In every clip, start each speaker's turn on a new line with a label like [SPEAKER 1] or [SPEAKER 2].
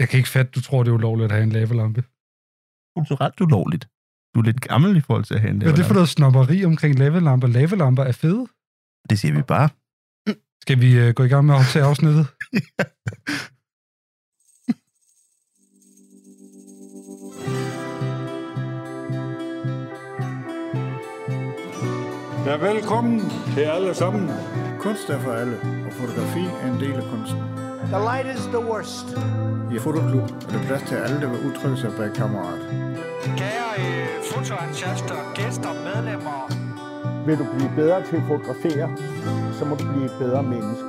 [SPEAKER 1] Jeg kan ikke fatte, du tror, det er ulovligt at have en lavalampe.
[SPEAKER 2] Kulturelt ulovligt. Du er lidt gammel i forhold til at have en
[SPEAKER 1] Hvad er det for noget snobberi omkring lavalamper? Lavalamper er fede.
[SPEAKER 2] Det siger vi bare.
[SPEAKER 1] Skal vi øh, gå i gang med at optage afsnittet?
[SPEAKER 3] Ja, velkommen til alle sammen.
[SPEAKER 4] Kunst er for alle, og fotografi er en del af kunsten.
[SPEAKER 5] The light is the worst.
[SPEAKER 4] I Fotoklub er der plads til alle, der vil udtrykke sig bag kammerat.
[SPEAKER 6] Kære øh, fotoentusiaster, gæster, medlemmer.
[SPEAKER 5] Vil du blive bedre til at fotografere, så må du blive et bedre menneske.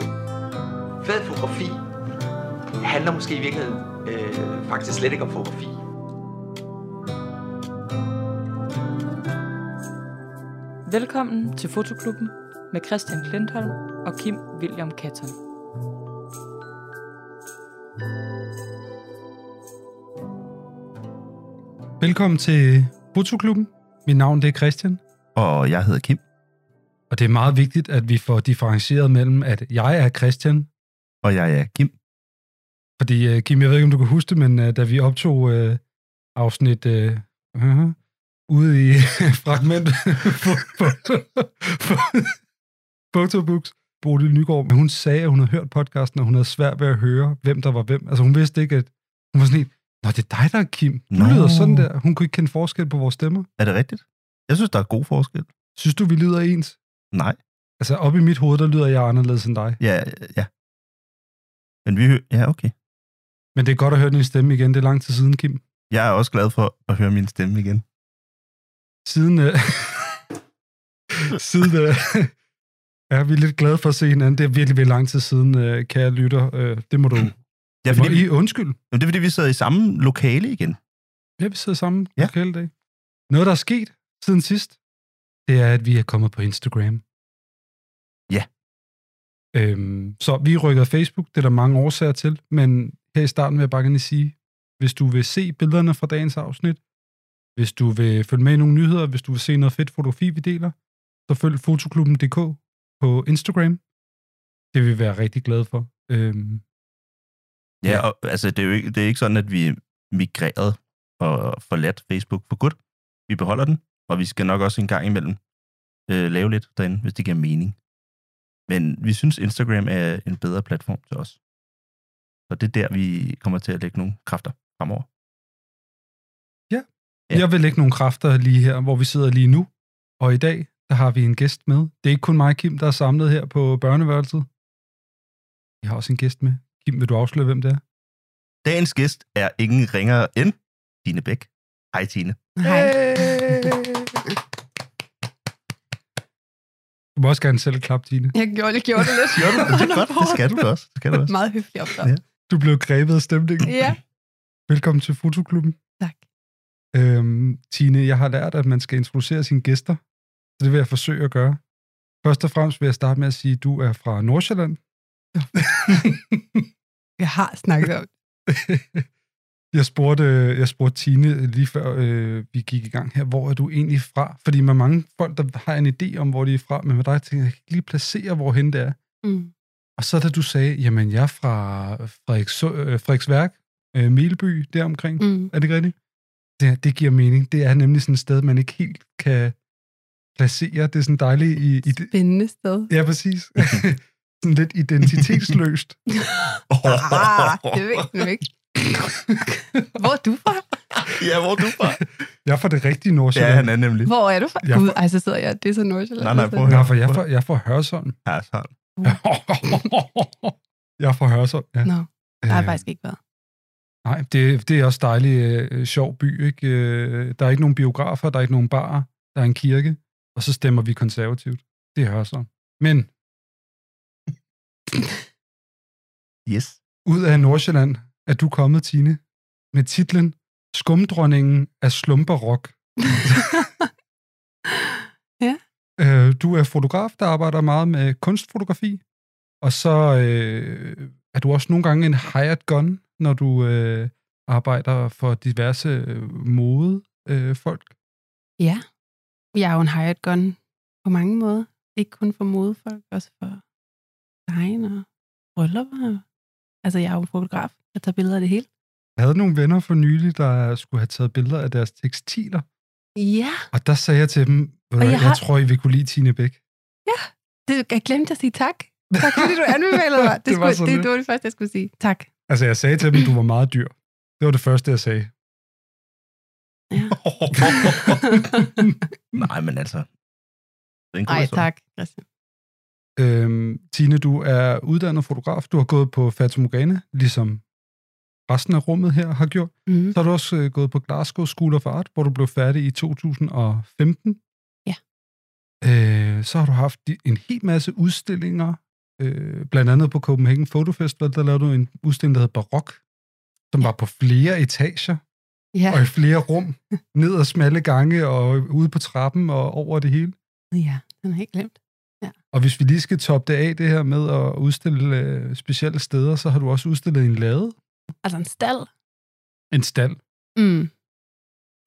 [SPEAKER 7] Fed fotografi handler måske i virkeligheden øh, faktisk slet ikke om fotografi.
[SPEAKER 8] Velkommen til Fotoklubben med Christian Klintholm og Kim William Katton.
[SPEAKER 1] Velkommen til Fotoklubben. Mit navn det er Christian,
[SPEAKER 2] Og jeg hedder Kim,
[SPEAKER 1] og det er meget vigtigt, at vi får differencieret mellem, at jeg er Christian,
[SPEAKER 2] og jeg er Kim.
[SPEAKER 1] fordi øh, Kim, jeg ved ikke, om du kan huske det, men øh, da vi optog øh, afsnit øh, uh, ude i fragment Photobooks, Bodil Nygaard, men hun sagde, at hun havde hørt podcasten, og hun havde svært ved at høre, hvem der var hvem. Altså hun vidste ikke, at hun var sådan en, Nå, det er dig, der er Kim. Du
[SPEAKER 2] Nå.
[SPEAKER 1] lyder sådan der. Hun kunne ikke kende forskel på vores stemmer.
[SPEAKER 2] Er det rigtigt? Jeg synes, der er god forskel.
[SPEAKER 1] Synes du, vi lyder ens?
[SPEAKER 2] Nej.
[SPEAKER 1] Altså, op i mit hoved, der lyder jeg anderledes end dig.
[SPEAKER 2] Ja, ja. Men vi hø- Ja, okay.
[SPEAKER 1] Men det er godt at høre din stemme igen. Det er lang tid siden, Kim.
[SPEAKER 2] Jeg er også glad for at høre min stemme igen.
[SPEAKER 1] Siden... Øh... siden... Øh... Ja, vi er lidt glade for at se hinanden. Det er virkelig, virkelig lang tid siden, øh, kære lytter. Øh, det må du...
[SPEAKER 2] Ja,
[SPEAKER 1] Det må
[SPEAKER 2] fordi, vi,
[SPEAKER 1] I undskylde.
[SPEAKER 2] Jamen, det er, fordi vi sidder i samme lokale igen.
[SPEAKER 1] Ja, vi sidder sammen
[SPEAKER 2] Ja.
[SPEAKER 1] ja. hele dag. Noget, der er sket siden sidst, det er, at vi er kommet på Instagram.
[SPEAKER 2] Ja.
[SPEAKER 1] Øhm, så vi rykker Facebook, det er der mange årsager til, men her i starten vil jeg bare gerne sige, hvis du vil se billederne fra dagens afsnit, hvis du vil følge med i nogle nyheder, hvis du vil se noget fedt fotografi, vi deler, så følg fotoklubben.dk på Instagram. Det vil vi være rigtig glade for. Øhm,
[SPEAKER 2] Ja,
[SPEAKER 1] Ja.
[SPEAKER 2] og, altså, det er jo ikke, det er ikke sådan, at vi migrerede og forladt Facebook for godt. Vi beholder den, og vi skal nok også en gang imellem øh, lave lidt derinde, hvis det giver mening. Men vi synes, Instagram er en bedre platform til os. Så det er der, vi kommer til at lægge nogle kræfter fremover. Ja.
[SPEAKER 1] Ja. Jeg vil lægge nogle kræfter lige her, hvor vi sidder lige nu. Og i dag, der har vi en gæst med. Det er ikke kun mig og Kim, der er samlet her på børneværelset. Vi har også en gæst med. Kim, vil du afsløre, hvem det er?
[SPEAKER 2] Dagens gæst er ingen ringere end Tine Bæk. Hej Tine.
[SPEAKER 1] Du må også gerne selv klappe, Tine.
[SPEAKER 9] Jeg gjorde, jeg gjorde det lidt.
[SPEAKER 2] Gjorde du det? Det er godt. Det skal du da også. Det skal du også.
[SPEAKER 9] Meget høflig opdrag.
[SPEAKER 2] Ja.
[SPEAKER 9] Ja.
[SPEAKER 1] Du blev grebet af stemningen.
[SPEAKER 9] ja.
[SPEAKER 1] Velkommen til Fotoklubben.
[SPEAKER 9] Tak.
[SPEAKER 1] Øhm, Tine, jeg har lært, at man skal introducere sine gæster. Så det vil jeg forsøge at gøre. Først og fremmest vil jeg starte med at sige, at du er fra Nordsjælland.
[SPEAKER 9] Jeg har snakket om det.
[SPEAKER 1] Jeg spurgte, øh, jeg spurgte Tine lige før øh, vi gik i gang her, hvor er du egentlig fra? Fordi med mange folk, der har en idé om, hvor de er fra, men med dig tænker jeg, jeg kan ikke lige placere, hvor hen det er.
[SPEAKER 9] Mm.
[SPEAKER 1] Og så da du sagde, jamen jeg er fra Frederiks, øh, Frederiksværk, øh, Melby, deromkring, mm.
[SPEAKER 9] Mm.
[SPEAKER 1] er det ikke rigtigt? Det, det giver mening. Det er nemlig sådan et sted, man ikke helt kan placere. Det er sådan dejligt i... i det.
[SPEAKER 9] Spændende sted.
[SPEAKER 1] Ja, præcis. sådan lidt identitetsløst.
[SPEAKER 9] Ah, det ved man ikke. Hvor er du fra?
[SPEAKER 2] Ja, hvor er du fra?
[SPEAKER 1] Jeg er fra det rigtige
[SPEAKER 2] Ja,
[SPEAKER 1] Nordsjælland.
[SPEAKER 2] han er nemlig.
[SPEAKER 9] Hvor er du fra?
[SPEAKER 1] Jeg er
[SPEAKER 9] Gud, ej, så sidder jeg. Det er så Nordsjælland.
[SPEAKER 2] Nej, nej, prøv at
[SPEAKER 1] Nej, for jeg er fra, jeg er fra Hørsholm.
[SPEAKER 2] Ja, sådan.
[SPEAKER 1] jeg er fra Hørsholm, ja.
[SPEAKER 9] Nå, der har jeg
[SPEAKER 1] Øh,
[SPEAKER 9] faktisk ikke været.
[SPEAKER 1] Nej, det, det er også dejlig øh, sjov by, ikke? Øh, der er ikke nogen biografer, der er ikke nogen barer, der er en kirke, og så stemmer vi konservativt. Det er Hørsholm. Men
[SPEAKER 2] Yes.
[SPEAKER 1] ud af Nordsjælland er du kommet, Tine, med titlen Skumdronningen af Slumperrock.
[SPEAKER 9] Ja.
[SPEAKER 1] Øh, du er fotograf, der arbejder meget med kunstfotografi, og så øh, er du også nogle gange en hired gun, når du øh, arbejder for diverse øh, mode øh, folk.
[SPEAKER 9] Ja. Jeg er jo en hired gun på mange måder. Ikke kun for modefolk, også for design og bryllupper. Altså, jeg er jo en fotograf. Jeg tager billeder af det hele.
[SPEAKER 1] Jeg havde nogle venner for nylig, der skulle have taget billeder af deres tekstiler,
[SPEAKER 9] Ja,
[SPEAKER 1] og der sagde jeg til dem, "Ved du
[SPEAKER 9] Og
[SPEAKER 1] hvad, jeg,
[SPEAKER 9] jeg
[SPEAKER 1] jeg
[SPEAKER 9] har-
[SPEAKER 1] tror, I vil kunne lide Tine Bæk.
[SPEAKER 9] det, jeg glemte at sige tak. Tak fordi du anbefalede mig. Det,
[SPEAKER 1] Det
[SPEAKER 9] det,
[SPEAKER 1] var
[SPEAKER 9] skulle,
[SPEAKER 1] så
[SPEAKER 9] det,
[SPEAKER 1] lidt.
[SPEAKER 9] det var det første, jeg skulle sige. Tak.
[SPEAKER 1] Altså, jeg sagde til dem, du var meget dyr. Det var det første, jeg sagde.
[SPEAKER 9] Ja.
[SPEAKER 2] Nej, men altså... Den
[SPEAKER 9] Nej, tak, Christian.
[SPEAKER 1] Øhm, Tine, du er uddannet fotograf. Du har gået på Fatomogane, ligesom resten af rummet her har gjort.
[SPEAKER 9] Mm.
[SPEAKER 1] Så har du også øh, gået på Glasgow School of Art, hvor du blev færdig i 2015.
[SPEAKER 9] Ja.
[SPEAKER 1] Øh, så har du haft di- en hel masse udstillinger, øh, blandt andet på Copenhagen Photo Festival, der lavede du en udstilling, der hed Barok, som var på flere etager
[SPEAKER 9] Ja,
[SPEAKER 1] og i flere rum, ned ad smalle gange og ude på trappen og over det hele.
[SPEAKER 9] ja, den har jeg ikke glemt.
[SPEAKER 1] Og hvis vi lige skal toppe det af, det her med at udstille øh, specielle steder, så har du også udstillet en lade,
[SPEAKER 9] Altså en stald.
[SPEAKER 1] en stald.
[SPEAKER 9] Mm.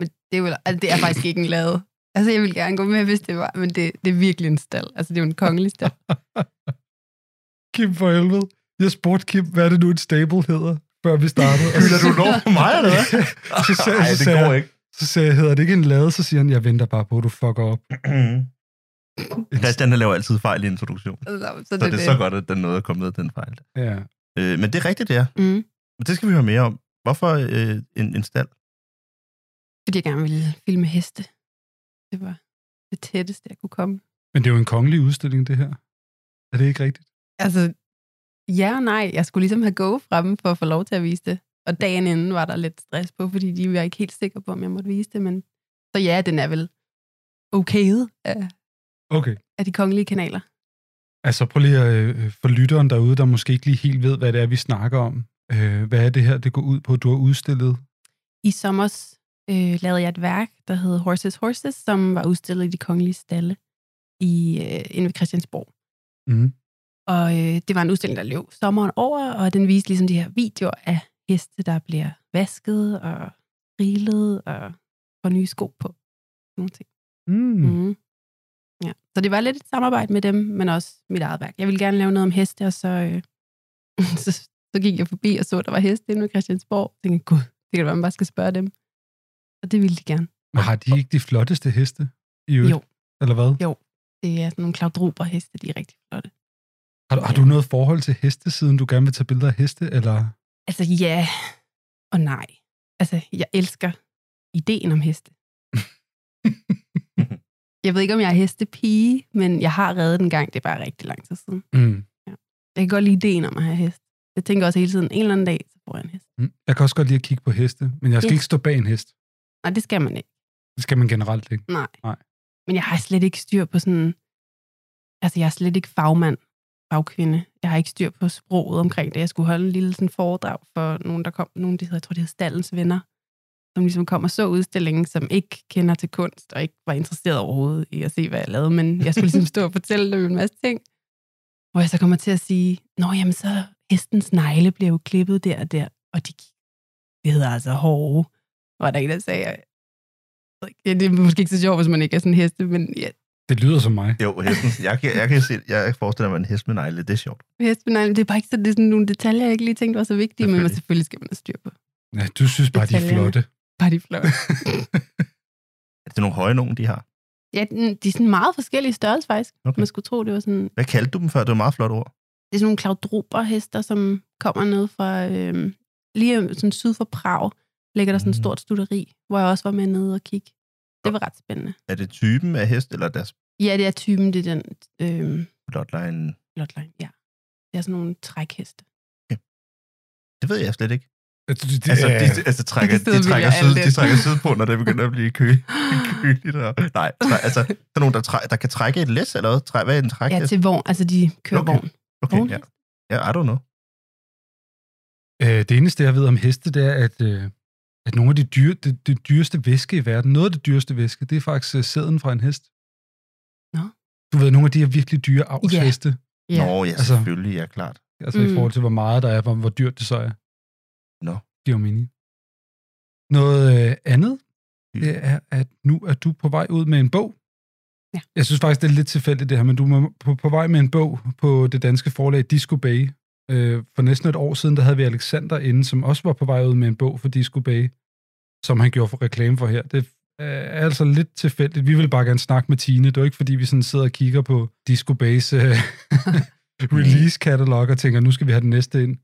[SPEAKER 9] Men det er, vel, altså, det er faktisk ikke en lade. Altså, jeg ville gerne gå med, hvis det var, men det, det er virkelig en stald. Altså, det er jo en kongelig stald.
[SPEAKER 1] Kim for helvede. Jeg spurgte Kim, hvad er det nu, en stable hedder, før vi startede. Og så,
[SPEAKER 2] Hylder du lov på mig, eller hvad?
[SPEAKER 1] Så sagde-
[SPEAKER 2] Nej,
[SPEAKER 1] så
[SPEAKER 2] det
[SPEAKER 1] sagde
[SPEAKER 2] går
[SPEAKER 1] jeg-
[SPEAKER 2] ikke.
[SPEAKER 1] så sagde jeg, hedder det ikke en lade? Så siger han, jeg venter bare på, at du fucker op.
[SPEAKER 2] Christian han laver altid fejl i introduktion.
[SPEAKER 9] Så, så,
[SPEAKER 2] Så det er så godt, at den nåede at komme ned af den fejl.
[SPEAKER 1] Ja.
[SPEAKER 2] Øh, men det er rigtigt, det er.
[SPEAKER 9] Mm.
[SPEAKER 2] Men det skal vi høre mere om. Hvorfor øh, en, en stald?
[SPEAKER 9] Fordi jeg gerne ville filme heste. Det var det tætteste, jeg kunne komme.
[SPEAKER 1] Men det er jo en kongelig udstilling, det her. Er det ikke rigtigt?
[SPEAKER 9] Altså, ja og nej. Jeg skulle ligesom have go fra dem for at få lov til at vise det. Og dagen inden var der lidt stress på, fordi de var ikke helt sikre på, om jeg måtte vise det. Men så ja, den er vel okayet af,
[SPEAKER 1] Okay.
[SPEAKER 9] af de kongelige kanaler.
[SPEAKER 1] Altså prøv lige at, øh, for lytteren derude, der måske ikke lige helt ved, hvad det er, vi snakker om. Øh, hvad er det her, det går ud på, du har udstillet?
[SPEAKER 9] I sommer øh, lavede jeg et værk, der hed Horses Horses, som var udstillet i de kongelige stalle i, øh, inde ved Christiansborg.
[SPEAKER 1] Mm.
[SPEAKER 9] Og øh, det var en udstilling, der løb sommeren over, og den viste ligesom de her videoer af heste, der bliver vasket og rilet og får nye sko på. Sådan Nogle ting.
[SPEAKER 1] Mm.
[SPEAKER 9] Mm. Ja. Så det var lidt et samarbejde med dem, men også mit eget værk. Jeg ville gerne lave noget om heste, og så, øh, så, så gik jeg forbi og så, at der var heste inde ved Christiansborg. Jeg tænkte, gud, det kan da være, man bare skal spørge dem. Og det ville de gerne.
[SPEAKER 1] Men har de ikke de flotteste heste? I øvrigt?
[SPEAKER 9] Jo.
[SPEAKER 1] Eller hvad?
[SPEAKER 9] Jo. Det er sådan nogle klaudrober heste, de er rigtig flotte.
[SPEAKER 1] Har, du- har du noget forhold til heste, siden du gerne vil tage billeder af heste? Eller?
[SPEAKER 9] Altså ja og nej. Altså, jeg elsker ideen om heste. jeg ved ikke, om jeg er hestepige, men jeg har reddet den gang. Det er bare rigtig lang tid siden.
[SPEAKER 1] Mm.
[SPEAKER 9] Jeg kan godt lide ideen om at have hest. Jeg tænker også hele tiden, en eller anden dag, så får jeg en hest.
[SPEAKER 1] Mm. Jeg kan også godt lide at kigge på heste, men jeg skal
[SPEAKER 9] Ja.
[SPEAKER 1] ikke stå bag en hest.
[SPEAKER 9] Nej, det skal man ikke.
[SPEAKER 1] Det skal man generelt ikke.
[SPEAKER 9] Nej.
[SPEAKER 1] Nej.
[SPEAKER 9] Men jeg har slet ikke styr på sådan... Altså, jeg er slet ikke fagmand, fagkvinde. Jeg har ikke styr på sproget omkring det. Jeg skulle holde en lille sådan, foredrag for nogen, der kom... Nogen, de hedder, jeg tror, det hedder Stallens Venner, som ligesom kom og så udstillingen, som ikke kender til kunst, og ikke var interesseret overhovedet i at se, hvad jeg lavede. Men jeg skulle ligesom stå og fortælle dem en masse ting. Hvor jeg så kommer til at sige, Nå, jamen så hestens negle bliver jo klippet der og der. Og de, det hedder altså hårde. Var der en, der sagde, Ja, det er måske ikke så sjovt, hvis man ikke er sådan en heste, men ja,
[SPEAKER 1] Det lyder som mig.
[SPEAKER 2] Jo, hesten. Jeg kan, jeg kan se, jeg forestiller mig en hest med negle. Det er sjovt.
[SPEAKER 9] heste, nej, det er bare ikke så, det er sådan nogle detaljer, jeg ikke lige tænkte var så vigtige, men man
[SPEAKER 2] Selvfølgelig.
[SPEAKER 9] selvfølgelig skal man have styr på.
[SPEAKER 1] Ja, du synes bare, de er
[SPEAKER 9] Detaljerne.
[SPEAKER 1] flotte.
[SPEAKER 9] Bare de flotte.
[SPEAKER 2] Er det nogle høje nogen, de har?
[SPEAKER 9] ja, den- de er sådan meget forskellige størrelser faktisk.
[SPEAKER 2] Okay.
[SPEAKER 9] Man skulle tro, det var sådan,
[SPEAKER 2] Hvad kaldte du dem før? Det var et meget flot ord.
[SPEAKER 9] det er sådan nogle klaudroberhester, som kommer ned fra, øhm, lige sådan syd for Prag, ligger der sådan et
[SPEAKER 2] Mm.
[SPEAKER 9] stort studeri, hvor jeg også var med nede og kigge. Det var ret spændende.
[SPEAKER 2] Er det typen af hest, eller deres
[SPEAKER 9] Ja, det er typen, det er den øhm,
[SPEAKER 2] plotline?
[SPEAKER 9] blotline, ja. Det er sådan nogle trækheste.
[SPEAKER 2] Det ved jeg slet ikke.
[SPEAKER 1] Altså, det,
[SPEAKER 2] Altså, de, altså trækker,
[SPEAKER 9] Det sidder
[SPEAKER 2] de,
[SPEAKER 9] vi
[SPEAKER 2] trækker
[SPEAKER 9] med alt
[SPEAKER 2] syd,
[SPEAKER 9] det.
[SPEAKER 2] de trækker sydpå, når det begynder at blive kø, køligt. Og, nej, træ, altså, der er nogen, der, træ, der kan trække et læs, eller hvad? Træ, hvad er en træk?
[SPEAKER 9] Ja, til vogn, altså de kører
[SPEAKER 2] Okay.
[SPEAKER 9] okay. vogn.
[SPEAKER 2] okay, ja. ja, I don't know.
[SPEAKER 1] øh, det eneste, jeg ved om heste, det er, at, øh, at nogle af de, dyre, det, det dyreste væske i verden, noget af det dyreste væske, det er faktisk øh, sæden fra en hest.
[SPEAKER 9] Nå.
[SPEAKER 1] Du ved, nogle af de her virkelig dyre avlsheste, yeah.
[SPEAKER 9] Ja.
[SPEAKER 2] Ja. Nå, ja,
[SPEAKER 1] Altså-
[SPEAKER 2] selvfølgelig, ja, klart.
[SPEAKER 1] altså i
[SPEAKER 9] Mm.
[SPEAKER 1] forhold til, hvor meget der er, hvor, hvor dyrt det så er.
[SPEAKER 2] Nå.
[SPEAKER 1] Giver jo mening. Noget øh, andet, det er, at nu er du på vej ud med en bog.
[SPEAKER 9] Ja.
[SPEAKER 1] Jeg synes faktisk, det er lidt tilfældigt det her, men du er på, på vej med en bog på det danske forlag Disco Bay, Øh, for næsten et år siden, der havde vi Alexander inde, som også var på vej ud med en bog for Disco Bay, som han gjorde for reklame for her. Det er altså lidt tilfældigt. Vi ville bare gerne snakke med Tine. Det var ikke, fordi vi sådan sidder og kigger på Disco Bays øh, release-katalog og tænker, nu skal vi have den næste ind.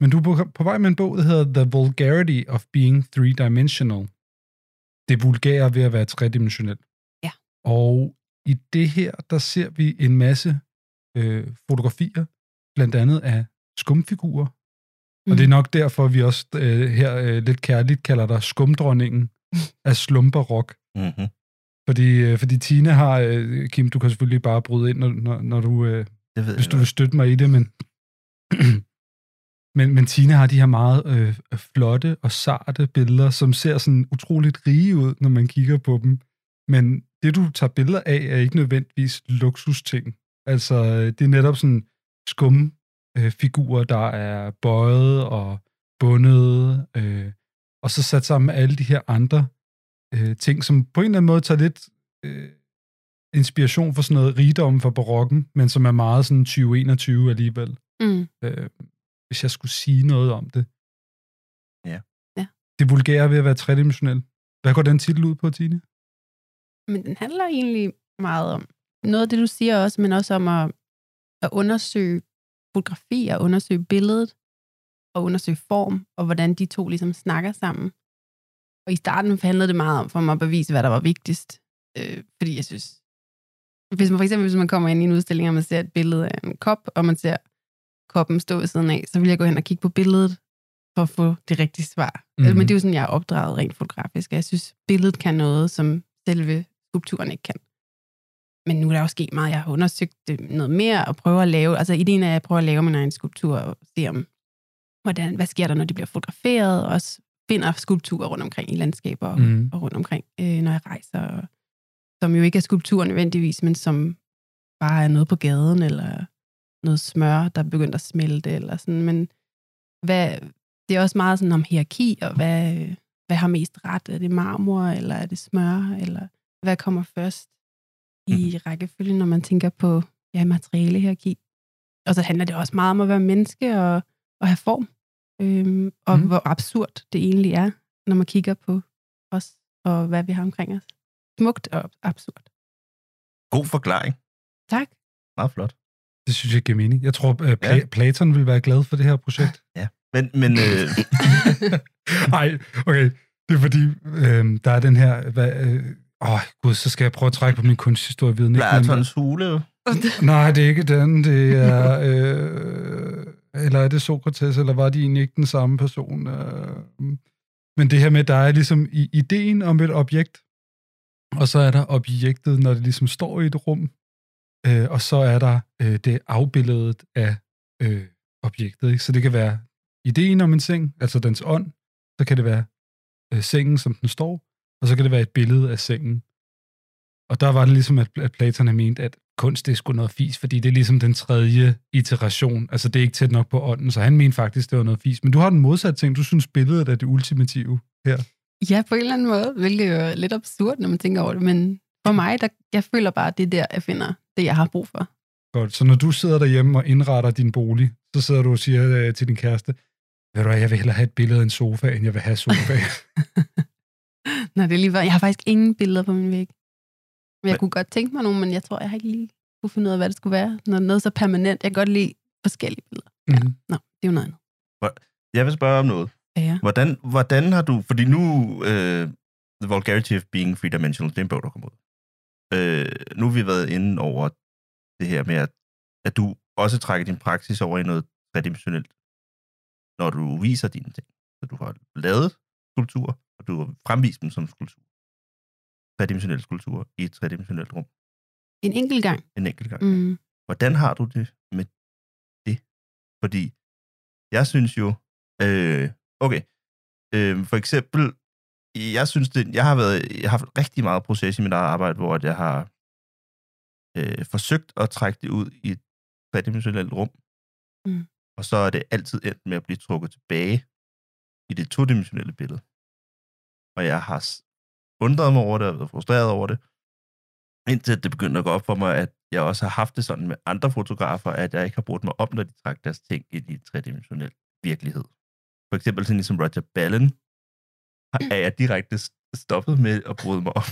[SPEAKER 1] Men du er på, på vej med en bog, der hedder The Vulgarity of Being Three-Dimensional. Det vulgære ved at være tredimensionel.
[SPEAKER 9] Ja.
[SPEAKER 1] Og i det her, der ser vi en masse øh, fotografier, blandt andet af skumfigurer. Mm. Og det er nok derfor, vi også øh, her øh, lidt kærligt kalder dig skumdronningen af slumperrock.
[SPEAKER 2] Mm-hmm.
[SPEAKER 1] Fordi, øh, fordi Tina har, øh, Kim, du kan selvfølgelig bare bryde ind, når, når, når du, øh,
[SPEAKER 2] Det ved
[SPEAKER 1] hvis
[SPEAKER 2] jeg
[SPEAKER 1] du vil
[SPEAKER 2] godt.
[SPEAKER 1] støtte mig i det, men... men, men Tina har de her meget øh, flotte og sarte billeder, som ser sådan utroligt rige ud, når man kigger på dem. Men det, du tager billeder af, er ikke nødvendigvis luksusting. Altså, øh, det er netop sådan skum øh, figurer, der er bøjet og bundet, øh, og så sat sammen med alle de her andre øh, ting, som på en eller anden måde tager lidt... Øh, inspiration for sådan noget rigdom for barokken, men som er meget sådan 2021 alligevel.
[SPEAKER 9] Mm.
[SPEAKER 1] Øh, hvis jeg skulle sige noget om det.
[SPEAKER 2] Ja.
[SPEAKER 9] Ja.
[SPEAKER 1] Det vulgære ved at være tredimensionel. Hvad går den titel ud på, Tine?
[SPEAKER 9] Men den handler egentlig meget om noget af det, du siger også, men også om at, at undersøge fotografi og undersøge billedet og undersøge form, og hvordan de to ligesom snakker sammen. Og i starten handlede det meget om for mig at bevise, hvad der var vigtigst. Øh, fordi jeg synes, hvis man for eksempel hvis man kommer ind i en udstilling, og man ser et billede af en kop, og man ser koppen stå ved siden af, så vil jeg gå hen og kigge på billedet for at få det rigtige svar. Mm-hmm.
[SPEAKER 1] Mhm.
[SPEAKER 9] Men det er jo sådan, jeg er opdraget rent fotografisk, og jeg synes, billedet kan noget, som selve skulpturen ikke kan. Men nu er der jo sket meget. Jeg har undersøgt det noget mere og prøver at lave... Altså, ideen er, at jeg prøver at lave min egen skulptur og se om, hvordan, hvad sker der, når de bliver fotograferet, og også finder skulpturer rundt omkring i landskaber og, mm.
[SPEAKER 1] Mm.
[SPEAKER 9] og rundt omkring, øh, når jeg rejser. Og, som jo ikke er skulpturer nødvendigvis, men som bare er noget på gaden, eller noget smør, der er begyndt at smelte, eller sådan. Men hvad, det er også meget sådan om hierarki, og hvad, øh, hvad har mest ret? Er det marmor, eller er det smør, eller hvad kommer først i mm. rækkefølgen, når man tænker på ja, materialehierarki? Og så handler det også meget om at være menneske og, og have form, øhm, og
[SPEAKER 1] Mhm.
[SPEAKER 9] mm. hvor absurd det egentlig er, når man kigger på os, og hvad vi har omkring os. Smukt og absurd.
[SPEAKER 2] God forklaring.
[SPEAKER 9] Tak.
[SPEAKER 2] Meget flot.
[SPEAKER 1] Det synes jeg giver mening. Jeg tror, øh, Pla-
[SPEAKER 2] Ja.
[SPEAKER 1] Platon vil være glad for det her projekt.
[SPEAKER 2] Men, men øh,
[SPEAKER 1] Nej, okay. Det er fordi, øh, der er den her... Hvad, øh, åh, gud, så skal jeg prøve at trække på min kunsthistorieviden. ikke? Men-
[SPEAKER 2] Platons hule,
[SPEAKER 1] Nej, det er ikke den. Det er... Øh, eller er det Sokrates, eller var de egentlig ikke den samme person? Øh, men det her med, der er ligesom i, ideen om et objekt, og så er der objektet, når det ligesom står i et rum, øh, og så er der øh, det afbilledet af øh, objektet. Ikke? Så det kan være ideen om en seng, altså dens ånd, så kan det være øh, sengen, som den står, og så kan det være et billede af sengen. Og der var det ligesom, at, at Platon havde ment, at kunst det er sgu noget fis, fordi det er ligesom den tredje iteration. Altså det er ikke tæt nok på ånden, så han mente faktisk, det var noget fis. Men du har den modsatte ting. Du synes, billedet er det ultimative her.
[SPEAKER 9] Ja, på en eller anden måde, hvilket jo er lidt absurd, når man tænker over det, men for mig, der, jeg føler bare, at det er der, jeg finder det, jeg har brug for.
[SPEAKER 1] Godt. Så når du sidder derhjemme og indretter din bolig, så sidder du og siger øh, til din kæreste, ved du hvad, jeg vil hellere have et billede af en sofa, end jeg vil have sofa.
[SPEAKER 9] Nå, det er lige, var- jeg har faktisk ingen billeder på min væg. Men jeg
[SPEAKER 2] Men-
[SPEAKER 9] kunne godt tænke mig nogen, men jeg tror, jeg har ikke lige kunne finde ud af, hvad det skulle være. Når noget er så permanent, jeg kan godt lide forskellige billeder.
[SPEAKER 1] Mhm.
[SPEAKER 9] Nå, det er jo noget andet.
[SPEAKER 2] jeg vil spørge om noget.
[SPEAKER 9] Ja.
[SPEAKER 2] Hvordan, hvordan har du... Fordi nu... Øh, The Vulgarity of Being Three-Dimensional, det er en bog, der kommer ud. Øh, nu har vi været inde over det her med, at, at du også trækker din praksis over i noget tredimensionelt, når du viser dine ting. Så du har lavet skulpturer, og du har fremvist dem som skulpturer. Tredimensionelle skulpturer i et tredimensionelt rum
[SPEAKER 9] En enkelt gang.
[SPEAKER 2] en enkelt gang.
[SPEAKER 9] Mm.
[SPEAKER 2] hvordan har du det med det? Fordi jeg synes jo, øh, okay, øh, for eksempel, jeg synes det, jeg har været, jeg har haft rigtig meget proces i mit eget arbejde, hvor at jeg har øh, forsøgt at trække det ud i et tredimensionelt rum,
[SPEAKER 9] Mm.
[SPEAKER 2] og så er det altid endt med at blive trukket tilbage i det todimensionelle billede. Og jeg har s- undret mig over det, og været frustreret over det, Indtil det begyndte at gå op for mig, at jeg også har haft det sådan med andre fotografer, at jeg ikke har brugt mig op, når de trak deres ting ind i en tredimensionel virkelighed. For eksempel sådan ligesom Roger Ballen, har- er jeg direkte s- stoppet med at bryde mig om.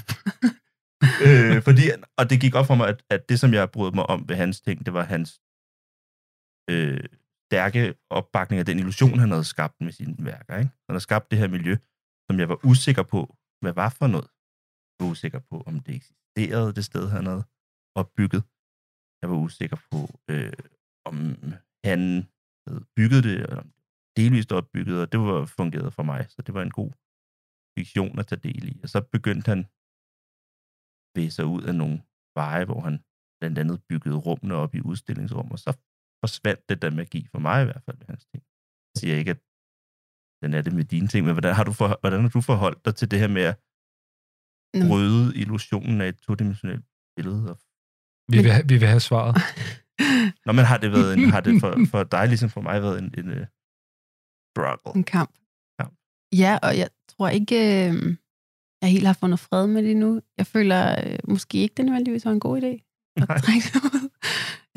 [SPEAKER 2] øh, fordi, og det gik op for mig, at, at det, som jeg brød mig om ved hans ting, det var hans øh, stærke opbakning af den illusion, han havde skabt med sine værker. Ikke? Han havde skabt det her miljø, som jeg var usikker på, hvad var for noget. Jeg var usikker på, om det eksisterede, det sted, han havde opbygget. Jeg var usikker på, øh, om han havde bygget det, eller om det delvist opbygget, og det var fungeret for mig, så det var en god fiktion at tage del i. Og så begyndte han at bevæge sig ud af nogle veje, hvor han blandt andet byggede rummene op i udstillingsrum, og så forsvandt det der magi for mig i hvert fald med hans ting. Jeg siger ikke, at den er det med dine ting, men hvordan har du, for, hvordan har du forholdt dig til det her med at
[SPEAKER 9] Nå.
[SPEAKER 2] bryde illusionen af et todimensionelt billede? Og,
[SPEAKER 1] Vi vil, ha- vi vil have svaret.
[SPEAKER 2] nå, men har det, været en, har det for, for dig, ligesom for mig, været en, en uh, struggle?
[SPEAKER 9] En kamp.
[SPEAKER 2] Kamp.
[SPEAKER 9] Ja, og jeg tror ikke, øh, jeg helt har fundet fred med det endnu. Jeg føler øh, måske ikke, det nødvendigvis var en god idé. at
[SPEAKER 2] Nej.
[SPEAKER 9] trække det ud.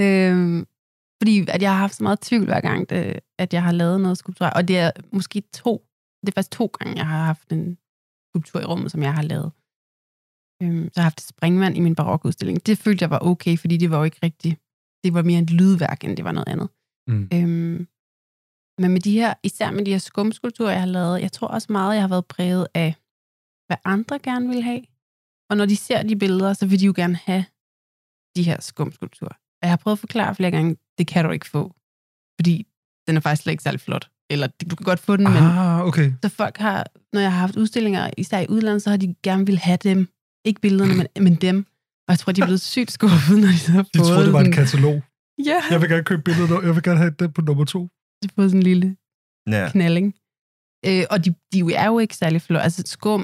[SPEAKER 9] øhm, fordi at jeg har haft så meget tvivl hver gang, det, at jeg har lavet noget skulptur. Og det er måske to, det er faktisk to gange, jeg har haft en skulptur i rummet, som jeg har lavet. Øhm, så jeg har haft et springvand i min barokudstilling. Det følte jeg var okay, fordi det var jo ikke rigtigt. Det var mere et lydværk, end det var noget andet.
[SPEAKER 1] Mm.
[SPEAKER 9] Øhm, men med de her, især med de her skumskulpturer, jeg har lavet, jeg tror også meget, jeg har været præget af, hvad andre gerne vil have. Og når de ser de billeder, så vil de jo gerne have de her skumskulpturer. Og jeg har prøvet at forklare flere gange, det kan du ikke få, fordi den er faktisk slet ikke særlig flot. Eller du kan godt få den, men
[SPEAKER 1] Ah, okay.
[SPEAKER 9] så folk har, når jeg har haft udstillinger, især i udlandet, så har de gerne vil have dem. Ikke billederne, men, men dem. Og jeg tror, de er blevet sygt skuffet, når de så har
[SPEAKER 1] De
[SPEAKER 9] fået
[SPEAKER 1] troede, det var en
[SPEAKER 9] sådan-
[SPEAKER 1] katalog.
[SPEAKER 9] Ja,
[SPEAKER 1] Jeg vil gerne købe billedet, og jeg vil gerne have den på nummer to.
[SPEAKER 9] de har fået sådan en lille
[SPEAKER 2] Ja,
[SPEAKER 9] knalding. Øh, og de, de er jo ikke særlig flotte. Altså skum,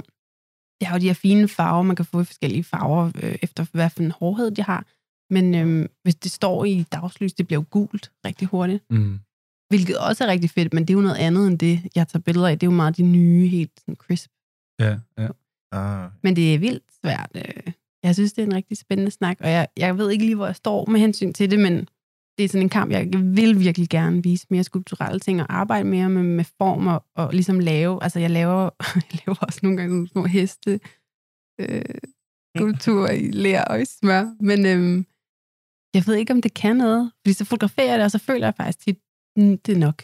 [SPEAKER 9] det har jo de her fine farver, man kan få i forskellige farver, øh, efter hvad for en hårdhed de har. Men øh, hvis det står i dagslys, det bliver jo gult rigtig hurtigt.
[SPEAKER 1] Mm.
[SPEAKER 9] Hvilket også er rigtig fedt, men det er jo noget andet end det, jeg tager billeder af. Det er jo meget de nye, helt sådan crisp.
[SPEAKER 1] Ja, ja.
[SPEAKER 2] ah,
[SPEAKER 9] Men det er vildt svært. øh. Jeg synes, det er en rigtig spændende snak, og jeg, jeg ved ikke lige, hvor jeg står med hensyn til det, men det er sådan en kamp, jeg vil virkelig gerne vise mere skulpturelle ting og arbejde mere med, med former og ligesom lave. Altså, jeg laver, jeg laver også nogle gange nogle små heste øh, skulpturer i lær og i smør, men øhm, jeg ved ikke, om det kan noget, fordi så fotograferer jeg det, og så føler jeg faktisk tit, "Mm, det er nok.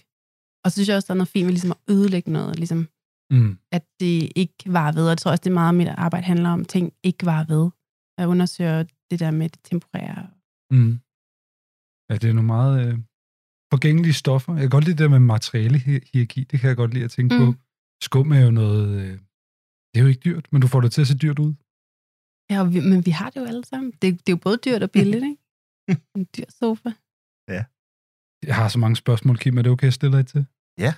[SPEAKER 9] Og så synes jeg også, der er noget fint ved ligesom at ødelægge noget, ligesom
[SPEAKER 1] Mm.
[SPEAKER 9] at det ikke var ved. Og jeg tror også, det er meget, mit arbejde handler om, ting ikke var ved. Jeg undersøger det der med det temporære.
[SPEAKER 1] Mm. Ja, det er nogle meget øh, forgængelige stoffer. Jeg kan godt lide det der med materialehierarki, det kan jeg godt lide at tænke mm.
[SPEAKER 9] Mm.
[SPEAKER 1] på. Skum er jo noget, øh, det er jo ikke dyrt, men du får det til at se dyrt ud.
[SPEAKER 9] Ja, og vi, men vi har det jo alle sammen. Det, det er jo både dyrt og billigt, ikke? En dyr sofa.
[SPEAKER 1] Jeg har så mange spørgsmål, Kim, er det okay, jeg stiller dig til? Øh,
[SPEAKER 2] Ja.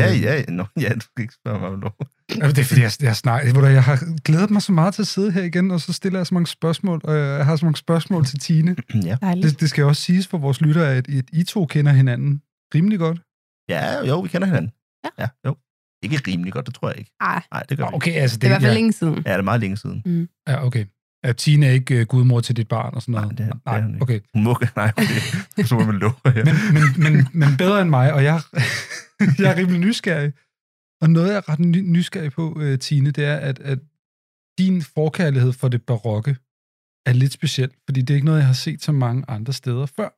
[SPEAKER 2] ja, ja, no, ja, du skal ikke spørge mig om lov.
[SPEAKER 1] Jamen, det er fordi, jeg, jeg, snak, ved du hvad, jeg har glædet mig så meget til at sidde her igen, og så stiller jeg så mange spørgsmål, og jeg har så mange spørgsmål til Tine.
[SPEAKER 2] ja.
[SPEAKER 9] Dejligt.
[SPEAKER 1] Det, det skal også siges for vores lyttere, at, at I to kender hinanden rimelig godt.
[SPEAKER 2] ja, jo, vi kender hinanden.
[SPEAKER 9] Ja.
[SPEAKER 2] ja jo. Ikke rimelig godt, det tror jeg ikke.
[SPEAKER 9] Ah,
[SPEAKER 2] Nej, det gør vi ikke.
[SPEAKER 1] Okay, altså
[SPEAKER 9] det er i hvert fald længe siden.
[SPEAKER 2] Ja, det er meget længe siden.
[SPEAKER 1] Ja, okay. Er Tina ikke uh, gudmor til dit barn og sådan
[SPEAKER 2] Nej,
[SPEAKER 1] noget?
[SPEAKER 2] det er- det er hun ikke.
[SPEAKER 1] okay.
[SPEAKER 2] Hun må nej, okay. Så må man love her.
[SPEAKER 1] Men, men, men, men bedre end mig, og jeg, jeg er rimelig nysgerrig. Og noget, jeg er ret ny- nysgerrig på, uh, Tine, det er, at, at din forkærlighed for det barokke er lidt speciel, fordi det er ikke noget, jeg har set så mange andre steder før.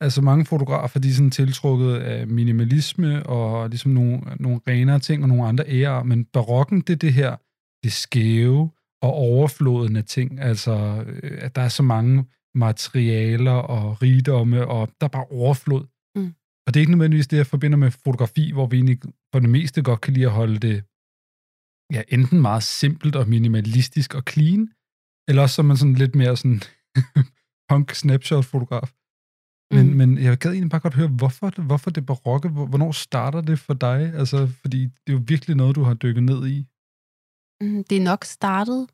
[SPEAKER 1] Altså mange fotografer, de er sådan tiltrukket af minimalisme og ligesom nogle, nogle renere ting og nogle andre ærer, men barokken, det er det her, det skæve og overfloden af ting. Altså, øh, at der er så mange materialer og rigdomme, og der er bare overflod.
[SPEAKER 9] Mm.
[SPEAKER 1] Og det er ikke nødvendigvis det, jeg forbinder med fotografi, hvor vi egentlig for det meste godt kan lide at holde det ja, enten meget simpelt og minimalistisk og clean, eller også så er man sådan lidt mere sådan punk snapshot-fotograf. Men, mm.
[SPEAKER 9] Mm.
[SPEAKER 1] men jeg gad egentlig bare godt høre, hvorfor, det- hvorfor det barokke, hvor- hvornår starter det for dig? Altså, fordi det er jo virkelig noget, du har dykket ned i.
[SPEAKER 9] Mm, Det er nok startet,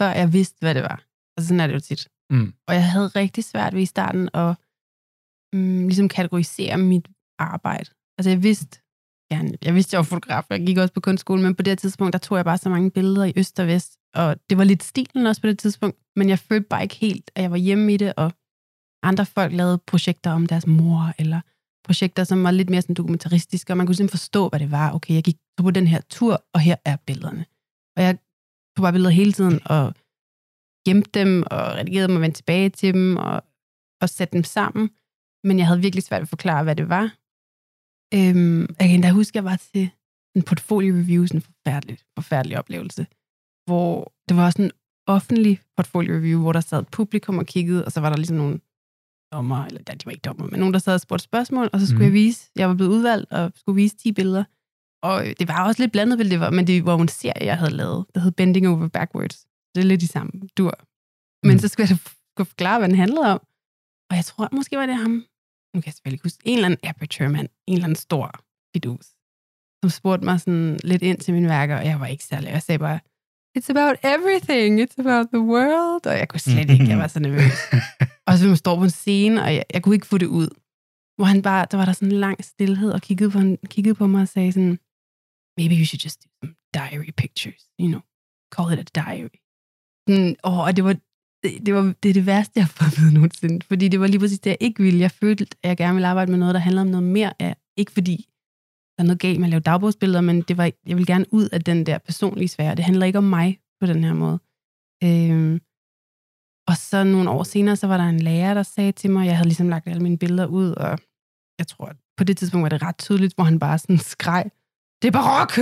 [SPEAKER 9] før jeg vidste, hvad det var. Altså sådan er det jo tit.
[SPEAKER 1] Mm.
[SPEAKER 9] Og jeg havde rigtig svært ved i starten at mm, ligesom kategorisere mit arbejde. Altså jeg vidste, jeg, jeg vidste, jeg var fotograf, og jeg gik også på kunstskolen, men på det her tidspunkt, der tog jeg bare så mange billeder i øst og vest, og det var lidt stilen også på det tidspunkt, men jeg følte bare ikke helt, at jeg var hjemme i det, og andre folk lavede projekter om deres mor, eller projekter, som var lidt mere sådan dokumentaristiske, og man kunne simpelthen forstå, hvad det var. Okay, jeg gik på den her tur, og her er billederne. Og jeg tog bare billeder hele tiden, og gemte dem, og redigerede dem, og vendte tilbage til dem, og, og satte dem sammen. Men jeg havde virkelig svært ved at forklare, hvad det var. Øhm, og jeg kan endda huske, at jeg var til en portfolio-review, sådan en forfærdelig, forfærdelig oplevelse, hvor det var sådan en offentlig portfolio-review, hvor der sad et publikum og kiggede, og så var der ligesom nogle dommer, eller ja, de var ikke dommer, men nogen, der sad og spurgte spørgsmål, og så skulle
[SPEAKER 1] Mm.
[SPEAKER 9] mm. jeg vise, jeg var blevet udvalgt, og skulle vise 10 billeder. Og øh, det var også lidt blandet, vel, det var, men det var jo en serie, jeg havde lavet, der hed Bending Over Backwards. Det er lidt i samme dur. Men
[SPEAKER 1] Mm.
[SPEAKER 9] mm. så skulle jeg da skulle forklare, hvad den handlede om. Og jeg tror, måske var det ham, nu kan jeg selvfølgelig ikke huske, en eller anden aperture-mand, en eller anden stor fidus, som spurgte mig sådan lidt ind til mine værker, og jeg var ikke særlig, jeg sagde bare, it's about everything, it's about the world, og jeg kunne slet ikke, jeg var så nervøs. Og så man står på en scene, og jeg, jeg kunne ikke få det ud. Hvor han bare, der var der sådan en lang stillhed, og kiggede på, han, kiggede på mig og sagde sådan, maybe you should just do some diary pictures, you know, call it a diary. Sådan, åh, og det var, det, det var det, er det værste, jeg har fået at vide nogensinde, fordi det var lige præcis det, jeg ikke ville. Jeg følte, at jeg gerne ville arbejde med noget, der handler om noget mere af, ikke fordi der er noget galt med at lave dagbogsbilleder, men det var, jeg ville gerne ud af den der personlige sfære. Det handler ikke om mig på den her måde. Øhm, og så nogle år senere, så var der en lærer, der sagde til mig, jeg havde ligesom lagt alle mine billeder ud, og jeg tror, at på det tidspunkt var det ret tydeligt, hvor han bare sådan skreg, det er barok!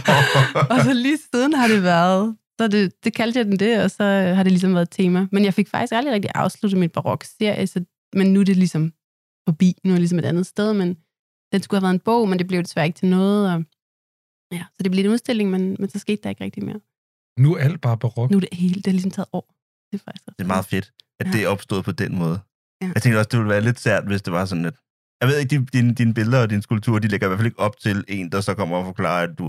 [SPEAKER 9] og så lige siden har det været, så det, det kaldte jeg den det, og så øh, har det ligesom været et tema. Men jeg fik faktisk aldrig rigtig afsluttet mit barok-serie, så, men nu er det ligesom forbi, nu er det ligesom et andet sted, men den skulle have været en bog, men det blev desværre ikke til noget, og ja, så det blev en udstilling, men, men så skete der ikke rigtig mere.
[SPEAKER 1] Nu er alt bare barok.
[SPEAKER 9] Nu er det hele, det er ligesom taget år. Det er faktisk
[SPEAKER 2] Det er meget fedt, at
[SPEAKER 9] Ja.
[SPEAKER 2] det er opstået på den måde.
[SPEAKER 9] Ja.
[SPEAKER 2] Jeg tænkte også, det ville være lidt sært, hvis det var sådan, at... Jeg ved ikke, de- dine, dine billeder og dine skulpturer, de lægger i hvert fald ikke op til en, der så kommer og forklarer, at du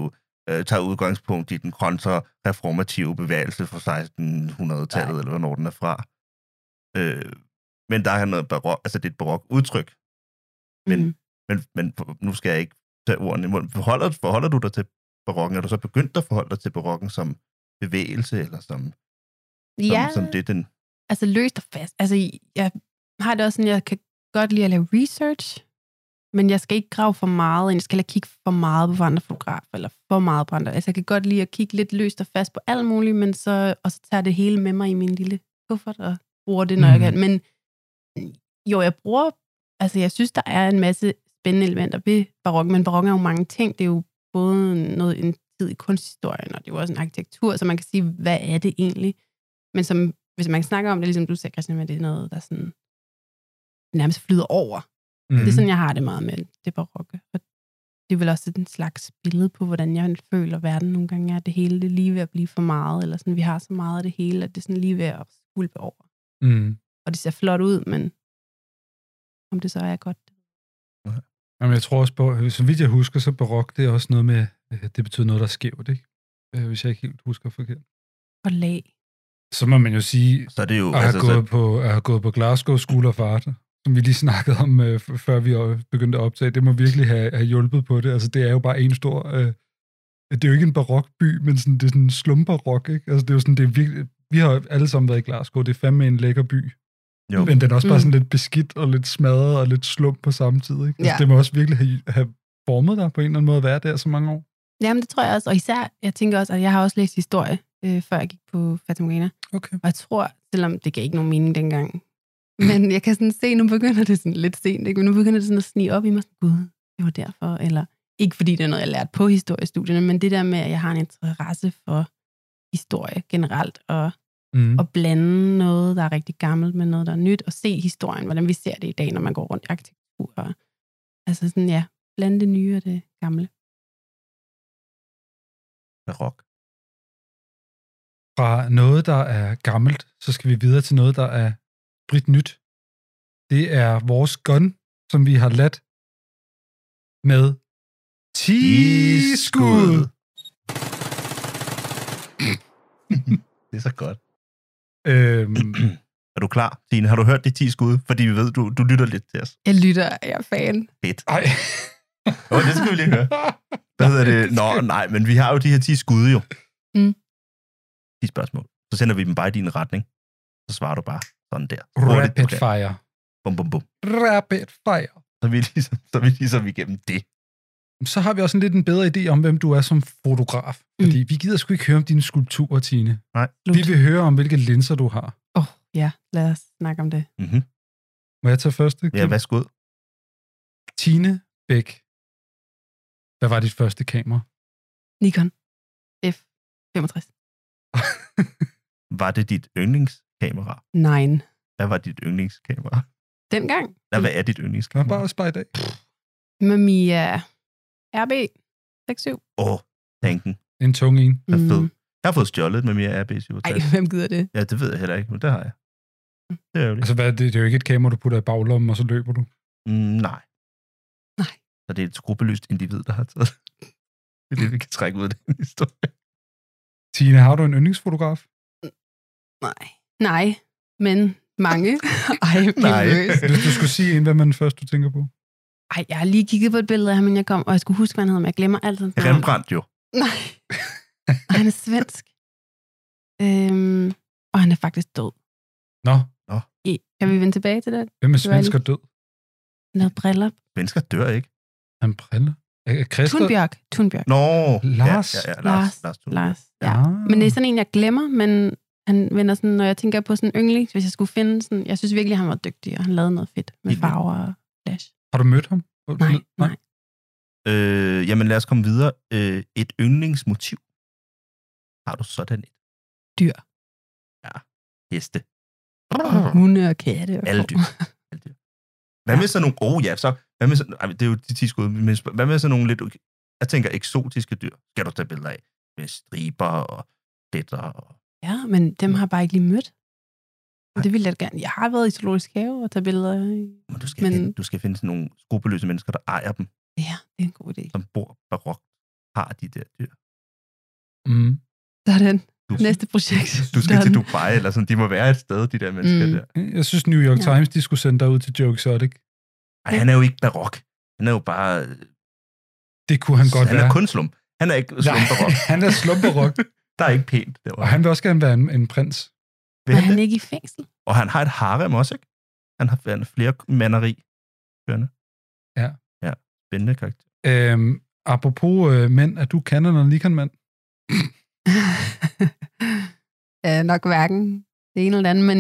[SPEAKER 2] øh, tager udgangspunkt i den kontrareformative bevægelse fra 1600-tallet, eller hvornår den er fra. Øh, men der er noget barok, altså det er et barok udtryk. Men,
[SPEAKER 9] Mhm.
[SPEAKER 2] mm. men, men nu skal jeg ikke tage ordene i munden. Forholder, forholder du dig til barokken? Er du så begyndt at forholde dig til barokken som bevægelse, eller som, som,
[SPEAKER 9] Ja,
[SPEAKER 2] som det, den
[SPEAKER 9] altså løst og fast. Altså, jeg har det også sådan, jeg kan godt lide at lave research, men jeg skal ikke grave for meget, ind. jeg skal heller ikke kigge for meget på andre fotografer, eller for meget på andre. Altså, jeg kan godt lide at kigge lidt løst og fast på alt muligt, men så, og så tager jeg det hele med mig i min lille kuffert og bruger det, når mm. jeg
[SPEAKER 1] Mhm.
[SPEAKER 9] kan. Men jo, jeg bruger, altså jeg synes, der er en masse spændende elementer ved barok, men barok er jo mange ting. Det er jo både noget, en tid i kunsthistorien, og det er jo også en arkitektur, så man kan sige, hvad er det egentlig? Men som hvis man snakker om det, ligesom du sagde, Christian, at det er noget, der sådan nærmest flyder over. Mm.
[SPEAKER 1] Mm.
[SPEAKER 9] Det er sådan, jeg har det meget med det barokke. Og det er vel også en slags billede på, hvordan jeg føler verden nogle gange er. Det hele det er lige ved at blive for meget, eller sådan, vi har så meget af det hele, at det er sådan lige ved at skulpe over.
[SPEAKER 1] Mm.
[SPEAKER 9] Og det ser flot ud, men om det så er godt.
[SPEAKER 1] Jamen, jeg tror også, på, øh, så vidt jeg husker, så barok, det er også noget med, øh, det betyder noget, der er skævt, ikke? Øh, Hvis jeg ikke helt husker forkert.
[SPEAKER 9] Og lag.
[SPEAKER 1] Så må man jo sige,
[SPEAKER 2] Så er det jo...
[SPEAKER 1] at
[SPEAKER 2] Altså,
[SPEAKER 1] have gået,
[SPEAKER 2] så,
[SPEAKER 1] på, at have gået på Glasgow School of Art, som vi lige snakkede om, øh, f- før vi øh, begyndte at optage, det må virkelig have, have hjulpet på det. Altså, det er jo bare en stor... Øh, det er jo ikke en barok by, men sådan, det er sådan en slumbarok, ikke? Altså, det er jo sådan, det er virkelig... Vi har jo alle sammen været i Glasgow, det er fandme en lækker by.
[SPEAKER 2] jo.
[SPEAKER 1] Men den er også bare
[SPEAKER 9] Mm.
[SPEAKER 1] sådan lidt beskidt og lidt smadret og lidt slum på samme tid. Ikke? Altså,
[SPEAKER 9] Ja.
[SPEAKER 1] Det må også virkelig have, have formet dig på en eller anden måde at være der så mange år.
[SPEAKER 9] Jamen, det tror jeg også. Og især, jeg tænker også, at jeg har også læst historie, øh, før jeg gik på Fatamorgana.
[SPEAKER 1] Okay.
[SPEAKER 9] Og jeg tror, selvom det gav ikke nogen mening dengang, men jeg kan sådan se, nu begynder det sådan lidt sent, ikke? men nu begynder det sådan at snige op i mig, sådan, gud, det var derfor, eller ikke fordi det er noget, jeg lærte på historiestudierne, men det der med, at jeg har en interesse for historie generelt, og
[SPEAKER 1] Mm.
[SPEAKER 9] at blande noget, der er rigtig gammelt med noget, der er nyt, og se historien, hvordan vi ser det i dag, når man går rundt i arkitektur. Og, altså sådan, ja, blande det nye og det gamle.
[SPEAKER 2] Barok.
[SPEAKER 1] Fra noget, der er gammelt, så skal vi videre til noget, der er brit nyt. Det er vores gun, som vi har ladt med 10 skud.
[SPEAKER 2] det er så godt.
[SPEAKER 1] Øhm,
[SPEAKER 2] Er du klar, Tine? Har du hørt de 10 skud? Fordi vi ved, du, du lytter lidt til os.
[SPEAKER 9] Jeg lytter, jeg er fan.
[SPEAKER 2] Fedt.
[SPEAKER 1] ej.
[SPEAKER 2] Nå, det skal vi lige høre. Hvad hedder det? Nå, nej, men vi har jo de her 10 skud jo.
[SPEAKER 9] Mm.
[SPEAKER 2] de spørgsmål. Så sender vi dem bare i din retning. Så svarer du bare sådan der. Hurtigt,
[SPEAKER 1] Rapid
[SPEAKER 2] du kan.
[SPEAKER 1] fire.
[SPEAKER 2] Bum, bum, bum.
[SPEAKER 1] Rapid fire.
[SPEAKER 2] Så er vi ligesom, så er vi ligesom igennem det.
[SPEAKER 1] Så har vi også en lidt en bedre idé om, hvem du er som fotograf.
[SPEAKER 9] Mm.
[SPEAKER 1] Fordi vi gider sgu ikke høre om dine skulpturer, Tine.
[SPEAKER 9] Slut.
[SPEAKER 1] Vi vil høre om, hvilke linser du har.
[SPEAKER 9] Åh, oh, ja. Lad os snakke om det.
[SPEAKER 2] Mm-hmm.
[SPEAKER 1] Må jeg tage første?
[SPEAKER 2] Ja, værsgo. ud.
[SPEAKER 1] Tine Bæk. Hvad var dit første kamera?
[SPEAKER 9] Nikon F65.
[SPEAKER 2] Var det dit yndlingskamera?
[SPEAKER 9] Nej.
[SPEAKER 2] Hvad var dit yndlingskamera?
[SPEAKER 9] Dengang
[SPEAKER 2] Nej, hvad er dit
[SPEAKER 1] Nå, bare
[SPEAKER 2] yndlingskamera?
[SPEAKER 1] også bare i dag.
[SPEAKER 9] med Mia RB 67.
[SPEAKER 2] Åh, oh, tanken.
[SPEAKER 1] En tung en.
[SPEAKER 2] er
[SPEAKER 9] Mm.
[SPEAKER 2] fed. Jeg har fået stjålet med mere RB67.
[SPEAKER 9] Ej, Mm. hvem gider det?
[SPEAKER 2] Ja, det ved jeg heller ikke, men det har jeg. Det er jo
[SPEAKER 1] Altså, hvad, er det, det er jo ikke et kamera, du putter i baglommen, og så løber du.
[SPEAKER 2] Mm, nej.
[SPEAKER 9] Nej.
[SPEAKER 2] Så det er et skrupelløst individ, der har taget det. Det er det, vi kan trække ud af den historie.
[SPEAKER 1] Tine, har du en yndlingsfotograf?
[SPEAKER 9] Nej. Nej, men mange. Ej,
[SPEAKER 2] Nej.
[SPEAKER 9] Nej.
[SPEAKER 1] Hvis du skulle sige en, hvad man først du tænker på?
[SPEAKER 9] Ej, jeg har lige kigget på et billede af ham, inden jeg kom, og jeg skulle huske, hvad han hed, men jeg glemmer altid. hans navn.
[SPEAKER 2] Rembrandt jo.
[SPEAKER 9] Nej. Og han er svensk. Øhm, og han er faktisk død.
[SPEAKER 1] Nå,
[SPEAKER 9] I- Kan vi vende tilbage til det?
[SPEAKER 1] hvem er
[SPEAKER 9] Det var
[SPEAKER 1] svensker død?
[SPEAKER 9] Han havde briller.
[SPEAKER 2] Mennesker dør ikke.
[SPEAKER 1] Han briller. Er er Christer?
[SPEAKER 9] Thunbjørk. Thunbjørk.
[SPEAKER 2] Nå.
[SPEAKER 1] Lars.
[SPEAKER 2] Ja, ja, ja, Lars.
[SPEAKER 9] Lars.
[SPEAKER 2] Lars. Lars.
[SPEAKER 9] Lars. Ja.
[SPEAKER 1] Ah.
[SPEAKER 9] Men det er sådan en, jeg glemmer, men han vender sådan, når jeg tænker på sådan yndlings, hvis jeg skulle finde sådan, jeg synes virkelig, han var dygtig, og han lavede noget fedt med
[SPEAKER 2] Helt vildt.
[SPEAKER 9] farver og flash.
[SPEAKER 1] Har du mødt ham?
[SPEAKER 9] Nej, nej.
[SPEAKER 2] Øh, jamen lad os komme videre. Øh, et yndlingsmotiv. Har du sådan et?
[SPEAKER 9] Dyr.
[SPEAKER 2] Ja. Heste.
[SPEAKER 9] Og hunde og katte. Og
[SPEAKER 2] Alle dyr. Alle dyr. Hvad med sådan nogle... Åh oh, ja, så... Hvad med sådan, ej, det er jo de 10 skud, men sp- hvad med sådan nogle lidt... Jeg tænker eksotiske dyr. Skal du tage billeder af? Med striber og pletter og...
[SPEAKER 9] Ja, men dem har jeg bare ikke lige mødt. Og det ville jeg da gerne. Jeg har været i zoologisk have og taget billeder. i-
[SPEAKER 2] Men du skal, men...
[SPEAKER 9] Men-
[SPEAKER 2] Finde, du skal finde sådan nogle skrupelløse mennesker, der ejer dem,
[SPEAKER 9] Ja, det er en god idé.
[SPEAKER 2] som bor barok, har de der dyr.
[SPEAKER 1] Mm.
[SPEAKER 9] Sådan.
[SPEAKER 2] Du,
[SPEAKER 9] Næste projekt.
[SPEAKER 2] du skal til
[SPEAKER 9] Sådan.
[SPEAKER 2] Dubai, eller sådan. De må være et sted, de der mennesker mm.
[SPEAKER 9] Mm.
[SPEAKER 2] der.
[SPEAKER 1] Jeg synes, New York
[SPEAKER 9] Ja.
[SPEAKER 1] Times, de skulle sende dig ud til Joe Exotic.
[SPEAKER 2] Ej, han er jo ikke barok. Han er jo bare...
[SPEAKER 1] Det kunne han godt
[SPEAKER 2] han
[SPEAKER 1] være.
[SPEAKER 2] er kun slum. Han er ikke slum barok.
[SPEAKER 1] Nej, han er slumperok.
[SPEAKER 2] Der er ikke pænt
[SPEAKER 1] og
[SPEAKER 2] derovre.
[SPEAKER 1] han vil også gerne være en, en prins.
[SPEAKER 2] Vil
[SPEAKER 9] Men
[SPEAKER 2] han
[SPEAKER 9] han
[SPEAKER 2] det?
[SPEAKER 9] ikke i fængsel?
[SPEAKER 2] Og han har et harem også, ikke? Han har han har flere manderi. Kørende.
[SPEAKER 1] Ja.
[SPEAKER 2] Ja, spændende karakter.
[SPEAKER 1] Øhm, apropos øh, mænd, er du Canon og Nikon-mand?
[SPEAKER 9] øh, nok hverken det ene eller det andet, men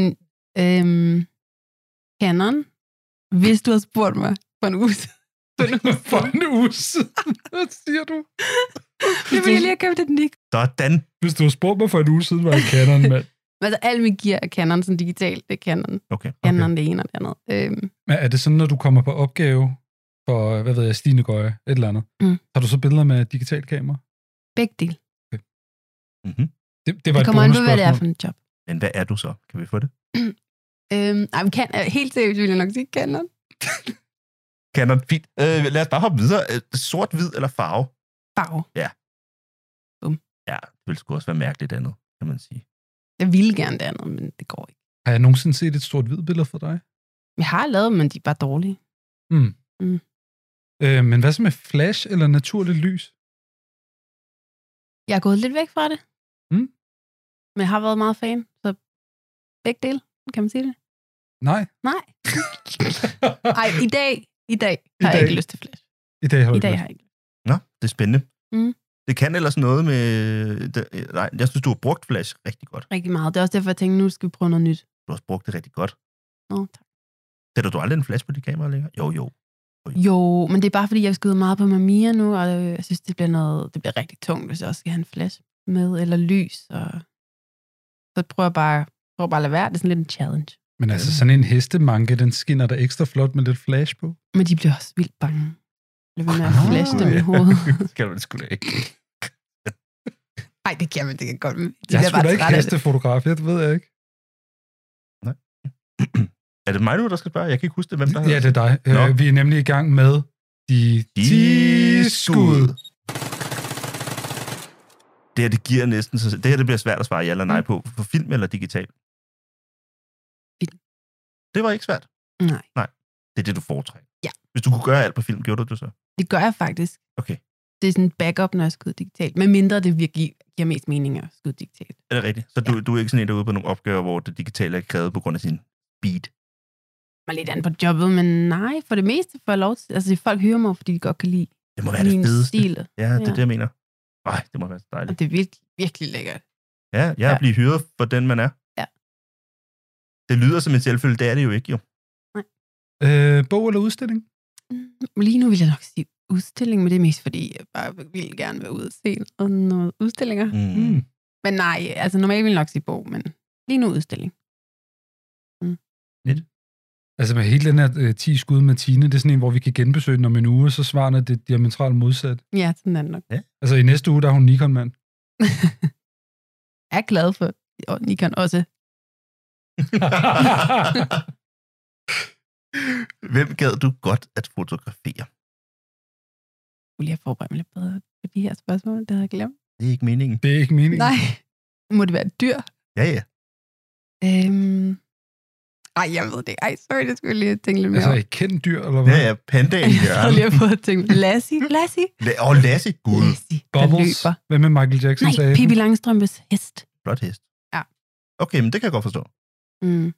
[SPEAKER 9] øhm, Canon, hvis du havde spurgt mig for en uge siden- for en uge
[SPEAKER 1] For
[SPEAKER 9] siden,
[SPEAKER 1] en uge siden. Hvad siger du?
[SPEAKER 9] det ville jeg lige have købt et Nikon.
[SPEAKER 2] Sådan.
[SPEAKER 1] Hvis du havde spurgt mig for en uge siden, var jeg Canon-mand.
[SPEAKER 9] Men altså, alt mit gear er Canon, sådan digitalt, det er Canon.
[SPEAKER 2] Okay.
[SPEAKER 9] Canon, det ene og det andet. Øhm,
[SPEAKER 1] Men er det sådan, når du kommer på opgave for, hvad ved jeg, Stine Gøje, et eller andet,
[SPEAKER 9] Mm.
[SPEAKER 1] har du så billeder med digitalt kamera?
[SPEAKER 9] begge del.
[SPEAKER 2] Mm-hmm.
[SPEAKER 1] Det, det var et
[SPEAKER 9] Det kommer an på, hvad det er
[SPEAKER 1] bonusspørgsmål.
[SPEAKER 9] for en job.
[SPEAKER 2] Men hvad er du så? Kan vi få det?
[SPEAKER 9] Øhm, ej, men kan, øh, helt seriøst vil jeg nok sige Canon.
[SPEAKER 2] Canon, fint. Øh, lad os bare hoppe videre. Øh, sort, hvid eller farve?
[SPEAKER 9] Farve.
[SPEAKER 2] Ja, det ville sgu også være mærkeligt andet, kan man sige.
[SPEAKER 9] Jeg ville gerne det andet, men det går ikke.
[SPEAKER 1] Har jeg nogensinde set et stort hvidt billede for dig?
[SPEAKER 9] Jeg har lavet dem, men de er bare dårlige.
[SPEAKER 1] Mm.
[SPEAKER 9] Mm.
[SPEAKER 1] Øh, men hvad så med flash eller naturligt lys?
[SPEAKER 9] Jeg er gået lidt væk fra det.
[SPEAKER 1] Mm.
[SPEAKER 9] Men jeg har været meget fan, så begge dele, kan man sige det?
[SPEAKER 1] Nej.
[SPEAKER 9] Nej. Ej, i dag, i dag
[SPEAKER 1] I
[SPEAKER 9] har jeg
[SPEAKER 1] dag.
[SPEAKER 9] ikke lyst til flash.
[SPEAKER 1] I dag har du
[SPEAKER 9] I
[SPEAKER 1] ikke
[SPEAKER 9] dag
[SPEAKER 1] lyst.
[SPEAKER 9] har jeg ikke.
[SPEAKER 2] Nå, det er spændende.
[SPEAKER 9] Mm.
[SPEAKER 2] Det kan ellers noget med... øh, Det, nej, jeg synes, du har brugt flash rigtig godt.
[SPEAKER 9] Rigtig meget. Det er også derfor, jeg tænkte, nu skal vi prøve noget nyt.
[SPEAKER 2] Du har også brugt det rigtig godt.
[SPEAKER 9] Nå, tak.
[SPEAKER 2] Sætter du aldrig en flash på dit kamera længere? Jo, jo.
[SPEAKER 9] Jo, men det er bare fordi, jeg skyder meget på Mamiya nu, og øh, jeg synes, det bliver, noget, det bliver rigtig tungt, hvis jeg også skal have en flash med, eller lys. Og... Så prøver jeg bare, prøver bare at lade være. Det er sådan lidt en challenge.
[SPEAKER 1] Men altså, sådan en hestemanke, den skinner der ekstra flot med lidt flash på.
[SPEAKER 9] Men de bliver også vildt bange. Jeg bliver ved med at
[SPEAKER 1] Ah,
[SPEAKER 9] flash dem i
[SPEAKER 2] ja.
[SPEAKER 9] hovedet.
[SPEAKER 2] Skal man sgu da ikke.
[SPEAKER 9] Nej, det kan man, det kan godt. De
[SPEAKER 1] Jeg
[SPEAKER 9] bliver
[SPEAKER 1] er sgu da ikke
[SPEAKER 9] trætte af det.
[SPEAKER 1] hestefotograf, jeg ved jeg ikke.
[SPEAKER 2] er det mig nu, der skal spørge? Jeg kan ikke huske det, hvem der
[SPEAKER 1] Ja, det er dig.
[SPEAKER 2] Nå.
[SPEAKER 1] Øh, vi er nemlig i gang med de 10 skud.
[SPEAKER 2] Det her, det giver næsten sig selv. Det her, det bliver svært at svare ja eller nej
[SPEAKER 9] Mm.
[SPEAKER 2] på. For film eller digital?
[SPEAKER 9] Film.
[SPEAKER 2] Det var ikke svært.
[SPEAKER 9] Nej,
[SPEAKER 2] Det er det, du foretrækker.
[SPEAKER 9] Ja.
[SPEAKER 2] Hvis du kunne gøre alt på film, gjorde du det så?
[SPEAKER 9] det gør jeg faktisk.
[SPEAKER 2] Okay.
[SPEAKER 9] Det er sådan en backup, når jeg skyder digitalt. Men mindre det virkelig giver mest mening at skyde digitalt.
[SPEAKER 2] Er det rigtigt? Så du, du er ikke sådan en, der er ude på nogle opgaver, hvor det digitale er krævet på grund af sin beat.
[SPEAKER 9] Mig lidt an på jobbet, men nej, for det meste får jeg lov til... Altså, folk hyrer mig, fordi de godt kan lide
[SPEAKER 2] Det må være det
[SPEAKER 9] min
[SPEAKER 2] fedeste.
[SPEAKER 9] stil.
[SPEAKER 2] Ja, det er
[SPEAKER 9] Ja.
[SPEAKER 2] det, jeg mener. Nej, det må være så
[SPEAKER 9] Og
[SPEAKER 2] dejligt.
[SPEAKER 9] det er virkelig, virkelig lækkert.
[SPEAKER 2] Ja, jeg ja.
[SPEAKER 9] Ja.
[SPEAKER 2] bliver hyret for den, man er.
[SPEAKER 9] Ja.
[SPEAKER 2] Det lyder som en selvfølge, det er det jo ikke, jo.
[SPEAKER 1] Øh, bog eller udstilling?
[SPEAKER 9] Mm, Lige nu vil jeg nok sige udstilling, men det er mest fordi, jeg bare vil gerne være ude og se noget- noget udstillinger. Mm.
[SPEAKER 2] Mm.
[SPEAKER 9] Men nej, altså normalt vil jeg nok sige bog, men lige nu udstilling.
[SPEAKER 1] Altså med hele den her øh, 10 skud med Tine, det er sådan en, hvor vi kan genbesøge den om en uge, og så svarene det er diametralt modsat.
[SPEAKER 9] Ja, sådan er det nok.
[SPEAKER 1] Altså i næste uge, der er hun Nikon-mand.
[SPEAKER 9] Jeg er glad for og Nikon også.
[SPEAKER 2] Hvem gad du godt at fotografere?
[SPEAKER 9] Skulle jeg forberede mig lidt bedre på de her spørgsmål, det havde jeg glemt.
[SPEAKER 2] Det er ikke meningen.
[SPEAKER 1] Det er ikke meningen.
[SPEAKER 9] Nej, må det være et dyr?
[SPEAKER 2] Ja, ja.
[SPEAKER 9] Øhm... Ej, jeg ved det. ikke. Ej, sorry, det skulle jeg lige tænke lidt mere
[SPEAKER 1] Altså
[SPEAKER 9] over.
[SPEAKER 1] et kendt dyr, eller
[SPEAKER 2] Ja,
[SPEAKER 1] hvad?
[SPEAKER 2] ja. Pandaen,
[SPEAKER 9] Jeg
[SPEAKER 2] ja.
[SPEAKER 9] sad lige og prøvede at tænke, Lassie, Lassie,
[SPEAKER 2] Åh, oh, Lasse. Gud,
[SPEAKER 9] Lassie, der
[SPEAKER 1] Bubbles.
[SPEAKER 9] løber.
[SPEAKER 1] Hvad med Michael Jackson
[SPEAKER 9] Nej,
[SPEAKER 1] sagde? den?
[SPEAKER 9] Pippi Langstrømpes hest.
[SPEAKER 2] flot hest.
[SPEAKER 9] Ja.
[SPEAKER 2] Okay, men det kan jeg godt forstå.
[SPEAKER 9] Mm.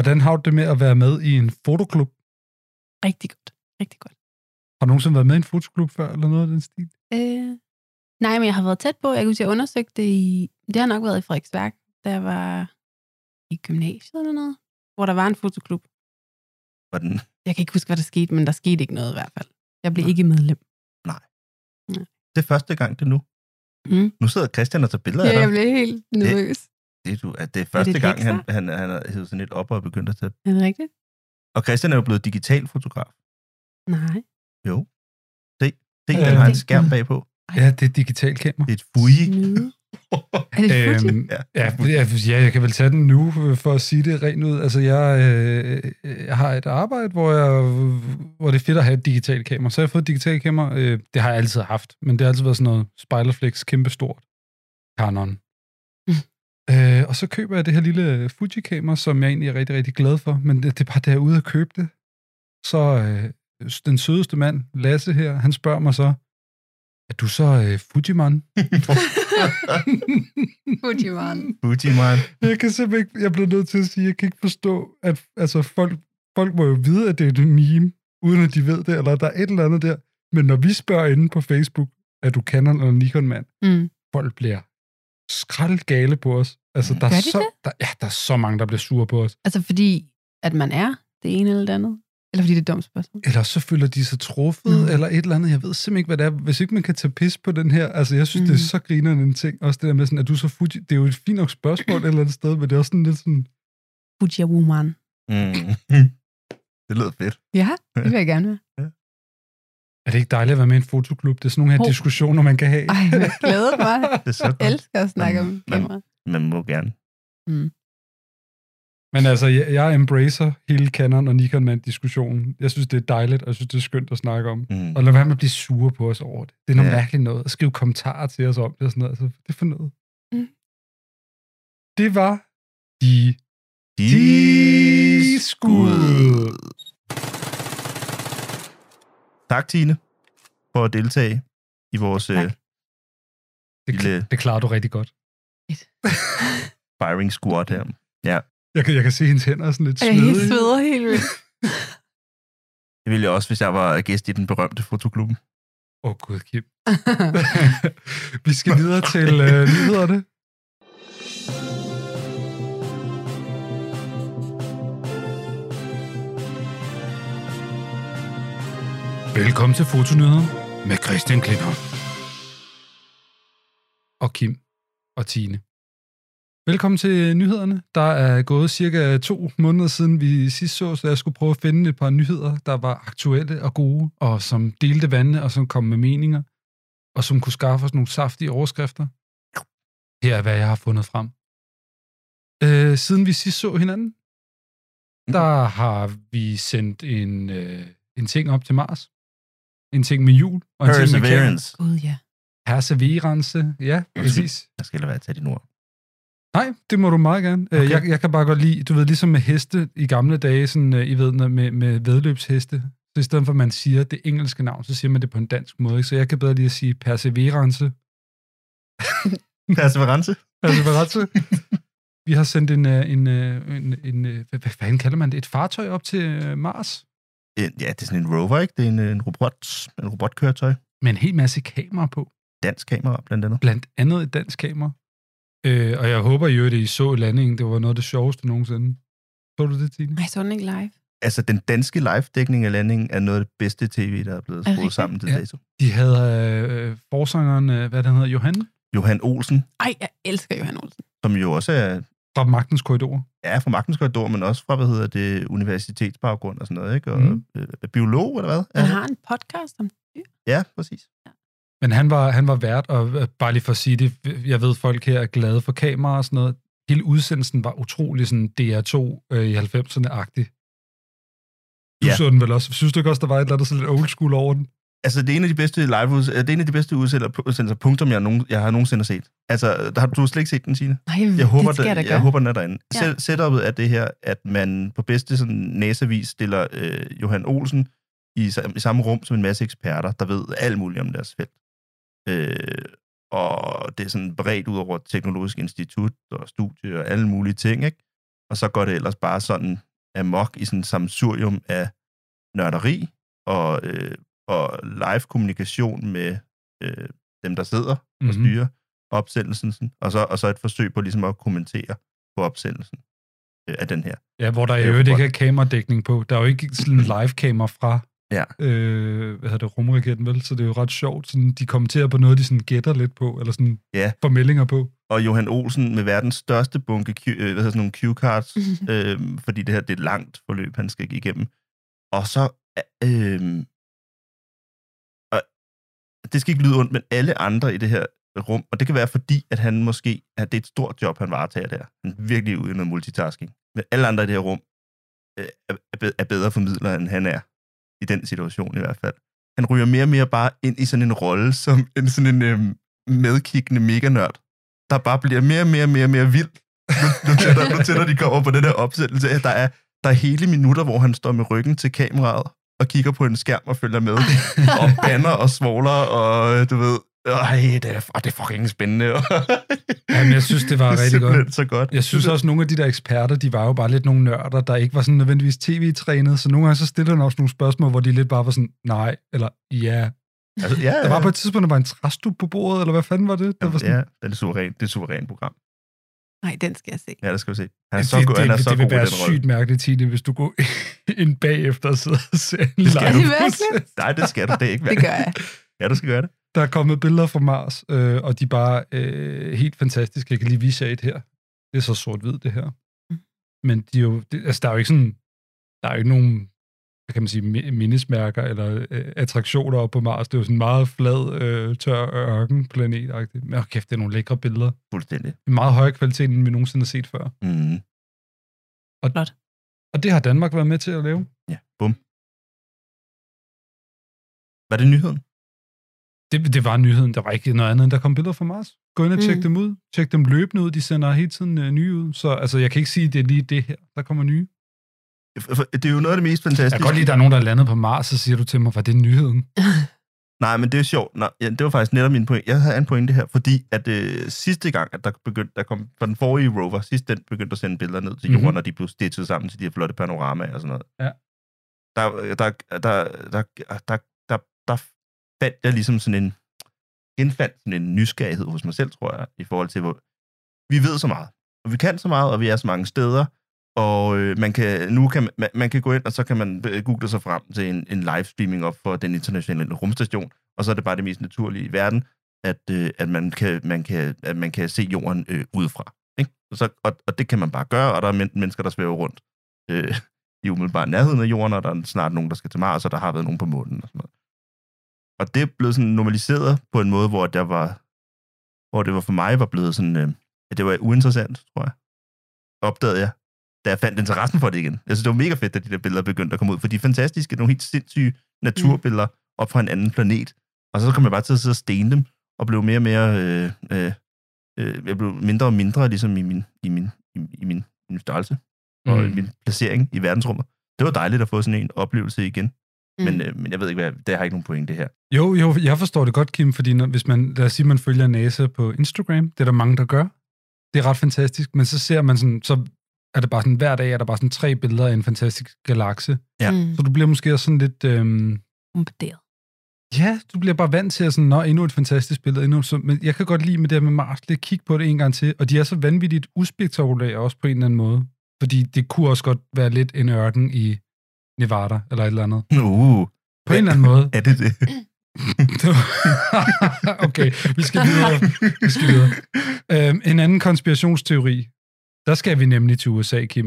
[SPEAKER 1] Hvordan har du det med at være med i en fotoklub?
[SPEAKER 9] Rigtig godt, rigtig godt.
[SPEAKER 1] Har du nogensinde været med i en fotoklub før, eller noget af den stil?
[SPEAKER 9] Øh, nej, men jeg har været tæt på. Jeg kan huske, jeg undersøgte det i... Det har nok været i Frederiksværk, da jeg var i gymnasiet eller noget, hvor der var en fotoklub.
[SPEAKER 2] Var den
[SPEAKER 9] Jeg kan ikke huske, hvad der skete, men der skete ikke noget i hvert fald. Jeg blev ikke medlem.
[SPEAKER 2] det er første gang, det er nu.
[SPEAKER 9] Mm.
[SPEAKER 2] Nu sidder Christian og tager billeder
[SPEAKER 9] Ja,
[SPEAKER 2] af dig.
[SPEAKER 9] jeg blev helt nervøs.
[SPEAKER 2] Det, er du, at det er første
[SPEAKER 9] et
[SPEAKER 2] gang, han,
[SPEAKER 9] hekser?
[SPEAKER 2] han, han har hævet sådan lidt op og begyndt at tage...
[SPEAKER 9] Er det rigtigt?
[SPEAKER 2] Og Christian er jo blevet digital fotograf.
[SPEAKER 9] Nej.
[SPEAKER 2] Jo. Se, se den
[SPEAKER 1] Øh.
[SPEAKER 2] har en skærm bagpå.
[SPEAKER 1] Ja, det er et digitalt kamera.
[SPEAKER 2] Det er et fuji.
[SPEAKER 9] Snyde. Er det Fuji?
[SPEAKER 2] Ja.
[SPEAKER 1] Øhm, ja, ja, jeg kan vel tage den nu, øh, for at sige det rent ud. Altså, jeg, øh, jeg har et arbejde, hvor, jeg, hvor det er fedt at have et digitalt kamera. Så har jeg fået et digitalt kamera. Øh, det har jeg altid haft, men det har altid været sådan noget Spejlerflex, kæmpestort. Canon.
[SPEAKER 9] Mm.
[SPEAKER 1] Øh, og så køber jeg det her lille Fuji-kamera, som jeg egentlig er rigtig, rigtig glad for. Men det, det er bare, da jeg er ude og købe det, så øh, den sødeste mand, Lasse her, han spørger mig så, er du så øh, Fujiman?
[SPEAKER 9] Fuji man.
[SPEAKER 2] Fuji, man.
[SPEAKER 1] Jeg kan simpelthen ikke, jeg bliver nødt til at sige, jeg kan ikke forstå, at altså, folk, folk må jo vide, at det er et meme, uden at de ved det, eller der er et eller andet der. Men når vi spørger inde på Facebook, er du Canon eller Nikon-mand,
[SPEAKER 9] Mm.
[SPEAKER 1] folk bliver skraldgale på os. Altså, der
[SPEAKER 9] Gør
[SPEAKER 1] er,
[SPEAKER 9] de
[SPEAKER 1] så, der, ja, der er så mange, der bliver sure på os.
[SPEAKER 9] Altså fordi, at man er det ene eller det andet? Eller fordi det er et dumt spørgsmål?
[SPEAKER 1] Eller så føler de sig truffet,
[SPEAKER 9] Nå.
[SPEAKER 1] eller et eller andet. Jeg ved simpelthen ikke, hvad det er. Hvis ikke man kan tage pis på den her, altså jeg synes, mm. det er
[SPEAKER 9] Mhm.
[SPEAKER 1] så grinerende en ting. Også det der med sådan, at du så Fuji, det er jo et fint nok spørgsmål et eller andet sted, men det er også sådan lidt sådan,
[SPEAKER 9] Fuji woman.
[SPEAKER 2] Mm. det lyder fedt.
[SPEAKER 9] Ja, det vil jeg gerne være.
[SPEAKER 1] er det ikke dejligt at være med i en fotoklub? Det er sådan nogle her
[SPEAKER 9] Hov.
[SPEAKER 1] diskussioner, man kan have.
[SPEAKER 9] Ej, jeg glæder mig.
[SPEAKER 2] Det er så
[SPEAKER 9] Jeg
[SPEAKER 2] godt.
[SPEAKER 9] elsker at snakke om
[SPEAKER 2] Mm.
[SPEAKER 9] kamera.
[SPEAKER 2] Man må gerne.
[SPEAKER 1] Men altså, jeg, jeg embracer hele Canon og Nikon-mand-diskussionen. Jeg synes, det er dejligt, og jeg synes, det er skønt at snakke om.
[SPEAKER 2] Mm.
[SPEAKER 1] Og lad være med at blive sure på os over det. Det er noget
[SPEAKER 2] Ja.
[SPEAKER 1] ja. mærkeligt noget. At skrive kommentarer til os om det og sådan noget. Altså, det er for noget.
[SPEAKER 9] Mm.
[SPEAKER 1] Det var de
[SPEAKER 2] De
[SPEAKER 1] skud.
[SPEAKER 2] Tak, Tine, for at deltage i vores
[SPEAKER 9] Tak.
[SPEAKER 2] øh, Lille-
[SPEAKER 1] Det, det klarer du rigtig godt.
[SPEAKER 2] firing squad her.
[SPEAKER 1] Jeg kan, jeg kan se hendes hænder er sådan lidt
[SPEAKER 9] Jeg er helt
[SPEAKER 1] svedige.
[SPEAKER 9] sveder helt vildt.
[SPEAKER 2] Det ville jeg også, hvis jeg var gæst i den berømte fotoklub.
[SPEAKER 1] Åh, oh, gud, Kim. Vi skal videre til øh, nyhederne. Velkommen til Fotonyheder med Christian Klintholm. Og Kim og Tine. Velkommen til nyhederne. Der er gået cirka to måneder siden vi sidst så, så jeg skulle prøve at finde et par nyheder, der var aktuelle og gode, og som delte vandene, og som kom med meninger, og som kunne skaffe os nogle saftige overskrifter. Her er, hvad jeg har fundet frem. Øh, siden vi sidst så hinanden, der har vi sendt en, øh, en ting op til Mars. En ting med jul. Og en ting med kære.
[SPEAKER 2] Perseverance.
[SPEAKER 9] Gud, ja.
[SPEAKER 1] Perseverance. Ja, præcis.
[SPEAKER 2] Jeg skal lade være at tage dine ord.
[SPEAKER 1] Nej, det må du meget gerne.
[SPEAKER 2] Okay.
[SPEAKER 1] Okay. øh, Jeg, jeg kan bare godt lide, du ved, ligesom med heste i gamle dage, sådan, øh, I ved, når- med, med vedløbsheste, Så i stedet for, at man siger det engelske navn, så siger man det på en dansk måde. Ikke? Så jeg kan bedre lige at sige perseverance.
[SPEAKER 2] Perseverance.
[SPEAKER 1] Perseverance. Vi har sendt en, øh, en, øh, en, en øh, hvad, hvad fanden kalder man det? Et fartøj op til øh, Mars
[SPEAKER 2] Øh, Ja, det er sådan en rover, ikke? Det er en, øh, en robot, en robotkøretøj.
[SPEAKER 1] med en hel masse kameraer på.
[SPEAKER 2] Dansk kamera, blandt andet.
[SPEAKER 1] blandt andet et dansk kamera. Øh, og jeg håber jo, at I så landingen. Det var noget af det sjoveste nogensinde. Så du det, Tine?
[SPEAKER 9] Nej, så er den ikke live.
[SPEAKER 2] Altså, den danske live-dækning af landingen er noget af det bedste tv, der er blevet
[SPEAKER 9] det
[SPEAKER 2] skruet
[SPEAKER 9] rigtigt?
[SPEAKER 2] sammen til
[SPEAKER 1] Ja.
[SPEAKER 2] dato.
[SPEAKER 1] De havde øh, forsangeren, øh, hvad den hedder, Johan,
[SPEAKER 2] Johan Olsen,
[SPEAKER 9] Ej, jeg elsker Johan Olsen.
[SPEAKER 2] som jo også er,
[SPEAKER 1] fra Magtens Korridor.
[SPEAKER 2] er fra Magtens Korridor, men også fra, hvad hedder det, universitetsbaggrund og sådan noget, ikke? Og
[SPEAKER 1] Mm.
[SPEAKER 2] mm. øh, er biolog, eller hvad?
[SPEAKER 9] Han
[SPEAKER 2] Er-
[SPEAKER 9] har en podcast om
[SPEAKER 2] Ja, præcis.
[SPEAKER 1] Men han var, han var vært, og øh, bare lige for at sige det, jeg ved, folk her er glade for kameraer og sådan noget. Hele udsendelsen var utrolig sådan DR2 øh, i 90'erne-agtig. Du
[SPEAKER 2] Ja.
[SPEAKER 1] ja. så den vel også. Synes du ikke også, der var et eller andet så lidt old school over den?
[SPEAKER 2] Altså, det er en af de bedste live øh, det er en af de bedste udsendelser, udsendelser punktum, jeg, nogen, jeg har nogensinde set. Altså, der har, du har slet ikke set den, Signe?
[SPEAKER 9] Nej,
[SPEAKER 2] Jeg håber,
[SPEAKER 9] det skal jeg da
[SPEAKER 2] jeg,
[SPEAKER 9] gøre.
[SPEAKER 2] jeg håber, den er derinde.
[SPEAKER 9] Ja.
[SPEAKER 2] Ja. Setupet er det her, at man på bedste sådan, næsevis stiller øh, Johan Olsen i, sam- i samme rum som en masse eksperter, der ved alt muligt om deres felt. Øh, og det er sådan bredt ud over Teknologisk Institut og studie og alle mulige ting, ikke? Og så går det ellers bare sådan amok i sådan en samsurium af nørderi og, øh, og live kommunikation med øh, dem, der sidder og
[SPEAKER 1] Mhm.
[SPEAKER 2] styrer opsendelsen, sådan, og så, og så et forsøg på ligesom at kommentere på opsendelsen øh, af den her.
[SPEAKER 1] Ja, hvor der i
[SPEAKER 2] Det er jo
[SPEAKER 1] øvrigt ikke
[SPEAKER 2] godt.
[SPEAKER 1] er kameradækning på. Der er jo ikke sådan en live-kamera fra
[SPEAKER 2] Ja.
[SPEAKER 1] øh, hvad hedder det, rumraketten, vel? Så det er jo ret sjovt. Sådan, de kommenterer på noget, de sådan gætter lidt på, eller sådan
[SPEAKER 2] Ja.
[SPEAKER 1] får meldinger på.
[SPEAKER 2] Og Johan Olsen med verdens største bunke Q, øh, hvad hedder sådan nogle Q-cards, øh, fordi det her det er et langt forløb, han skal igennem. Og så... Øh, og det skal ikke lyde ondt, men alle andre i det her rum, og det kan være fordi, at han måske, at det er et stort job, han varetager der. Han er virkelig ude i noget multitasking. Men alle andre i det her rum øh, er- er be- er bedre formidler, end han er. I den situation i hvert fald. Han ryger mere og mere bare ind i sådan en rolle, som en sådan en øh, medkiggende meganørd, der bare bliver mere og mere og mere, og mere vild. Nu, nu, tættere, nu tættere de kommer på den her opsættelse. Der er, der er hele minutter, hvor han står med ryggen til kameraet og kigger på en skærm og følger med og banner og svogler, og øh, du ved, ej, det er, åh, det er fucking spændende.
[SPEAKER 1] Jamen, jeg synes, det var
[SPEAKER 2] det er
[SPEAKER 1] rigtig godt.
[SPEAKER 2] simpelthen så godt.
[SPEAKER 1] Jeg synes også, at nogle af de der eksperter, de var jo bare lidt nogle nørder, der ikke var sådan nødvendigvis tv-trænet, så nogle gange så stillede han også nogle spørgsmål, hvor de lidt bare var sådan, nej, eller ja.
[SPEAKER 2] altså, ja,
[SPEAKER 1] Der var på et tidspunkt, der var en træstup på bordet, eller hvad fanden var det? Der var sådan,
[SPEAKER 2] ja, det er et suverænt, det er et suverænt program.
[SPEAKER 9] Nej, den skal jeg se.
[SPEAKER 2] Ja, det skal vi se. Han er
[SPEAKER 1] det,
[SPEAKER 2] så god, han er så
[SPEAKER 1] det, det vil
[SPEAKER 2] god i
[SPEAKER 1] være
[SPEAKER 2] den rolle.
[SPEAKER 1] sygt mærkeligt, Tine, hvis du går ind bagefter og sidder og ser en
[SPEAKER 2] Det skal
[SPEAKER 1] live
[SPEAKER 2] du.
[SPEAKER 9] Virkelig?
[SPEAKER 2] Nej, det skal du. Det er ikke
[SPEAKER 9] Det gør jeg.
[SPEAKER 2] Ja, du skal gøre det.
[SPEAKER 1] Der er kommet billeder fra Mars, øh, og de er bare øh, helt fantastiske. Jeg kan lige vise jer et her. Det er så sort-hvid, det her. Men de er jo, det, altså, der er jo ikke sådan, der er jo ikke nogen, hvad kan man sige, mi- mindesmærker eller øh, attraktioner op på Mars. Det er jo sådan en meget flad, øh, tør ørkenplanet. Men åh, kæft, det er nogle lækre billeder.
[SPEAKER 2] Fuldstændig.
[SPEAKER 1] En meget højere kvalitet, end vi nogensinde har set før.
[SPEAKER 2] Mm.
[SPEAKER 1] Og det har Danmark været med til at lave.
[SPEAKER 2] Ja, bum. Var det nyheden?
[SPEAKER 1] Det, det var nyheden. Der var ikke noget andet, end der kom billeder fra Mars. Gå ind og tjek mm.
[SPEAKER 9] Mm.
[SPEAKER 1] dem ud. Tjek dem løbende ud. De sender hele tiden øh, nye ud. Så altså, jeg kan ikke sige, at det er lige det her, der kommer nye.
[SPEAKER 2] For- for- Det er jo noget af det mest fantastiske.
[SPEAKER 1] Jeg kan godt lide, at der er nogen, der er landet på Mars, så siger du til mig, var det nyheden?
[SPEAKER 2] Nej, men det er sjovt. Nej, ja, det var faktisk netop min pointe. Jeg havde en pointe her, fordi at øh, sidste gang, at der begyndte, der kom fra den forrige rover, sidst den begyndte at sende billeder ned til
[SPEAKER 1] Mhm.
[SPEAKER 2] jorden, mm-hmm. og de blev stitchet sammen til de her flotte panoramaer og sådan noget.
[SPEAKER 1] Ja.
[SPEAKER 2] Der, der, der, der, der, der, der fandt jeg ligesom sådan en, indfandt sådan en nysgerrighed hos mig selv, tror jeg, i forhold til, hvor vi ved så meget, og vi kan så meget, og vi er så mange steder, og øh, man kan, nu kan man, man kan gå ind, og så kan man øh, google sig frem til en, en livestreaming op for den internationale rumstation, og så er det bare det mest naturlige i verden, at, øh, at, man, kan, man, kan, at man kan se jorden øh, udefra. Ikke? Og, så, og, og det kan man bare gøre, og der er men, mennesker, der svæver rundt øh, i umiddelbar nærheden af jorden, og der er snart nogen, der skal til Mars, og der har været nogen på månen og sådan noget. Og det er blevet sådan normaliseret på en måde, hvor, der var, hvor det var for mig var blevet sådan, øh, at det var uinteressant, tror jeg. Opdagede jeg, da jeg fandt interessen for det igen. Jeg synes, det var mega fedt, at de der billeder begyndte at komme ud, for de er fantastiske, nogle helt sindssyge naturbilleder op fra en anden planet. Og så kom jeg bare til at sidde og stene dem, og blev mere og mere... Øh, øh, øh, jeg blev mindre og mindre ligesom i min, i min, i, i min,
[SPEAKER 1] Mm.
[SPEAKER 2] min størrelse og mm. min placering i verdensrummet. Det var dejligt at få sådan en oplevelse igen. Mm. Men, øh, men jeg ved ikke, hvad, det har ikke nogen pointe her.
[SPEAKER 1] Jo, jo, jeg forstår det godt, Kim, fordi når, hvis man, lad os sige, man følger NASA på Instagram, det er der mange, der gør. Det er ret fantastisk, men så ser man sådan, så er det bare sådan, hver dag er der bare sådan tre billeder af en fantastisk galakse.
[SPEAKER 2] Ja.
[SPEAKER 9] Mm.
[SPEAKER 1] Så du bliver måske også sådan lidt, øhm,
[SPEAKER 9] Bombarderet.
[SPEAKER 1] ja, du bliver bare vant til at sådan, nå, endnu et fantastisk billede, endnu et så, men jeg kan godt lide med det her med Mars, lige kigge på det en gang til, og de er så vanvittigt uspektakulære også på en eller anden måde, fordi det kunne også godt være lidt en ørken i Nevada, eller et eller andet.
[SPEAKER 2] Uh,
[SPEAKER 1] På en eller anden måde.
[SPEAKER 2] er det det?
[SPEAKER 1] okay, vi skal videre. Vi skal videre. Øhm, en anden konspirationsteori. Der skal vi nemlig til USA, Kim.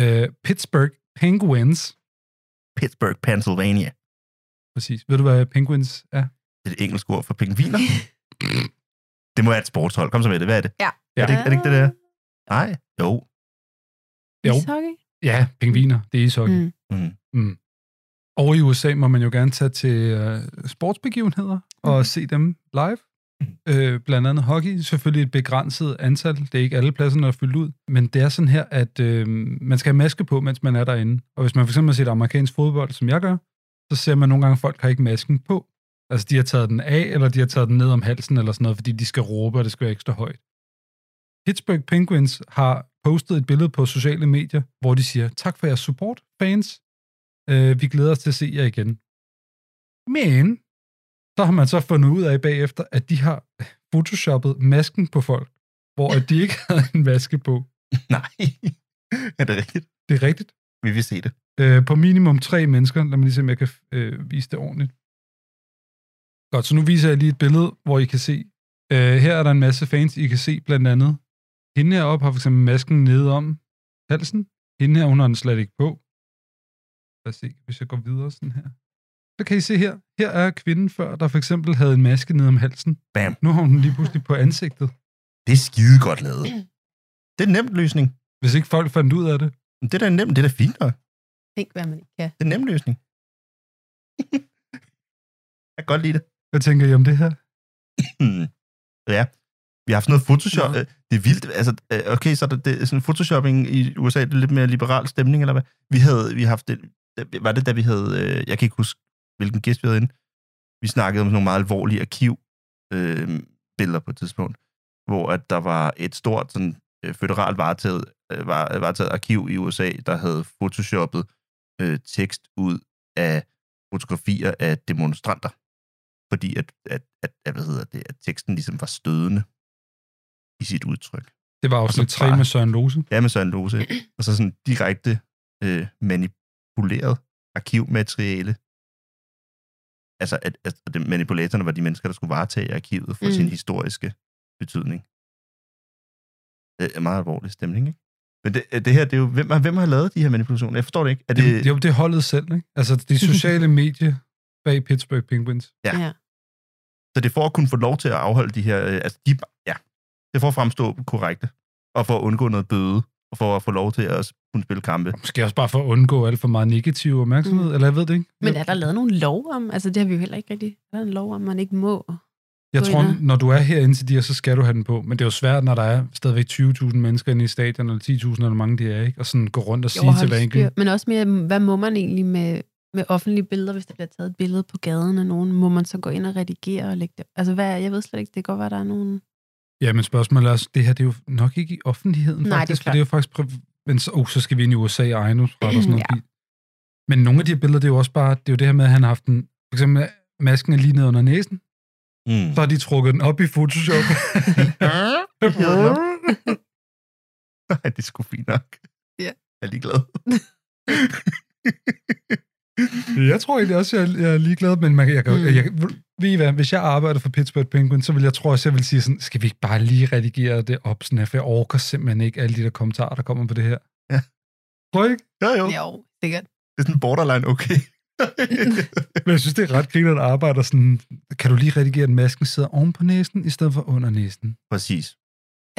[SPEAKER 1] Øh, Pittsburgh Penguins.
[SPEAKER 2] Pittsburgh, Pennsylvania.
[SPEAKER 1] Præcis. Ved du, hvad Penguins er?
[SPEAKER 2] Det er det engelske ord for pingviner. det må være et sportshold. Kom så med det. Hvad er det?
[SPEAKER 9] Ja.
[SPEAKER 1] Ja.
[SPEAKER 2] Er, det, ikke- er det ikke det der? Nej. Jo.
[SPEAKER 1] Jo.
[SPEAKER 9] Ishockey?
[SPEAKER 1] Ja, pingviner. Det er ishockey. Mm.
[SPEAKER 9] Mm.
[SPEAKER 2] Mm.
[SPEAKER 1] Mm. Og i USA må man jo gerne tage til øh, sportsbegivenheder og se dem live. Øh, blandt andet hockey. Selvfølgelig et begrænset antal. Det er ikke alle pladserne, der er fyldt ud. Men det er sådan her, at øh, man skal have maske på, mens man er derinde. Og hvis man for eksempel har set amerikansk fodbold, som jeg gør, så ser man nogle gange, at folk har ikke masken på. Altså, de har taget den af, eller de har taget den ned om halsen, eller sådan noget, fordi de skal råbe, og det skal være ekstra højt. Pittsburgh Penguins har postet et billede på sociale medier, hvor de siger, tak for jeres support, fans. Øh, vi glæder os til at se jer igen. Men så har man så fundet ud af bagefter, at de har photoshoppet masken på folk, hvor at de ikke havde en maske på.
[SPEAKER 2] Nej. er det rigtigt?
[SPEAKER 1] Det er rigtigt.
[SPEAKER 2] Vi vil se det.
[SPEAKER 1] Øh, på minimum tre mennesker. Lad mig lige se, om jeg kan øh, vise det ordentligt. Godt, så nu viser jeg lige et billede, hvor I kan se. Øh, her er der en masse fans, I kan se blandt andet. Hende heroppe har for eksempel masken nede om halsen. Hende her, hun har den slet ikke på. Lad os se, hvis jeg går videre sådan her. Så kan I se her. Her er kvinden før, der for eksempel havde en maske nede om halsen.
[SPEAKER 2] Bam.
[SPEAKER 1] Nu har hun den lige pludselig på ansigtet.
[SPEAKER 2] Det er skide godt lavet. Det er en nem løsning.
[SPEAKER 1] Hvis ikke folk fandt ud af det.
[SPEAKER 2] Det er da nemt. Det er da fint nok.
[SPEAKER 9] Tænk, hvad man ikke kan.
[SPEAKER 2] Det er en nem løsning. jeg kan godt lide det.
[SPEAKER 1] Hvad tænker I om det her?
[SPEAKER 2] Hmm. Ja. Vi har haft noget Photoshop.
[SPEAKER 9] Nå.
[SPEAKER 2] Øh, Det er vildt. Altså, øh, okay, så er der, det, er sådan photoshopping i USA, det er lidt mere liberal stemning, eller hvad? Vi havde, vi har haft det, da- var det da vi havde, øh, jeg kan ikke huske, hvilken gæst vi havde inde. Vi snakkede om sådan nogle meget alvorlige arkiv øh, billeder på et tidspunkt, hvor at der var et stort sådan, øh, føderalt varetaget, øh, var, varetaget arkiv i USA, der havde photoshoppet øh, tekst ud af fotografier af demonstranter fordi at, at, at, at, hvad hedder det, at teksten ligesom var stødende i sit udtryk.
[SPEAKER 1] Det var
[SPEAKER 2] så
[SPEAKER 1] afsnit 3
[SPEAKER 2] bare-
[SPEAKER 1] med Søren Lose.
[SPEAKER 2] Ja, med Søren Lose. Og så sådan direkte øh, manipuleret arkivmateriale. Altså, at, at, at det- manipulatorerne var de mennesker, der skulle varetage arkivet for mm.
[SPEAKER 9] Mm.
[SPEAKER 2] sin historiske betydning. Det er meget alvorlig stemning, ikke? Men det, det her, det er jo, hvem, har- hvem har lavet de her manipulationer? Jeg forstår det ikke. Er det,
[SPEAKER 1] Det, det, jo, det er holdet selv, ikke? Altså, de sociale medier bag Pittsburgh Penguins.
[SPEAKER 2] Så det er for at kunne få lov til at afholde de her... Øh, altså, de, ja, det er for at fremstå korrekte, og for at undgå noget bøde, og for at få lov til at kunne spille kampe.
[SPEAKER 1] Og Måske også bare for at undgå alt for meget negativ opmærksomhed, mm. eller jeg ved det ikke.
[SPEAKER 9] Men
[SPEAKER 1] jeg,
[SPEAKER 9] er der lavet nogle lov om? Altså, det har vi jo heller ikke rigtig. Er der en lov om, man ikke må?
[SPEAKER 1] jeg
[SPEAKER 9] gå
[SPEAKER 1] tror,
[SPEAKER 9] ind og-
[SPEAKER 1] når du er herinde til de her, så skal du have den på. Men det er jo svært, når der er stadigvæk 20.000 mennesker inde i stadion, eller 10.000, eller hvor mange de er, ikke? Og sådan gå rundt og sige til hver enkelt.
[SPEAKER 9] Men også mere, hvad må man egentlig med, med offentlige billeder, hvis der bliver taget et billede på gaden af nogen? Må man så gå ind og redigere og lægge det? Altså, hvad, er- jeg ved slet ikke, det kan godt være, der er nogen...
[SPEAKER 1] Ja, men spørgsmålet er også, det her det er jo nok ikke i offentligheden,
[SPEAKER 9] Nej, det er
[SPEAKER 1] faktisk. for
[SPEAKER 9] klart.
[SPEAKER 1] det er jo faktisk... priv- Men så, oh, så skal vi ind i USA og ejendomsret og sådan noget.
[SPEAKER 9] Ja.
[SPEAKER 1] Ja. Men nogle af de her billeder, det er jo også bare... Det er jo det her med, at han har haft en... For eksempel, masken er lige ned under næsen.
[SPEAKER 2] Mm.
[SPEAKER 1] Så har de trukket den op i Photoshop.
[SPEAKER 2] Nej, det er sgu fint nok.
[SPEAKER 9] Ja.
[SPEAKER 2] Jeg er ligeglad.
[SPEAKER 1] Jeg tror egentlig også, jeg, jeg er ligeglad, men man, kan- jeg, kan,
[SPEAKER 9] Mm.
[SPEAKER 1] mm. jeg, kan- ved I hvad, hvis jeg arbejder for Pittsburgh Penguins, så vil jeg tror også, jeg vil sige sådan, skal vi ikke bare lige redigere det op, sådan her, for jeg orker simpelthen ikke alle de der kommentarer, der kommer på det her.
[SPEAKER 2] Ja.
[SPEAKER 1] Tror I ikke?
[SPEAKER 2] Jo, jo.
[SPEAKER 9] Jo, sikkert.
[SPEAKER 2] Det er sådan borderline okay.
[SPEAKER 1] Men jeg synes, det er ret grinerende at arbejde og sådan, kan du lige redigere, at masken sidder oven på næsen, i stedet for under næsen?
[SPEAKER 2] Præcis.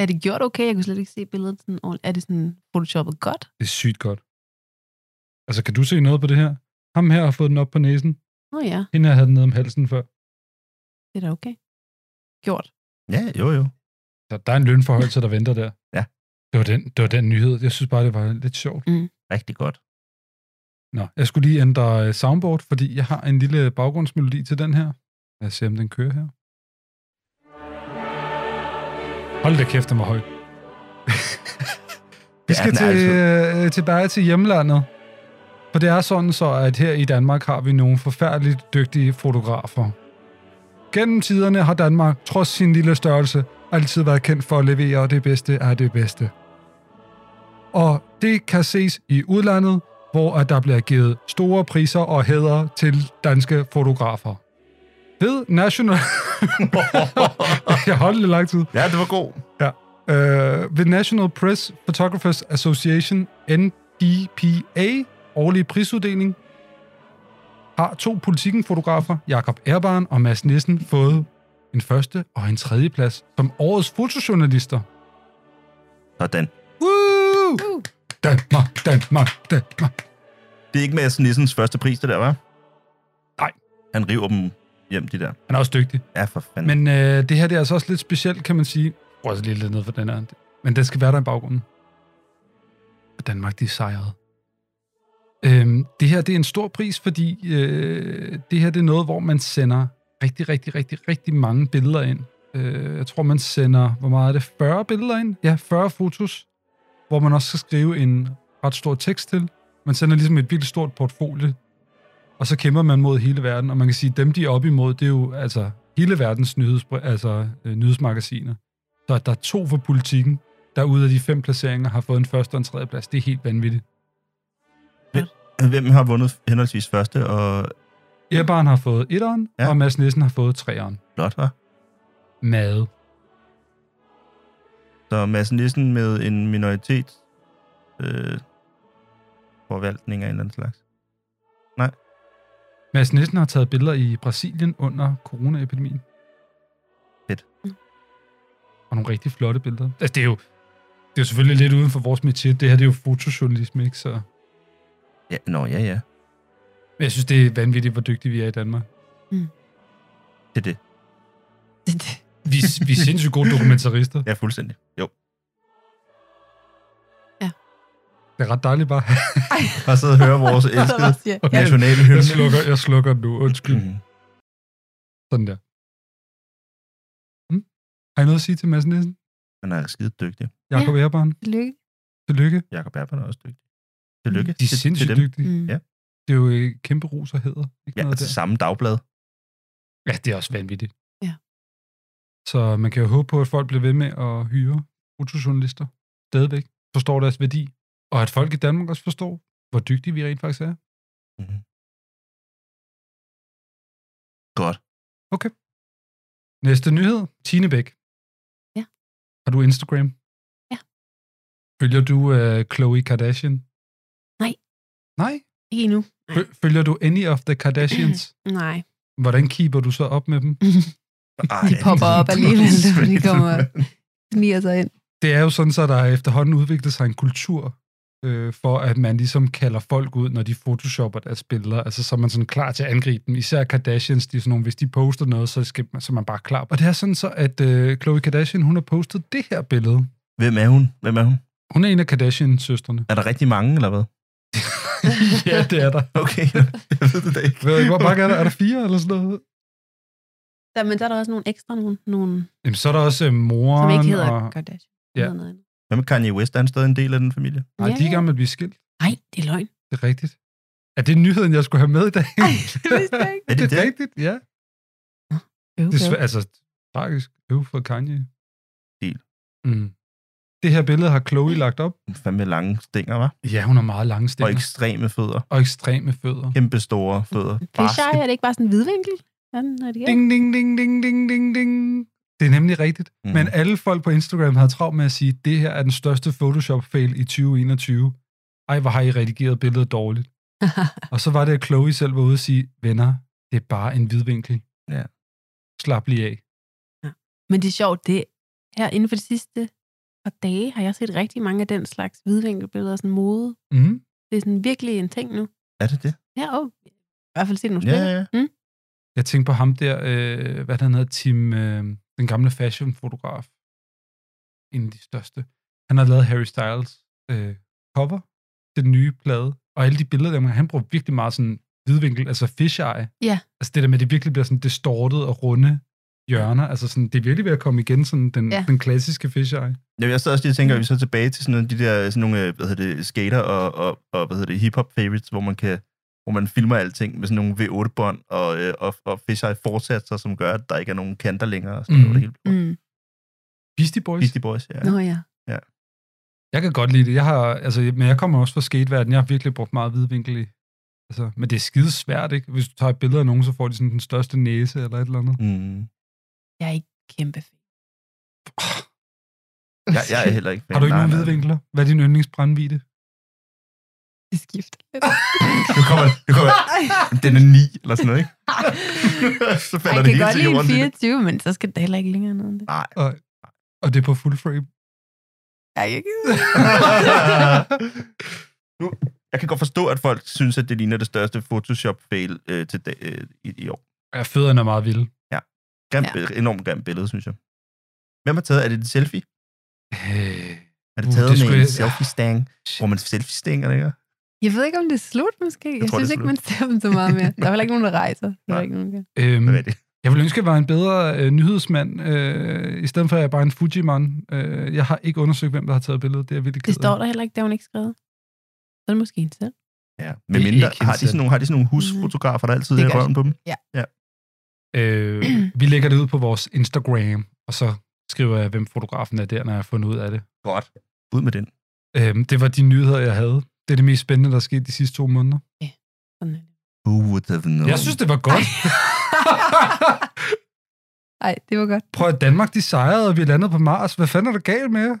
[SPEAKER 9] Er det gjort okay? Jeg kunne slet ikke se billedet sådan ordentligt. Er det sådan photoshoppet godt?
[SPEAKER 1] Det er sygt godt. Altså, kan du se noget på det her? Ham her har fået den op på næsen.
[SPEAKER 9] Nå ja,
[SPEAKER 1] Hende her havde den nede om halsen før.
[SPEAKER 9] det er da okay. Gjort.
[SPEAKER 2] Ja, jo, jo.
[SPEAKER 1] Så der er en lønforhøjelse, der venter der.
[SPEAKER 2] Ja.
[SPEAKER 1] Det var, den, det var den nyhed. Jeg synes bare, det var lidt sjovt.
[SPEAKER 2] Rigtig godt.
[SPEAKER 1] Nå, jeg skulle lige ændre øh, soundboard, fordi jeg har en lille baggrundsmelodi til den her. Lad os se, om den kører her. Hold da kæft, den var høj. Vi
[SPEAKER 2] Ja,
[SPEAKER 1] skal
[SPEAKER 2] den er altså-
[SPEAKER 1] til, øh, tilbage til hjemlandet. For det er sådan så, at her i Danmark har vi nogle forfærdeligt dygtige fotografer. Gennem tiderne har Danmark, trods sin lille størrelse, altid været kendt for at levere det bedste af det bedste. Og det kan ses i udlandet, hvor at der bliver givet store priser og hæder til danske fotografer. Ved National... Jeg holdt lidt lang tid.
[SPEAKER 2] Ja, det var god.
[SPEAKER 1] Øh, ved National Press Photographers Association, NDPA, årlige prisuddeling, har to politikenfotografer, Jakob Erbarn og Mads Nissen, fået en første og en tredje plads som årets fotojournalister.
[SPEAKER 2] Sådan.
[SPEAKER 1] Woo!
[SPEAKER 9] Uh.
[SPEAKER 1] Danmark, Danmark, Danmark.
[SPEAKER 2] Det er ikke Mads Nissens første pris, det der, var.
[SPEAKER 1] Nej.
[SPEAKER 2] Han river dem hjem, de der.
[SPEAKER 1] Han er også dygtig.
[SPEAKER 2] Ja, for fanden. Men...
[SPEAKER 1] Men øh, det her det er altså også lidt specielt, kan man sige. Prøv også lige lidt ned for den her. Men den skal være der i baggrunden. Og Danmark, de er sejrede. Øhm, det her det er en stor pris, fordi øh, det her det er noget, hvor man sender rigtig, rigtig, rigtig, rigtig mange billeder ind. Øh, jeg tror, man sender, hvor meget er det? 40 billeder ind? Ja, 40 fotos, hvor man også skal skrive en ret stor tekst til. Man sender ligesom et vildt stort portfolio og så kæmper man mod hele verden, og man kan sige, at dem, de er op imod, det er jo altså hele verdens nyheds, altså, øh, nyhedsmagasiner. Så at der er to for politikken, der ud af de fem placeringer har fået en første og en tredje plads, det er helt vanvittigt.
[SPEAKER 2] Hvem har vundet henholdsvis første og
[SPEAKER 1] Ebbaren har fået etteren, ja.
[SPEAKER 2] Ja.
[SPEAKER 1] og Mads Nissen har fået treeren.
[SPEAKER 2] blot, hva'?
[SPEAKER 1] Mad.
[SPEAKER 2] Så Mads Nissen med en minoritet øh, forvaltning af en eller anden slags.
[SPEAKER 1] Mads Nissen har taget billeder i Brasilien under coronaepidemien.
[SPEAKER 2] Fedt.
[SPEAKER 1] Og nogle rigtig flotte billeder. Altså, det er jo, det er jo selvfølgelig lidt uden for vores metier. Det her det er jo fotojournalisme, ikke? Så,
[SPEAKER 2] Ja, nå, ja, ja.
[SPEAKER 1] men jeg synes, det er vanvittigt, hvor dygtige vi er i Danmark.
[SPEAKER 2] Det er det.
[SPEAKER 1] Vi, vi er sindssygt gode dokumentarister.
[SPEAKER 2] Ja, fuldstændig. Jo.
[SPEAKER 1] Det er ret dejligt bare.
[SPEAKER 2] Bare sidde og høre vores elskede
[SPEAKER 1] Okay.
[SPEAKER 2] nationale
[SPEAKER 1] Jeg
[SPEAKER 2] hymne.
[SPEAKER 1] slukker, jeg slukker nu. Undskyld.
[SPEAKER 2] Mhm.
[SPEAKER 1] Sådan der. Hmm? Har I noget at sige til Mads Nielsen?
[SPEAKER 2] Han er skide dygtig.
[SPEAKER 1] Jakob ja. Erbarn,
[SPEAKER 9] Lykke.
[SPEAKER 1] tillykke.
[SPEAKER 2] Jakob Erben er også dygtig. Tillykke
[SPEAKER 1] De er sindssygt dygtige.
[SPEAKER 9] Mm.
[SPEAKER 2] Ja.
[SPEAKER 1] Det er jo øh, kæmpe ros og hæder. Ikke
[SPEAKER 2] Ja,
[SPEAKER 1] noget
[SPEAKER 2] til
[SPEAKER 1] der.
[SPEAKER 2] samme dagblad.
[SPEAKER 1] ja, det er også vanvittigt.
[SPEAKER 9] Ja.
[SPEAKER 1] Så man kan jo håbe på, at folk bliver ved med at hyre fotojournalister stadigvæk, forstår deres værdi, og at folk i Danmark også forstår, hvor dygtige vi rent faktisk er.
[SPEAKER 2] Mhm. Godt.
[SPEAKER 1] Næste nyhed, Tine Bæk.
[SPEAKER 9] Ja.
[SPEAKER 1] Har du Instagram?
[SPEAKER 9] Ja.
[SPEAKER 1] Følger du øh, Khloe Kardashian?
[SPEAKER 9] Nej.
[SPEAKER 1] Nej?
[SPEAKER 9] Ikke endnu.
[SPEAKER 1] Fø- følger du any of the Kardashians?
[SPEAKER 9] Nej.
[SPEAKER 1] Hvordan keeper du så op med dem?
[SPEAKER 2] Ej,
[SPEAKER 9] De popper op alligevel, når de kommer sniger sig ind.
[SPEAKER 1] Det er jo sådan, så der er efterhånden udviklet sig en kultur øh, for, at man ligesom kalder folk ud, når de photoshopper deres billeder. Altså, så er man sådan klar til at angribe dem. Især Kardashians, de er sådan nogle, hvis de poster noget, så, skal man, så er man bare klar. Og det er sådan så, at øh, Khloe Kardashian, hun har postet det her billede.
[SPEAKER 2] Hvem er hun? Hvem er hun?
[SPEAKER 1] Hun er en af Kardashian-søstrene.
[SPEAKER 2] Er der rigtig mange, eller hvad?
[SPEAKER 1] ja, det er der.
[SPEAKER 2] Okay, jeg ved det da ikke.
[SPEAKER 1] Ved jeg ikke, hvor mange er der? Er der fire eller sådan noget?
[SPEAKER 9] Der, men der er der også nogle ekstra, nogle, nogle
[SPEAKER 1] Jamen, så er der også øh, moren.
[SPEAKER 9] som ikke hedder
[SPEAKER 1] Og...
[SPEAKER 9] Kardashian.
[SPEAKER 1] Ja.
[SPEAKER 9] Hedder noget andet.
[SPEAKER 2] Hvad med Kanye West? Er han stadig en del af den familie?
[SPEAKER 1] Nej, de er i gang med at blive skilt.
[SPEAKER 9] Nej, det er løgn.
[SPEAKER 1] Det er rigtigt. Er det nyheden, jeg skulle have med i dag?
[SPEAKER 9] Ej, det vidste jeg ikke.
[SPEAKER 2] Er
[SPEAKER 1] det
[SPEAKER 2] det
[SPEAKER 1] er
[SPEAKER 2] det?
[SPEAKER 1] rigtigt, ja.
[SPEAKER 9] Øv,
[SPEAKER 1] Det er
[SPEAKER 9] øv.
[SPEAKER 1] svæ- altså, tragisk. Øv for Kanye.
[SPEAKER 2] Helt.
[SPEAKER 1] Mm. Det her billede har Chloe lagt op.
[SPEAKER 2] Hun er Fandme lange stænger, var?
[SPEAKER 1] Ja, hun har meget lange
[SPEAKER 2] Og
[SPEAKER 1] stemmer. Og,
[SPEAKER 2] ekstreme fødder.
[SPEAKER 1] og ekstreme fødder.
[SPEAKER 2] Kæmpe store fødder.
[SPEAKER 9] Fischer,
[SPEAKER 2] Barske.
[SPEAKER 9] er det ikke bare sådan en hvidvinkel? Sådan er det ikke.
[SPEAKER 1] Ding, ding, ding, ding, ding, ding, ding. Det er nemlig rigtigt. Mm.
[SPEAKER 2] Mhm.
[SPEAKER 1] Men alle folk på Instagram havde travlt med at sige, at det her er den største Photoshop-fail i 2021. Ej, hvor har I redigeret billedet dårligt. og så var det, at Chloe selv var ude og sige, venner, det er bare en hvidvinkel.
[SPEAKER 2] Ja.
[SPEAKER 1] Slap lige af.
[SPEAKER 9] Men det er sjovt, det her inden for de sidste par dage har jeg set rigtig mange af den slags hvidvinkelbilleder, sådan mode.
[SPEAKER 1] Mm.
[SPEAKER 9] Det er sådan virkelig en ting nu.
[SPEAKER 2] Er det det?
[SPEAKER 9] Ja, og i hvert fald set nogle
[SPEAKER 2] Ja,
[SPEAKER 9] stykker. Mm?
[SPEAKER 2] ja, ja.
[SPEAKER 1] Jeg tænkte på ham der, øh, hvad han hedder, Tim, øh, den gamle fashionfotograf. En af de største. Han har lavet Harry Styles øh, cover til den nye plade, og alle de billeder, der man, han bruger virkelig meget sådan hvidvinkel, altså fisheye.
[SPEAKER 9] Ja.
[SPEAKER 1] Altså det der med, at det virkelig bliver sådan distortet og runde hjørner. Altså sådan, det er virkelig ved at komme igen, sådan den,
[SPEAKER 9] Ja.
[SPEAKER 1] ja. den klassiske fisheye.
[SPEAKER 2] Jamen, jeg sad også lige og tænker,
[SPEAKER 9] Mm.
[SPEAKER 2] at vi så er tilbage til sådan nogle, de der sådan nogle, øh, hvad hedder det, skater og, og, og hvad hedder det, hip-hop favorites, hvor man kan hvor man filmer alting med sådan nogle V8-bånd og, øh, og, og fisheye fortsatser, som gør, at der ikke er nogen kanter længere. Og sådan
[SPEAKER 1] Mm.
[SPEAKER 2] mm. noget, helt
[SPEAKER 9] Mm.
[SPEAKER 1] Beastie Boys.
[SPEAKER 2] Beastie Boys, ja.
[SPEAKER 9] Nå ja.
[SPEAKER 1] Jeg kan godt lide det. Jeg har, altså, men jeg kommer også fra skateverdenen. Jeg har virkelig brugt meget hvidvinkel i. Altså, men det er skide svært, ikke? Hvis du tager et billede af nogen, så får de sådan den største næse eller et eller andet.
[SPEAKER 2] Mm.
[SPEAKER 9] Jeg er ikke kæmpe fan.
[SPEAKER 2] Jeg, jeg er heller ikke fan.
[SPEAKER 1] Har du ikke
[SPEAKER 2] Nej,
[SPEAKER 1] nogen
[SPEAKER 2] nej.
[SPEAKER 1] hvidvinkler? Hvad er din yndlingsbrændvide?
[SPEAKER 9] Det skifter lidt.
[SPEAKER 2] Nu kommer, nu kommer den er ni, eller sådan noget, ikke? så
[SPEAKER 9] Ej,
[SPEAKER 2] falder
[SPEAKER 9] jeg
[SPEAKER 2] det hele
[SPEAKER 9] kan godt
[SPEAKER 2] til
[SPEAKER 9] lide
[SPEAKER 2] jorden.
[SPEAKER 9] en
[SPEAKER 2] lige nu.
[SPEAKER 9] 24, men så skal det heller ikke længere ned end det.
[SPEAKER 2] Nej.
[SPEAKER 1] Og, og det er på full frame.
[SPEAKER 9] Ej, jeg gider
[SPEAKER 2] nu, jeg kan godt forstå, at folk synes, at det ligner det største Photoshop-fail øh, til dag, øh, i, i år.
[SPEAKER 1] Ja, fødderne er meget vilde.
[SPEAKER 2] Grim,
[SPEAKER 9] Ja.
[SPEAKER 2] ja. Enormt grimt billede, synes jeg. Hvem har taget? Er det et selfie?
[SPEAKER 1] Øh,
[SPEAKER 2] Er det
[SPEAKER 1] Uh, det
[SPEAKER 2] taget det med
[SPEAKER 1] skulle
[SPEAKER 2] en
[SPEAKER 1] jeg- Mm.
[SPEAKER 2] selfie-stang? Bruger man selfie-stanger, ikke?
[SPEAKER 9] Jeg ved ikke, om det er slut, måske. Jeg, jeg
[SPEAKER 2] tror,
[SPEAKER 9] synes
[SPEAKER 2] det er
[SPEAKER 9] ikke, man ser dem så meget mere. Der er heller ikke nogen, der rejser. Der er
[SPEAKER 2] Nej.
[SPEAKER 9] ikke nogen, der...
[SPEAKER 1] øhm,
[SPEAKER 2] Hvad er det?
[SPEAKER 1] jeg ville ønske, at jeg var en bedre øh, nyhedsmand, øh, i stedet for at jeg er bare en Fujiman. Øh, jeg har ikke undersøgt, hvem der har taget billedet. Det er jeg virkelig
[SPEAKER 9] Det
[SPEAKER 1] ked af.
[SPEAKER 9] står der heller ikke, det har hun ikke skrevet. Så er det måske en selv.
[SPEAKER 2] Ja, med
[SPEAKER 1] Det er ikke
[SPEAKER 2] mindre, har, de sådan
[SPEAKER 1] hensat.
[SPEAKER 2] nogle, har de sådan nogle husfotografer, der altid
[SPEAKER 9] Mm. Det
[SPEAKER 2] er i
[SPEAKER 9] gør de.
[SPEAKER 2] røven på dem?
[SPEAKER 1] Øh, vi lægger det ud på vores Instagram, og så skriver jeg, hvem fotografen er der, når jeg har fundet ud af det.
[SPEAKER 2] Godt. Ud med den.
[SPEAKER 1] Øhm, det var de nyheder, jeg havde. Det er det mest spændende, der er sket de sidste to måneder.
[SPEAKER 9] Sådan er det.
[SPEAKER 2] Who would have known?
[SPEAKER 1] Jeg synes, det var godt.
[SPEAKER 9] Ej, det var godt.
[SPEAKER 1] Prøv at Danmark, de sejrede, og vi landede på Mars. Hvad fanden er der galt med jer?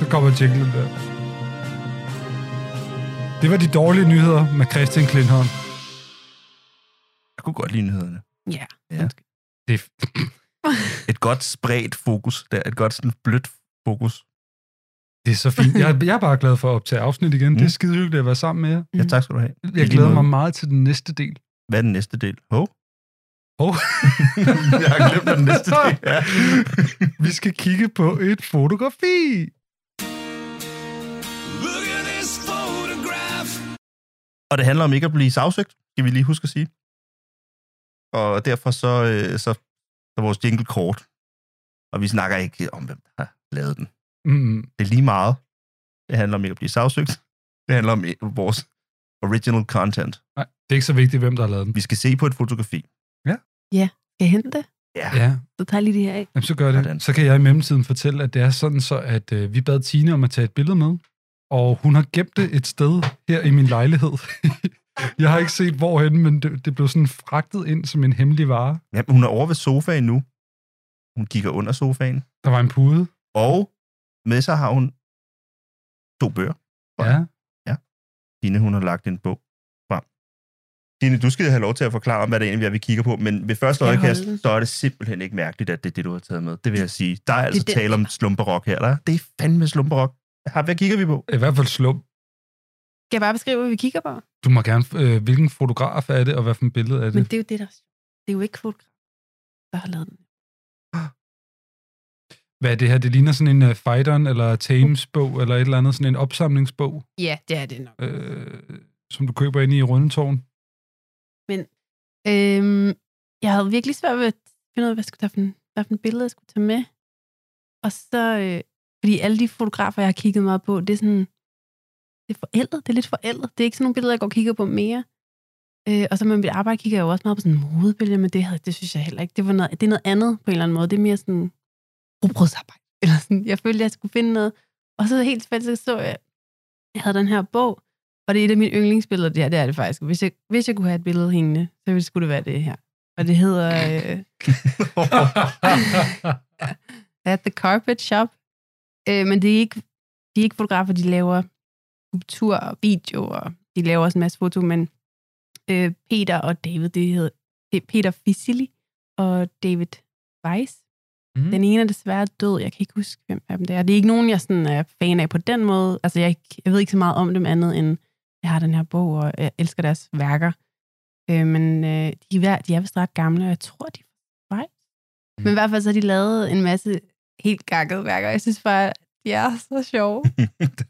[SPEAKER 1] Så kommer jinglen der. Det var de dårlige nyheder med Christian Klindholm.
[SPEAKER 2] jeg kunne godt lide nyhederne.
[SPEAKER 9] Ja.
[SPEAKER 2] Ja.
[SPEAKER 9] undskyld.
[SPEAKER 1] Det er f-
[SPEAKER 2] Et godt spredt fokus. Der. Et godt sådan blødt fokus.
[SPEAKER 1] Det er så fint. Jeg, jeg er bare glad for at optage afsnit igen. Mm. Det er skide hyggeligt at være sammen med jer.
[SPEAKER 2] Ja,
[SPEAKER 9] Mm.
[SPEAKER 2] tak skal du have. I
[SPEAKER 1] Jeg
[SPEAKER 2] lige
[SPEAKER 1] glæder
[SPEAKER 2] måde.
[SPEAKER 1] mig meget til den næste del.
[SPEAKER 2] Hvad er den næste del? Ho?
[SPEAKER 1] Hov.
[SPEAKER 2] jeg har glemt hvad den næste del. Ja.
[SPEAKER 1] Vi skal kigge på et fotografi.
[SPEAKER 2] Og det handler om ikke at blive sagsøgt, skal vi lige huske at sige. Og derfor så, øh, så, så er vores jingle kort. Og vi snakker ikke om, hvem der har lavet den.
[SPEAKER 1] Mm.
[SPEAKER 2] Det er lige meget. Det handler om ikke at blive sagsøgt. Det handler om øh, vores original content.
[SPEAKER 1] Nej, det er ikke så vigtigt, hvem der har lavet den.
[SPEAKER 2] Vi skal se på et fotografi.
[SPEAKER 9] Skal jeg hente det?
[SPEAKER 2] Ja.
[SPEAKER 1] Ja,
[SPEAKER 9] Så tager jeg lige det her af.
[SPEAKER 1] jamen, så gør det.
[SPEAKER 2] Sådan.
[SPEAKER 1] Så kan jeg i mellemtiden fortælle, at det er sådan så, at øh, vi bad Tine om at tage et billede med, og hun har gemt det et sted her i min lejlighed. jeg har ikke set hvorhen, men det, det blev sådan fragtet ind som en hemmelig vare.
[SPEAKER 2] ja men hun er over ved sofaen nu. Hun kigger under sofaen.
[SPEAKER 1] Der var en pude.
[SPEAKER 2] Og med sig har hun to bøger.
[SPEAKER 1] Ja.
[SPEAKER 2] Tine, hun har lagt en bog frem. Tine, du skal have lov til at forklare om, hvad det egentlig er, vi kigger på, men ved første
[SPEAKER 9] Skal jeg
[SPEAKER 2] øjekast,
[SPEAKER 9] holde den?
[SPEAKER 2] så er det simpelthen ikke mærkeligt, at det er det, du har taget med. Det vil jeg sige. Der er altså
[SPEAKER 9] den.
[SPEAKER 2] tale om slumperok her, eller? Det er fandme slumperok. Har- Hvad kigger vi på?
[SPEAKER 1] I hvert fald slum.
[SPEAKER 9] Skal jeg bare beskrive, hvad vi kigger på?
[SPEAKER 1] Du må gerne, øh, hvilken fotograf er det, og hvad for et billede er
[SPEAKER 9] Men
[SPEAKER 1] det?
[SPEAKER 9] det er jo det, der er sjovt. Det er jo ikke fotograf, der har lavet den.
[SPEAKER 1] Hvad er det her? Det ligner sådan en uh, Fighteren eller Thames bog, eller et eller andet, sådan en opsamlingsbog,
[SPEAKER 9] Ja, det er det nok.
[SPEAKER 1] øh, som du køber inde i Rundetårn.
[SPEAKER 9] Øhm, jeg havde virkelig svært ved at finde ud af, hvad, skulle der for, en- hvad for en billede, jeg skulle tage med. Og så, øh, fordi alle de fotografer, jeg har kigget meget på, det er sådan, det er forældet, det er lidt forældet. Det er ikke sådan nogle billeder, jeg går og kigger på mere. Øh, og så med mit arbejde kigger jeg jo også meget på sådan modebilleder, men det, havde, det synes jeg heller ikke. Det, var noget, det er noget andet på en eller anden måde. Det er mere sådan rugbrødsarbejde. Eller sådan, jeg følte, jeg skulle finde noget. Og så helt tilfældigt så så jeg, jeg havde den her bog, og det er et af mine yndlingsbilleder, det her, det er det faktisk. Hvis jeg, hvis jeg kunne have et billede hængende, så ville- skulle det være det her. Og det hedder øh, At The Carpet Shop. Øh, men det er, ikke, de er ikke fotografer, de laver skulptur og video, og de laver også en masse foto, men øh, Peter og David, det hedder det er Peter Fissili og David Weiss.
[SPEAKER 1] Mm.
[SPEAKER 9] Den ene er desværre død. Jeg kan ikke huske, hvem af dem det er. Det er ikke nogen, jeg sådan er fan af på den måde. Altså, jeg, ikke- jeg ved ikke så meget om dem andet, end jeg har den her bog, og jeg elsker deres værker. Øh, men øh, de, er, hver- de er vist ret gamle, og jeg tror, de er fra Schweiz. Men i hvert fald så har de lavet en masse helt gakkede værker. Jeg synes bare, de er så sjove.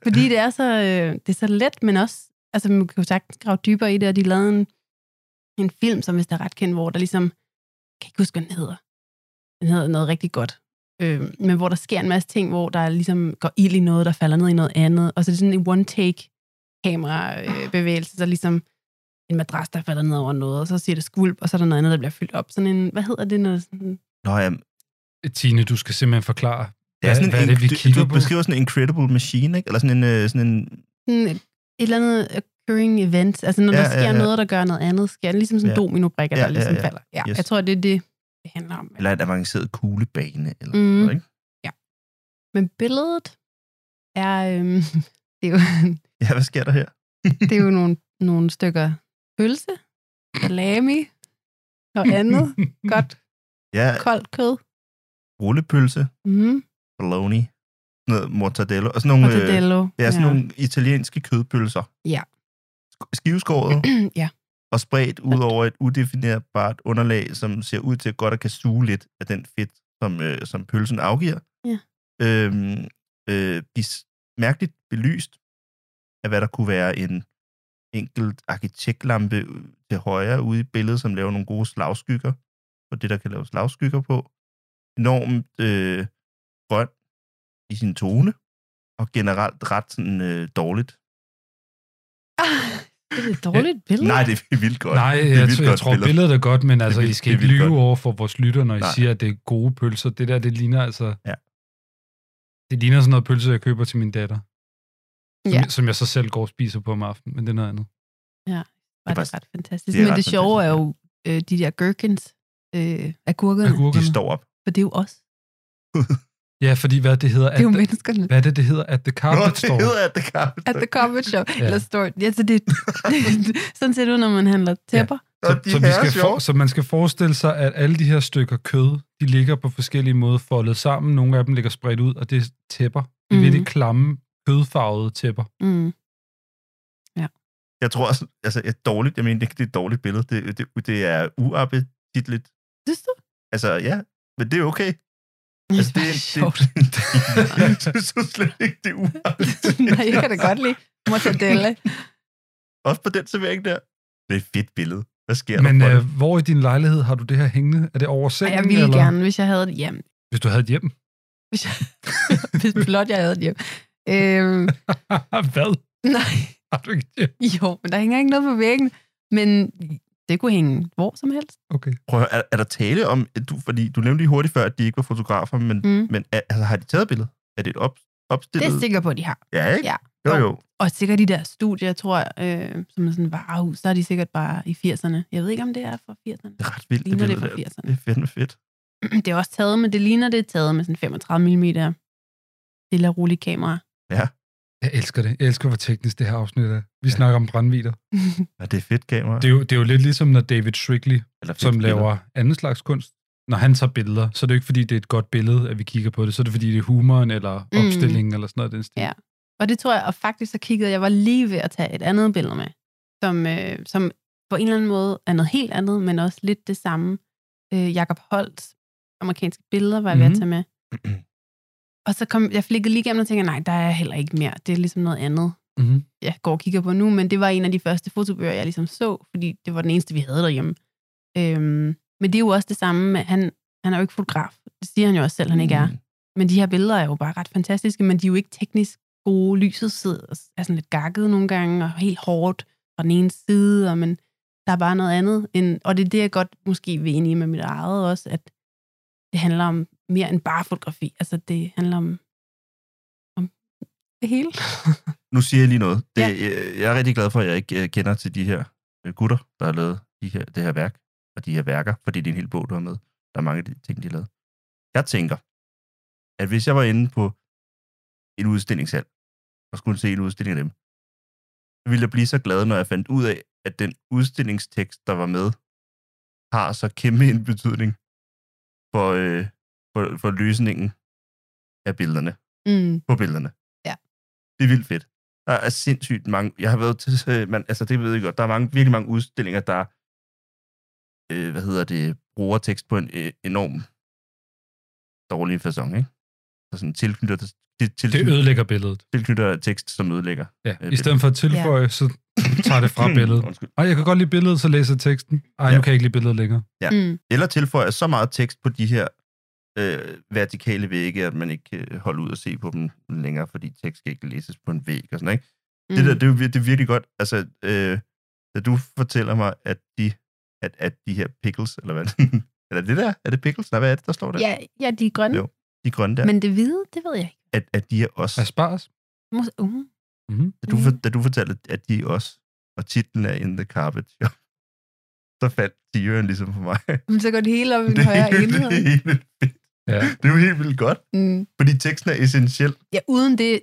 [SPEAKER 9] Fordi det er så, øh, det er så let, men også, altså man kan jo sagtens grave dybere i det, og de lavede en, en film, som hvis der er ret kendt, hvor der ligesom, jeg kan ikke huske, hvad den hedder. Den hedder noget rigtig godt. Øh, men hvor der sker en masse ting, hvor der ligesom går ild i noget, der falder ned i noget andet. Og så er det sådan en one-take kamerabevægelse, så ligesom en madras, der falder ned over noget, og så siger det skvulp, og så er der noget andet, der bliver fyldt op. Sådan en, hvad hedder det, når sådan
[SPEAKER 2] Nå, ja,
[SPEAKER 1] Tine, du skal simpelthen forklare,
[SPEAKER 2] det er sådan
[SPEAKER 1] hvad
[SPEAKER 2] en,
[SPEAKER 1] er det, vi
[SPEAKER 2] du-
[SPEAKER 1] kigger
[SPEAKER 2] du,
[SPEAKER 1] på?
[SPEAKER 2] beskriver sådan en incredible machine, ikke? Eller sådan en, øh, sådan en
[SPEAKER 9] sådan et eller andet occurring event. Altså når ja, der sker ja, ja. noget, der gør noget andet, sker det ligesom sådan
[SPEAKER 2] Ja.
[SPEAKER 9] ja. dominobrikker, ja, der ligesom ja, ja. falder. Ja,
[SPEAKER 2] Yes.
[SPEAKER 9] yes. Jeg tror, det er det, det handler om.
[SPEAKER 2] eller en avanceret kuglebane, eller
[SPEAKER 9] Mm.
[SPEAKER 2] mm. noget, ikke?
[SPEAKER 9] Men billedet er, øhm, det, er jo,
[SPEAKER 2] Ja, hvad sker der her?
[SPEAKER 9] det er jo nogle, nogle stykker pølse, salami og andet. Godt
[SPEAKER 2] Ja,
[SPEAKER 9] koldt kød.
[SPEAKER 2] rullepølse,
[SPEAKER 9] Mm,
[SPEAKER 2] bologna, sådan noget mortadello, og sådan nogle, øh,
[SPEAKER 9] mortadello.
[SPEAKER 2] det er sådan ja. nogle italienske kødpølser.
[SPEAKER 9] Ja.
[SPEAKER 2] Sk- Skiveskåret
[SPEAKER 9] ja.
[SPEAKER 2] og spredt ud over et udefinerbart underlag, som ser ud til at godt at kan suge lidt af den fedt, som, øh, som pølsen afgiver.
[SPEAKER 9] Ja.
[SPEAKER 2] Øhm, øh, de s- mærkeligt belyst af, hvad der kunne være en enkelt arkitektlampe øh, til højre ude i billedet, som laver nogle gode slagskygger på det, der kan lave slagskygger på. Enormt øh, grøn i sin tone, og generelt ret sådan, øh, dårligt.
[SPEAKER 9] Ah, det er et dårligt billede.
[SPEAKER 2] Nej, det er vildt godt.
[SPEAKER 1] Nej,
[SPEAKER 2] det er
[SPEAKER 1] jeg,
[SPEAKER 2] vildt
[SPEAKER 1] tror- jeg
[SPEAKER 2] godt
[SPEAKER 1] tror,
[SPEAKER 2] billede.
[SPEAKER 1] billedet er godt, men altså,
[SPEAKER 2] vildt-
[SPEAKER 1] I skal
[SPEAKER 2] det er
[SPEAKER 1] ikke
[SPEAKER 2] vildt
[SPEAKER 1] lyve
[SPEAKER 2] godt.
[SPEAKER 1] over for vores lytter, når I
[SPEAKER 2] Nej.
[SPEAKER 1] siger, at det er gode pølser. Det der, det ligner altså...
[SPEAKER 2] Ja.
[SPEAKER 1] Det ligner sådan noget pølse, jeg køber til min datter. Som,
[SPEAKER 9] Ja.
[SPEAKER 1] som jeg så selv går og spiser på om aftenen, men det er noget andet.
[SPEAKER 9] var det
[SPEAKER 2] faktisk-
[SPEAKER 9] ret fantastisk.
[SPEAKER 2] det er
[SPEAKER 9] Men
[SPEAKER 2] ret
[SPEAKER 9] det sjove er jo
[SPEAKER 2] fantastisk,
[SPEAKER 9] øh, de der gherkins, øh, agurkerne,
[SPEAKER 2] De
[SPEAKER 1] Agurkerne.
[SPEAKER 2] står op.
[SPEAKER 9] for det er jo os.
[SPEAKER 1] Ja, fordi hvad det hedder...
[SPEAKER 9] Det er jo
[SPEAKER 1] at,
[SPEAKER 9] menneskerne.
[SPEAKER 1] hvad er det, det hedder? At the
[SPEAKER 2] Nå,
[SPEAKER 1] carpet
[SPEAKER 2] det
[SPEAKER 1] store.
[SPEAKER 2] hedder at det carpet.
[SPEAKER 9] At the Carpet Shop.
[SPEAKER 1] Ja.
[SPEAKER 9] Ja. Eller store. Ja, så det, sådan ser det ud, når man handler tæpper.
[SPEAKER 1] Så, så, vi skal for, så man skal forestille sig, at alle de her stykker kød, de ligger på forskellige måder foldet sammen. Nogle af dem ligger spredt ud, og det er tæpper. Det er mm.
[SPEAKER 9] Mhm.
[SPEAKER 1] lidt klamme, kødfarvede tæpper.
[SPEAKER 9] Ja. Mm.
[SPEAKER 2] Jeg tror også, altså, et dårligt, jeg mener, det, det er et dårligt billede. Det, det, det er uappetitligt.
[SPEAKER 9] Synes du?
[SPEAKER 2] Altså, ja, men det er okay.
[SPEAKER 9] Altså, det,
[SPEAKER 2] det,
[SPEAKER 9] er sjovt.
[SPEAKER 2] det, jeg synes slet ikke, det er uappetitligt.
[SPEAKER 9] Nej, jeg kan da godt lide mortadella.
[SPEAKER 2] Også på den servering der. Det er et fedt billede. Hvad sker
[SPEAKER 1] Men
[SPEAKER 2] der for
[SPEAKER 1] øh,
[SPEAKER 2] det?
[SPEAKER 1] hvor i din lejlighed har du det her hængende? Er det over
[SPEAKER 9] Ej,
[SPEAKER 1] sengen?
[SPEAKER 9] jeg ville
[SPEAKER 1] eller?
[SPEAKER 9] gerne, hvis jeg havde det hjem.
[SPEAKER 1] Hvis du havde et hjem.
[SPEAKER 9] Hvis, jeg, hvis blot jeg havde det hjem. Øhm,
[SPEAKER 1] Hvad?
[SPEAKER 9] nej,
[SPEAKER 1] Har du ikke et hjem?
[SPEAKER 9] jo, men der hænger ikke noget på væggen. Men det kunne hænge hvor som helst.
[SPEAKER 1] Okay.
[SPEAKER 2] Prøv at høre, er, er der tale om, at du, fordi du nævnte lige hurtigt før, at de ikke var fotografer, men,
[SPEAKER 9] Mm.
[SPEAKER 2] men er, altså, har de taget billedet? Er det et op,
[SPEAKER 9] Det er
[SPEAKER 2] opstillet?
[SPEAKER 9] jeg sikker på, at de har.
[SPEAKER 2] Ja, ikke?
[SPEAKER 9] Ja.
[SPEAKER 2] Jo, jo.
[SPEAKER 9] Og sikkert de der studier, jeg tror, øh, som er sådan varehus, så er de sikkert bare i 80'erne. Jeg ved ikke, om det er fra 80'erne.
[SPEAKER 2] Det er ret vildt,
[SPEAKER 9] Ligner det
[SPEAKER 2] billede
[SPEAKER 9] fra
[SPEAKER 2] der.
[SPEAKER 9] 80'erne?
[SPEAKER 2] Det er fandme fedt.
[SPEAKER 9] det er også taget, men det ligner, det er taget med sådan 35 mm stille og rolig kamera.
[SPEAKER 1] Jeg elsker det. Jeg elsker, hvor teknisk det her afsnit er. Vi snakker om brandvider.
[SPEAKER 2] Ja, det er fedt kamera.
[SPEAKER 1] Det er, jo, det er jo lidt ligesom, når David Shrigley,
[SPEAKER 2] Eller fedt
[SPEAKER 1] som
[SPEAKER 2] billede.
[SPEAKER 1] laver anden slags kunst, når han tager billeder, så er det jo ikke, fordi det er et godt billede, at vi kigger på det. Så er det, fordi det er humoren eller
[SPEAKER 9] Mm.
[SPEAKER 1] opstillingen eller sådan noget. i Den stil.
[SPEAKER 9] Ja. og det tror jeg, og faktisk så kiggede jeg, jeg var lige ved at tage et andet billede med, som, øh, som på en eller anden måde er noget helt andet, men også lidt det samme. Øh, Jakob Holts amerikanske billeder var jeg ved
[SPEAKER 1] Mhm.
[SPEAKER 9] at tage med. Og så kom, jeg flikkede lige igennem og tænkte, nej, der er heller ikke mere. Det er ligesom noget andet,
[SPEAKER 1] Mm-hmm.
[SPEAKER 9] jeg går og kigger på nu, men det var en af de første fotobøger, jeg ligesom så, fordi det var den eneste, vi havde derhjemme. Øhm, men det er jo også det samme med, han, han er jo ikke fotograf. Det siger han jo også selv, han ikke er. Men de her billeder er jo bare ret fantastiske, men de er jo ikke teknisk gode. Lyset sidder, er sådan lidt gakket nogle gange, og helt hårdt fra den ene side, og men der er bare noget andet. End, og det er det, jeg godt måske vil ind i med mit eget også, at det handler om mere end bare fotografi. Altså, det handler om, om det hele.
[SPEAKER 2] Nu siger jeg lige noget. Det, øh,
[SPEAKER 9] Ja.
[SPEAKER 2] jeg, jeg er rigtig glad for, at jeg ikke øh, kender til de her øh, gutter, der har lavet de her, det her værk, og de her værker, fordi det er en hel bog, du har med. Der er mange af de ting, de har lavet. Jeg tænker, at hvis jeg var inde på en udstillingshal, og skulle se en udstilling af dem, så ville jeg blive så glad, når jeg fandt ud af, at den udstillingstekst, der var med, har så kæmpe en betydning for, øh, for, for løsningen af billederne
[SPEAKER 9] Mm.
[SPEAKER 2] på billederne.
[SPEAKER 9] Ja.
[SPEAKER 2] Det er vildt fedt. Der er sindssygt mange... Jeg har været til... øh, Man, altså, det ved jeg godt. Der er mange, virkelig mange udstillinger, der... Øh, hvad hedder det? Bruger tekst på en øh, enorm dårlig façon, ikke? der sådan tilknytter, til, til,
[SPEAKER 1] Det ødelægger billedet.
[SPEAKER 2] tilknytter tekst, som ødelægger.
[SPEAKER 1] Ja. I
[SPEAKER 2] billedet.
[SPEAKER 1] stedet for at tilføje, så tager det fra billedet.
[SPEAKER 2] Undskyld.
[SPEAKER 1] Og jeg kan godt lide billedet, så læser jeg teksten. Ej, nu
[SPEAKER 2] Ja.
[SPEAKER 1] kan jeg ikke lide billedet længere.
[SPEAKER 2] Ja.
[SPEAKER 9] Mm.
[SPEAKER 2] Eller tilføjer så meget tekst på de her øh, vertikale vægge, at man ikke kan holde ud og se på dem længere, fordi tekst skal ikke læses på en væg og sådan, ikke? Mm. Det der, det er, jo vir- det er virkelig godt. Altså, øh, da du fortæller mig, at de, at, at de her pickles, eller hvad eller det der, er det pickles? Nej, hvad er det, der står der?
[SPEAKER 10] Ja, ja de er grønne.
[SPEAKER 2] Jo, De grønne der.
[SPEAKER 10] Men det hvide, det ved jeg ikke.
[SPEAKER 2] At, at de er os.
[SPEAKER 1] Aspars.
[SPEAKER 10] Mås- Uh.
[SPEAKER 1] Mm-hmm.
[SPEAKER 2] Da du, for,
[SPEAKER 10] mm.
[SPEAKER 2] da du fortalte, at de er os, og titlen er In the Carpet, jo, så faldt Tyrion ligesom for mig.
[SPEAKER 10] Men så går det hele op i
[SPEAKER 2] Det
[SPEAKER 10] en højere
[SPEAKER 2] er, helt, det,
[SPEAKER 10] enhed.
[SPEAKER 2] er helt, vildt fedt.
[SPEAKER 1] Ja.
[SPEAKER 2] det er jo helt vildt godt,
[SPEAKER 10] Mm.
[SPEAKER 2] fordi teksten er essentiel.
[SPEAKER 10] Ja, uden det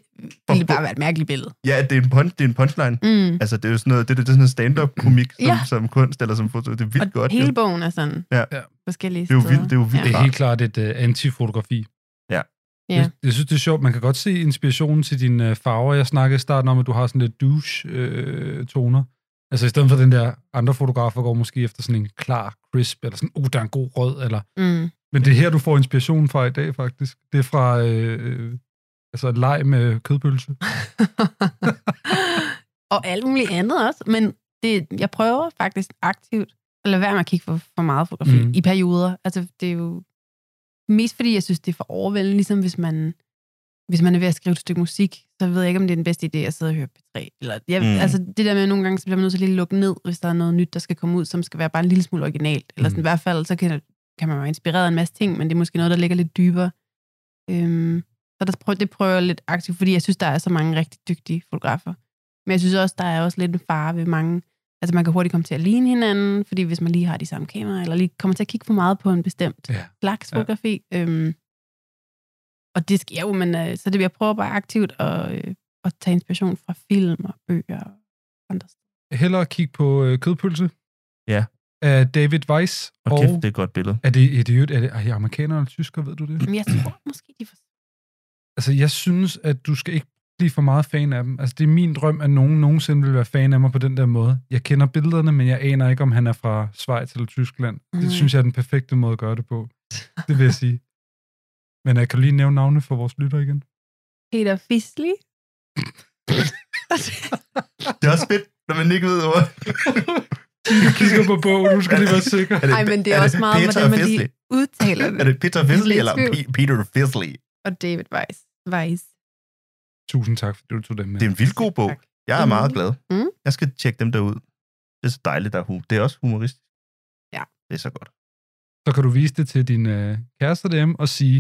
[SPEAKER 10] ville det bare være et mærkeligt billede.
[SPEAKER 2] Ja, det er en, pun, det er en punchline.
[SPEAKER 10] Mm.
[SPEAKER 2] Altså, det er jo sådan noget, det, er- det er sådan noget stand-up-komik som,
[SPEAKER 10] Ja.
[SPEAKER 2] som kunst eller som foto. Det er
[SPEAKER 9] Og
[SPEAKER 2] vildt godt.
[SPEAKER 9] hele
[SPEAKER 2] jo.
[SPEAKER 9] bogen er sådan
[SPEAKER 2] Ja.
[SPEAKER 1] Ja.
[SPEAKER 9] forskellige
[SPEAKER 2] Det er jo vildt, det er jo vildt.
[SPEAKER 1] Det er
[SPEAKER 2] Ja.
[SPEAKER 1] helt klart et uh, antifotografi.
[SPEAKER 9] Ja.
[SPEAKER 1] Jeg, jeg synes, det er sjovt. Man kan godt se inspirationen til dine øh, farver. Jeg snakkede i starten om, at du har sådan lidt douche-toner. altså i stedet for den der, andre fotografer går måske efter sådan en klar crisp, eller sådan, uh, der er en god rød, eller...
[SPEAKER 9] Mm.
[SPEAKER 1] Men det er her, du får inspirationen fra i dag, faktisk. Det er fra, øh, øh, altså, leg med kødpølse.
[SPEAKER 9] og alt muligt andet også. Men det, jeg prøver faktisk aktivt at lade være med at kigge for, for meget fotografi
[SPEAKER 1] Mm.
[SPEAKER 9] mm. i perioder. Altså, det er jo mest fordi, jeg synes, det er for overvældende, ligesom hvis man, hvis man er ved at skrive et stykke musik, så ved jeg ikke, om det er den bedste idé at sidde og høre P3. Eller, jeg,
[SPEAKER 2] Mm.
[SPEAKER 9] mm. Altså, det der med, at nogle gange så bliver man nødt til at lige lukke ned, hvis der er noget nyt, der skal komme ud, som skal være bare en lille smule originalt. Eller sådan,
[SPEAKER 1] Mm.
[SPEAKER 9] i hvert fald, så kan, kan man være inspireret af en masse ting, men det er måske noget, der ligger lidt dybere. Øhm, så der prøver, det prøver jeg lidt aktivt, fordi jeg synes, der er så mange rigtig dygtige fotografer. Men jeg synes også, der er også lidt en fare ved mange... Altså, man kan hurtigt komme til at ligne hinanden, fordi hvis man lige har de samme kameraer, eller lige kommer til at kigge for meget på en bestemt
[SPEAKER 1] Ja.
[SPEAKER 9] ja. slags
[SPEAKER 1] Ja.
[SPEAKER 9] fotografi. Ja. Øhm, og det sker jo, men øh, så det, jeg prøver bare aktivt at, øh, at tage inspiration fra film og bøger og andre steder.
[SPEAKER 1] Hellere kigge på øh, kødpølse.
[SPEAKER 2] Ja.
[SPEAKER 1] Af David Weiss.
[SPEAKER 2] Og kæft, det er et godt billede.
[SPEAKER 1] Er det idiot? Er det, er det amerikaner eller tysker, ved du det?
[SPEAKER 9] Men jeg tror måske, de får...
[SPEAKER 1] Altså, jeg synes, at du skal ikke blive for meget fan af dem. Altså, det er min drøm, at nogen nogensinde vil være fan af mig på den der måde. Jeg kender billederne, men jeg aner ikke, om han er fra Schweiz eller Tyskland. Mm.
[SPEAKER 9] Mm.
[SPEAKER 1] Det synes jeg er den perfekte måde at gøre det på. Det vil jeg sige. Men jeg kan du lige nævne navne for vores lytter igen.
[SPEAKER 9] Peter Fisley.
[SPEAKER 2] Det er også fedt, når man ikke ved ordet.
[SPEAKER 1] Jeg kigger på bogen, du skal lige være sikker.
[SPEAKER 2] Er det-
[SPEAKER 9] Nej, men det er, også meget,
[SPEAKER 2] Peter
[SPEAKER 9] hvordan man
[SPEAKER 2] Fisley?
[SPEAKER 9] lige udtaler
[SPEAKER 2] Er
[SPEAKER 9] det.
[SPEAKER 2] det Peter Fisley
[SPEAKER 9] lidt i
[SPEAKER 2] eller
[SPEAKER 9] tvivl.
[SPEAKER 2] P- Peter Fisley?
[SPEAKER 9] Og David Weiss. Weiss.
[SPEAKER 1] Tusind tak, fordi du tog den med.
[SPEAKER 2] Det er en vildt god bog.
[SPEAKER 9] Tak.
[SPEAKER 2] Jeg er
[SPEAKER 9] Mm.
[SPEAKER 2] meget glad.
[SPEAKER 9] Mm.
[SPEAKER 2] Jeg skal tjekke dem derud. Det er så dejligt, der er hu- Det er også humoristisk.
[SPEAKER 9] Ja.
[SPEAKER 2] Det er så godt.
[SPEAKER 1] Så kan du vise det til din øh, kæreste derhjemme og sige,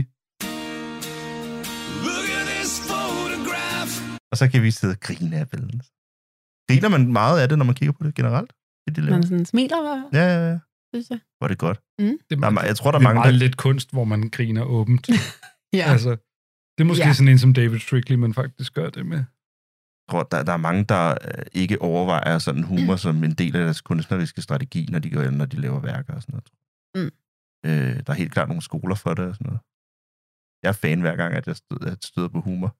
[SPEAKER 2] Og så kan vi sidde og grine af billedet. Griner man meget af det, når man kigger på det generelt? Det, de laver?
[SPEAKER 9] Man sådan smiler, hva-
[SPEAKER 2] Ja, ja, ja.
[SPEAKER 9] synes jeg.
[SPEAKER 2] Hvor er det godt.
[SPEAKER 1] det er,
[SPEAKER 2] Der er, ma- jeg tror, der
[SPEAKER 1] det
[SPEAKER 2] er
[SPEAKER 1] er
[SPEAKER 2] mange,
[SPEAKER 1] meget
[SPEAKER 2] der...
[SPEAKER 1] lidt kunst, hvor man griner åbent.
[SPEAKER 9] Ja.
[SPEAKER 1] Altså, det er måske
[SPEAKER 9] Ja.
[SPEAKER 1] sådan en som David Strickley, man faktisk gør det med.
[SPEAKER 2] Jeg tror, der, der er mange, der øh, ikke overvejer sådan humor
[SPEAKER 9] Mm.
[SPEAKER 2] som en del af deres kunstneriske strategi, når de, gør, når de laver værker og sådan noget.
[SPEAKER 9] Mm.
[SPEAKER 2] Øh, der er helt klart nogle skoler for det og sådan noget. Jeg er fan hver gang, at jeg støder, at støder på humor.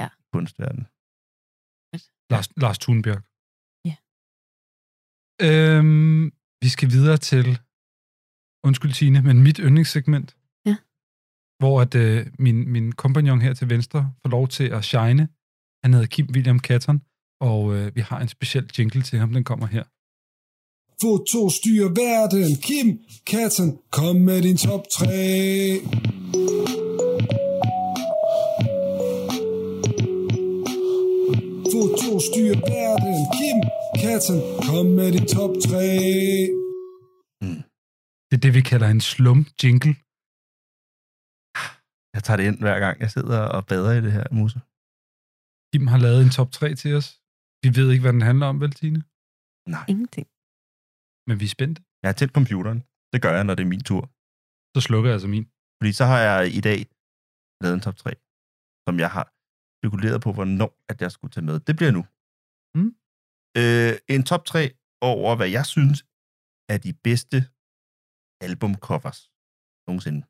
[SPEAKER 9] Ja.
[SPEAKER 2] i Kunstverdenen.
[SPEAKER 1] Lars, Lars Thunbjerg.
[SPEAKER 9] Ja.
[SPEAKER 1] Øhm, vi skal videre til, undskyld Tine, men mit yndlingssegment.
[SPEAKER 9] Ja.
[SPEAKER 1] Hvor at, øh, min, min kompagnon her til venstre får lov til at shine. Han hedder Kim William Catton, og øh, vi har en speciel jingle til ham, den kommer her.
[SPEAKER 3] Foto styrer verden. Kim, katten, kom med din top 3. Foto styrer verden. Kim, katten, kom med din top 3.
[SPEAKER 1] Det er det, vi kalder en slum jingle.
[SPEAKER 2] Jeg tager det ind hver gang, jeg sidder og bader i det her musse.
[SPEAKER 1] Kim har lavet en top 3 til os. Vi ved ikke, hvad den handler om, vel, Tine?
[SPEAKER 2] Nej.
[SPEAKER 9] Ingenting.
[SPEAKER 1] Men vi er spændte.
[SPEAKER 2] Jeg er tæt på computeren. Det gør jeg, når det er min tur.
[SPEAKER 1] Så slukker jeg altså min.
[SPEAKER 2] Fordi så har jeg i dag lavet en top 3, som jeg har spekuleret på, hvornår at jeg skulle tage med. Det bliver nu.
[SPEAKER 1] Mm.
[SPEAKER 2] Øh, en top 3 over, hvad jeg synes er de bedste albumcovers nogensinde,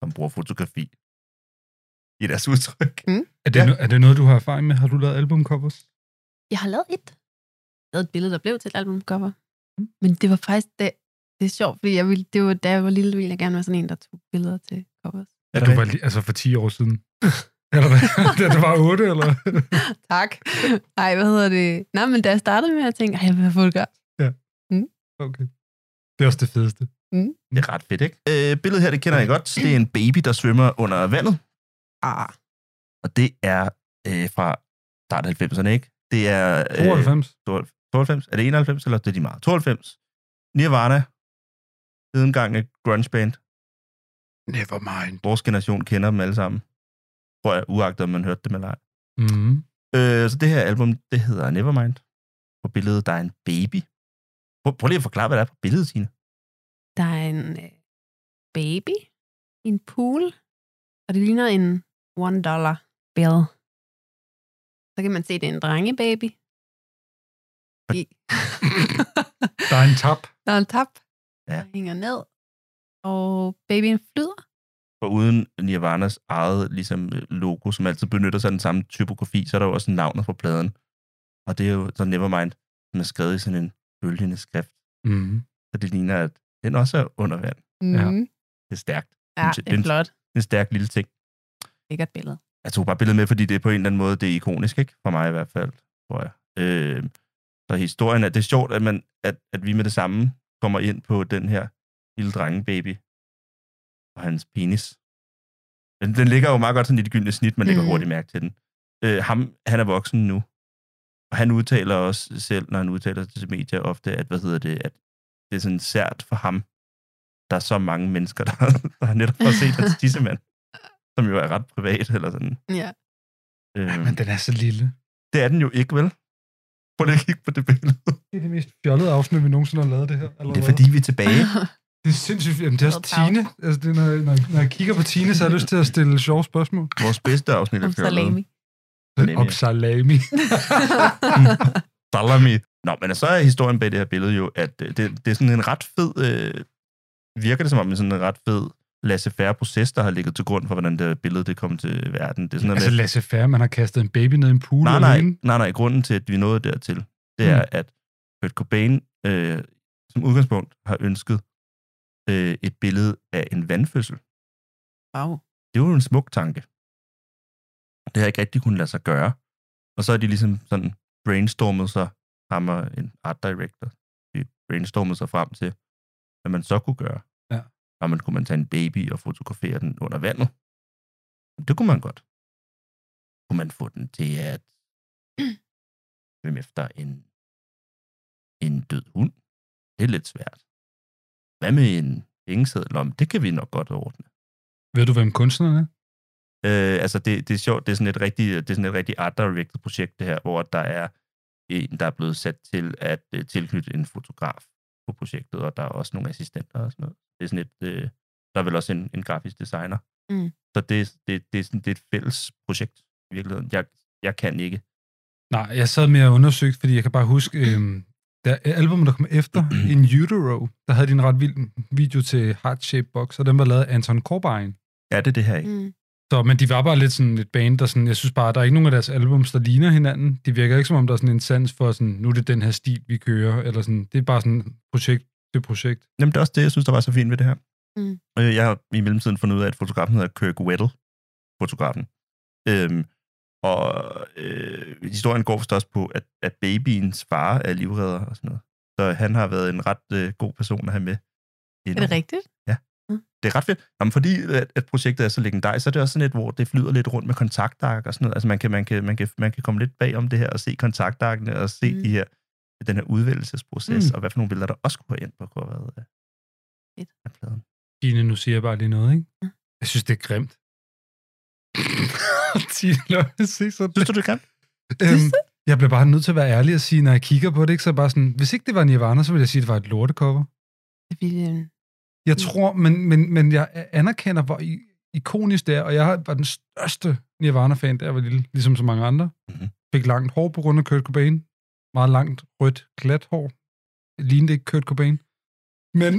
[SPEAKER 2] som bruger fotografi i deres udtryk.
[SPEAKER 1] Er det,
[SPEAKER 2] Ja.
[SPEAKER 1] ja. er det noget, du har erfaring med? Har du lavet albumcovers?
[SPEAKER 9] Jeg har lavet et. Jeg lavede et billede, der blev til et albumcover.
[SPEAKER 2] Mm.
[SPEAKER 9] Men det var faktisk, det, det er sjovt, fordi jeg ville, det var, da jeg var lille, ville jeg gerne være sådan en, der tog billeder til covers.
[SPEAKER 2] Er
[SPEAKER 1] Du
[SPEAKER 2] det
[SPEAKER 1] var
[SPEAKER 2] rigtigt?
[SPEAKER 1] lige, altså for 10 år siden. eller hvad? da du var 8, eller?
[SPEAKER 10] Tak. Ej, hvad hedder det? Nej, men da jeg startede med at tænke, ej, jeg vil have fotograf.
[SPEAKER 1] Okay. Det er også det fedeste.
[SPEAKER 2] det er ret fedt, ikke? Øh, billedet her, det kender jeg godt. Det er en baby, der svømmer under vandet.
[SPEAKER 10] Ah,
[SPEAKER 2] Og det er øh, fra start af 90'erne, ikke? Det er... øh,
[SPEAKER 1] 92.
[SPEAKER 2] 92? Er det 91, eller det er de meget? 92. Nirvana. Siden gang af grunge band.
[SPEAKER 1] Never mind.
[SPEAKER 2] Vores generation kender dem alle sammen. Tror jeg, uagtet om man hørte dem eller ej.
[SPEAKER 1] Mm.
[SPEAKER 2] Øh, så det her album, det hedder Nevermind. På billedet, der er en baby. Prøv, prøv lige at forklare, hvad der er på billedet, Signe.
[SPEAKER 10] der er en øh, baby i en pool, og det ligner en one dollar bill. Så kan man se, det er en drengebaby. I.
[SPEAKER 1] Der er en tab.
[SPEAKER 10] der er en tap,
[SPEAKER 2] Ja.
[SPEAKER 10] ja. der hænger ned, og babyen flyder.
[SPEAKER 2] For uden Nirvanas eget ligesom, øh, logo, som altid benytter sig af den samme typografi, så er der jo også navnet på pladen. Og det er jo så Nevermind, som er skrevet i sådan en bølgende skrift.
[SPEAKER 1] Mm.
[SPEAKER 2] Så det ligner, at den også er under vand.
[SPEAKER 1] Ja.
[SPEAKER 10] Mm.
[SPEAKER 2] Det er stærkt.
[SPEAKER 10] Ja,
[SPEAKER 2] Den-
[SPEAKER 10] det er
[SPEAKER 2] den-
[SPEAKER 10] flot.
[SPEAKER 2] Det er en stærk lille ting.
[SPEAKER 10] Lækkert billede.
[SPEAKER 2] Jeg tog bare billedet med, fordi det er på en eller anden måde, det er ikonisk, ikke? For mig i hvert fald, tror jeg. Øh, så historien er, det er sjovt, at, man, at, at vi med det samme kommer ind på den her lille drengebaby og hans penis. Den, den ligger jo meget godt sådan i det gyldne snit, man lægger
[SPEAKER 10] Mm.
[SPEAKER 2] hurtigt mærke til den. Øh, ham, han er voksen nu, og han udtaler også selv, når han udtaler sig til medier ofte, at, hvad hedder det, at det er sådan sært for ham. Der er så mange mennesker, der, der netop har set hans tissemand, som jo er ret privat, eller sådan.
[SPEAKER 10] Ja.
[SPEAKER 1] Ej,
[SPEAKER 2] Øh,
[SPEAKER 1] men den er så lille.
[SPEAKER 2] det er den jo ikke, vel? Prøv lige at kigge på det billede.
[SPEAKER 1] Det er det mest fjollede afsnit, vi nogensinde har lavet det her.
[SPEAKER 2] Det er fordi, vi er tilbage.
[SPEAKER 1] Det er sindssygt. Jamen, det er også
[SPEAKER 10] Noget pause.
[SPEAKER 1] Tine. Altså, det er, når, når, når, jeg kigger på Tine, så har jeg lyst til at stille sjove spørgsmål.
[SPEAKER 2] Vores bedste afsnit af
[SPEAKER 10] Om salami.
[SPEAKER 2] Salami, ja.
[SPEAKER 1] Om salami.
[SPEAKER 2] Salami. Nå, men så er historien bag det her billede jo, at øh, det, det er sådan en ret fed... Øh, virker det som om, det er sådan en ret fed laissez-faire proces, der har ligget til grund for, hvordan det her billede det kom til verden. Det er sådan noget
[SPEAKER 1] altså,
[SPEAKER 2] med-
[SPEAKER 1] Lasse Færre, man har kastet en baby ned i en pool.
[SPEAKER 2] nej,
[SPEAKER 1] alene. Hmm.
[SPEAKER 2] nej, nej, nej, grunden til, at vi nåede dertil, det er, at Kurt Cobain øh, som udgangspunkt har ønsket øh, et billede af en vandfødsel.
[SPEAKER 10] Wow.
[SPEAKER 2] det var jo en smuk tanke. Det har ikke rigtig kunnet lade sig gøre. Og så er de ligesom sådan brainstormet sig, ham og en art director, de brainstormet sig frem til, hvad man så kunne gøre.
[SPEAKER 1] Ja.
[SPEAKER 2] Og man kunne man tage en baby og fotografere den under vandet. Det kunne man godt. Kunne man få den til at svømme efter en, en død hund? Det er lidt svært. Hvad med en pengeseddel om? Det kan vi nok godt ordne.
[SPEAKER 1] Ved du, hvem kunstneren er?
[SPEAKER 2] Øh, altså det, det er sjovt, det er sådan et rigtig, det er sådan et rigtig art directed projekt det her, hvor der er en, der er blevet sat til at øh, tilknytte en fotograf på projektet, og der er også nogle assistenter og sådan noget. Det er sådan et, øh, der er vel også en, en grafisk designer.
[SPEAKER 10] Mm.
[SPEAKER 2] Så det, det, det, er sådan, det er et fælles projekt i virkeligheden. Jeg, jeg kan ikke.
[SPEAKER 1] Nej, jeg sad mere og undersøgte, fordi jeg kan bare huske, øhm, der albumet, der kom efter, In Utero, der havde de en ret vild video til Heart Shape Box, og den var lavet af Anton Corbijn.
[SPEAKER 2] Er det det her ikke?
[SPEAKER 10] Mm.
[SPEAKER 1] Så, men de var bare lidt sådan et band, der sådan, jeg synes bare, der er ikke nogen af deres albums, der ligner hinanden. Det virker ikke som om, der er sådan en sans for sådan, nu er det den her stil, vi kører, eller sådan, det er bare sådan projekt til projekt.
[SPEAKER 2] Jamen, det er også det, jeg synes, der var så fint ved det her.
[SPEAKER 10] Mm.
[SPEAKER 2] Øh, jeg har i mellemtiden fundet ud af, at fotografen hedder Kirk Weddle, fotografen. Øhm, og øh, historien går forstås på, at, at babyens far er livredder og sådan noget. Så han har været en ret øh, god person at have med.
[SPEAKER 10] Er det rigtigt?
[SPEAKER 2] Det er ret fedt. Jamen, fordi at, at projektet er så legendarisk, så er det også sådan et, hvor det flyder lidt rundt med kontaktark og sådan noget. Altså man kan, man kan, man kan, man kan komme lidt bag om det her og se kontaktarkene og se mm.
[SPEAKER 10] Mm.
[SPEAKER 2] de her, den her udvælgelsesproces,
[SPEAKER 1] Mm.
[SPEAKER 2] mm. og hvad for nogle billeder, der også kunne have ind på coveret af,
[SPEAKER 10] Fedt.
[SPEAKER 2] af pladen.
[SPEAKER 1] Tine, nu siger jeg bare lige noget, ikke? Jeg synes, det er grimt. Tine, lad mig se sådan.
[SPEAKER 2] Synes du, det er grimt?
[SPEAKER 1] Øhm, jeg bliver bare nødt til at være ærlig og sige, når jeg kigger på det, ikke, så er jeg bare sådan, hvis ikke det var Nirvana, så ville jeg sige, at det var et lortecover.
[SPEAKER 10] Det ville en
[SPEAKER 1] Jeg
[SPEAKER 2] Mm.
[SPEAKER 1] tror, men, men, men jeg anerkender, hvor i- ikonisk det er, og jeg har- var den største Nirvana-fan, da jeg var lille, ligesom så mange andre.
[SPEAKER 2] Mhm.
[SPEAKER 1] Mm-hmm. Fik langt hår på grund af Kurt Cobain. Meget langt, rødt, glat hår. Lignede ikke Kurt Cobain. Men...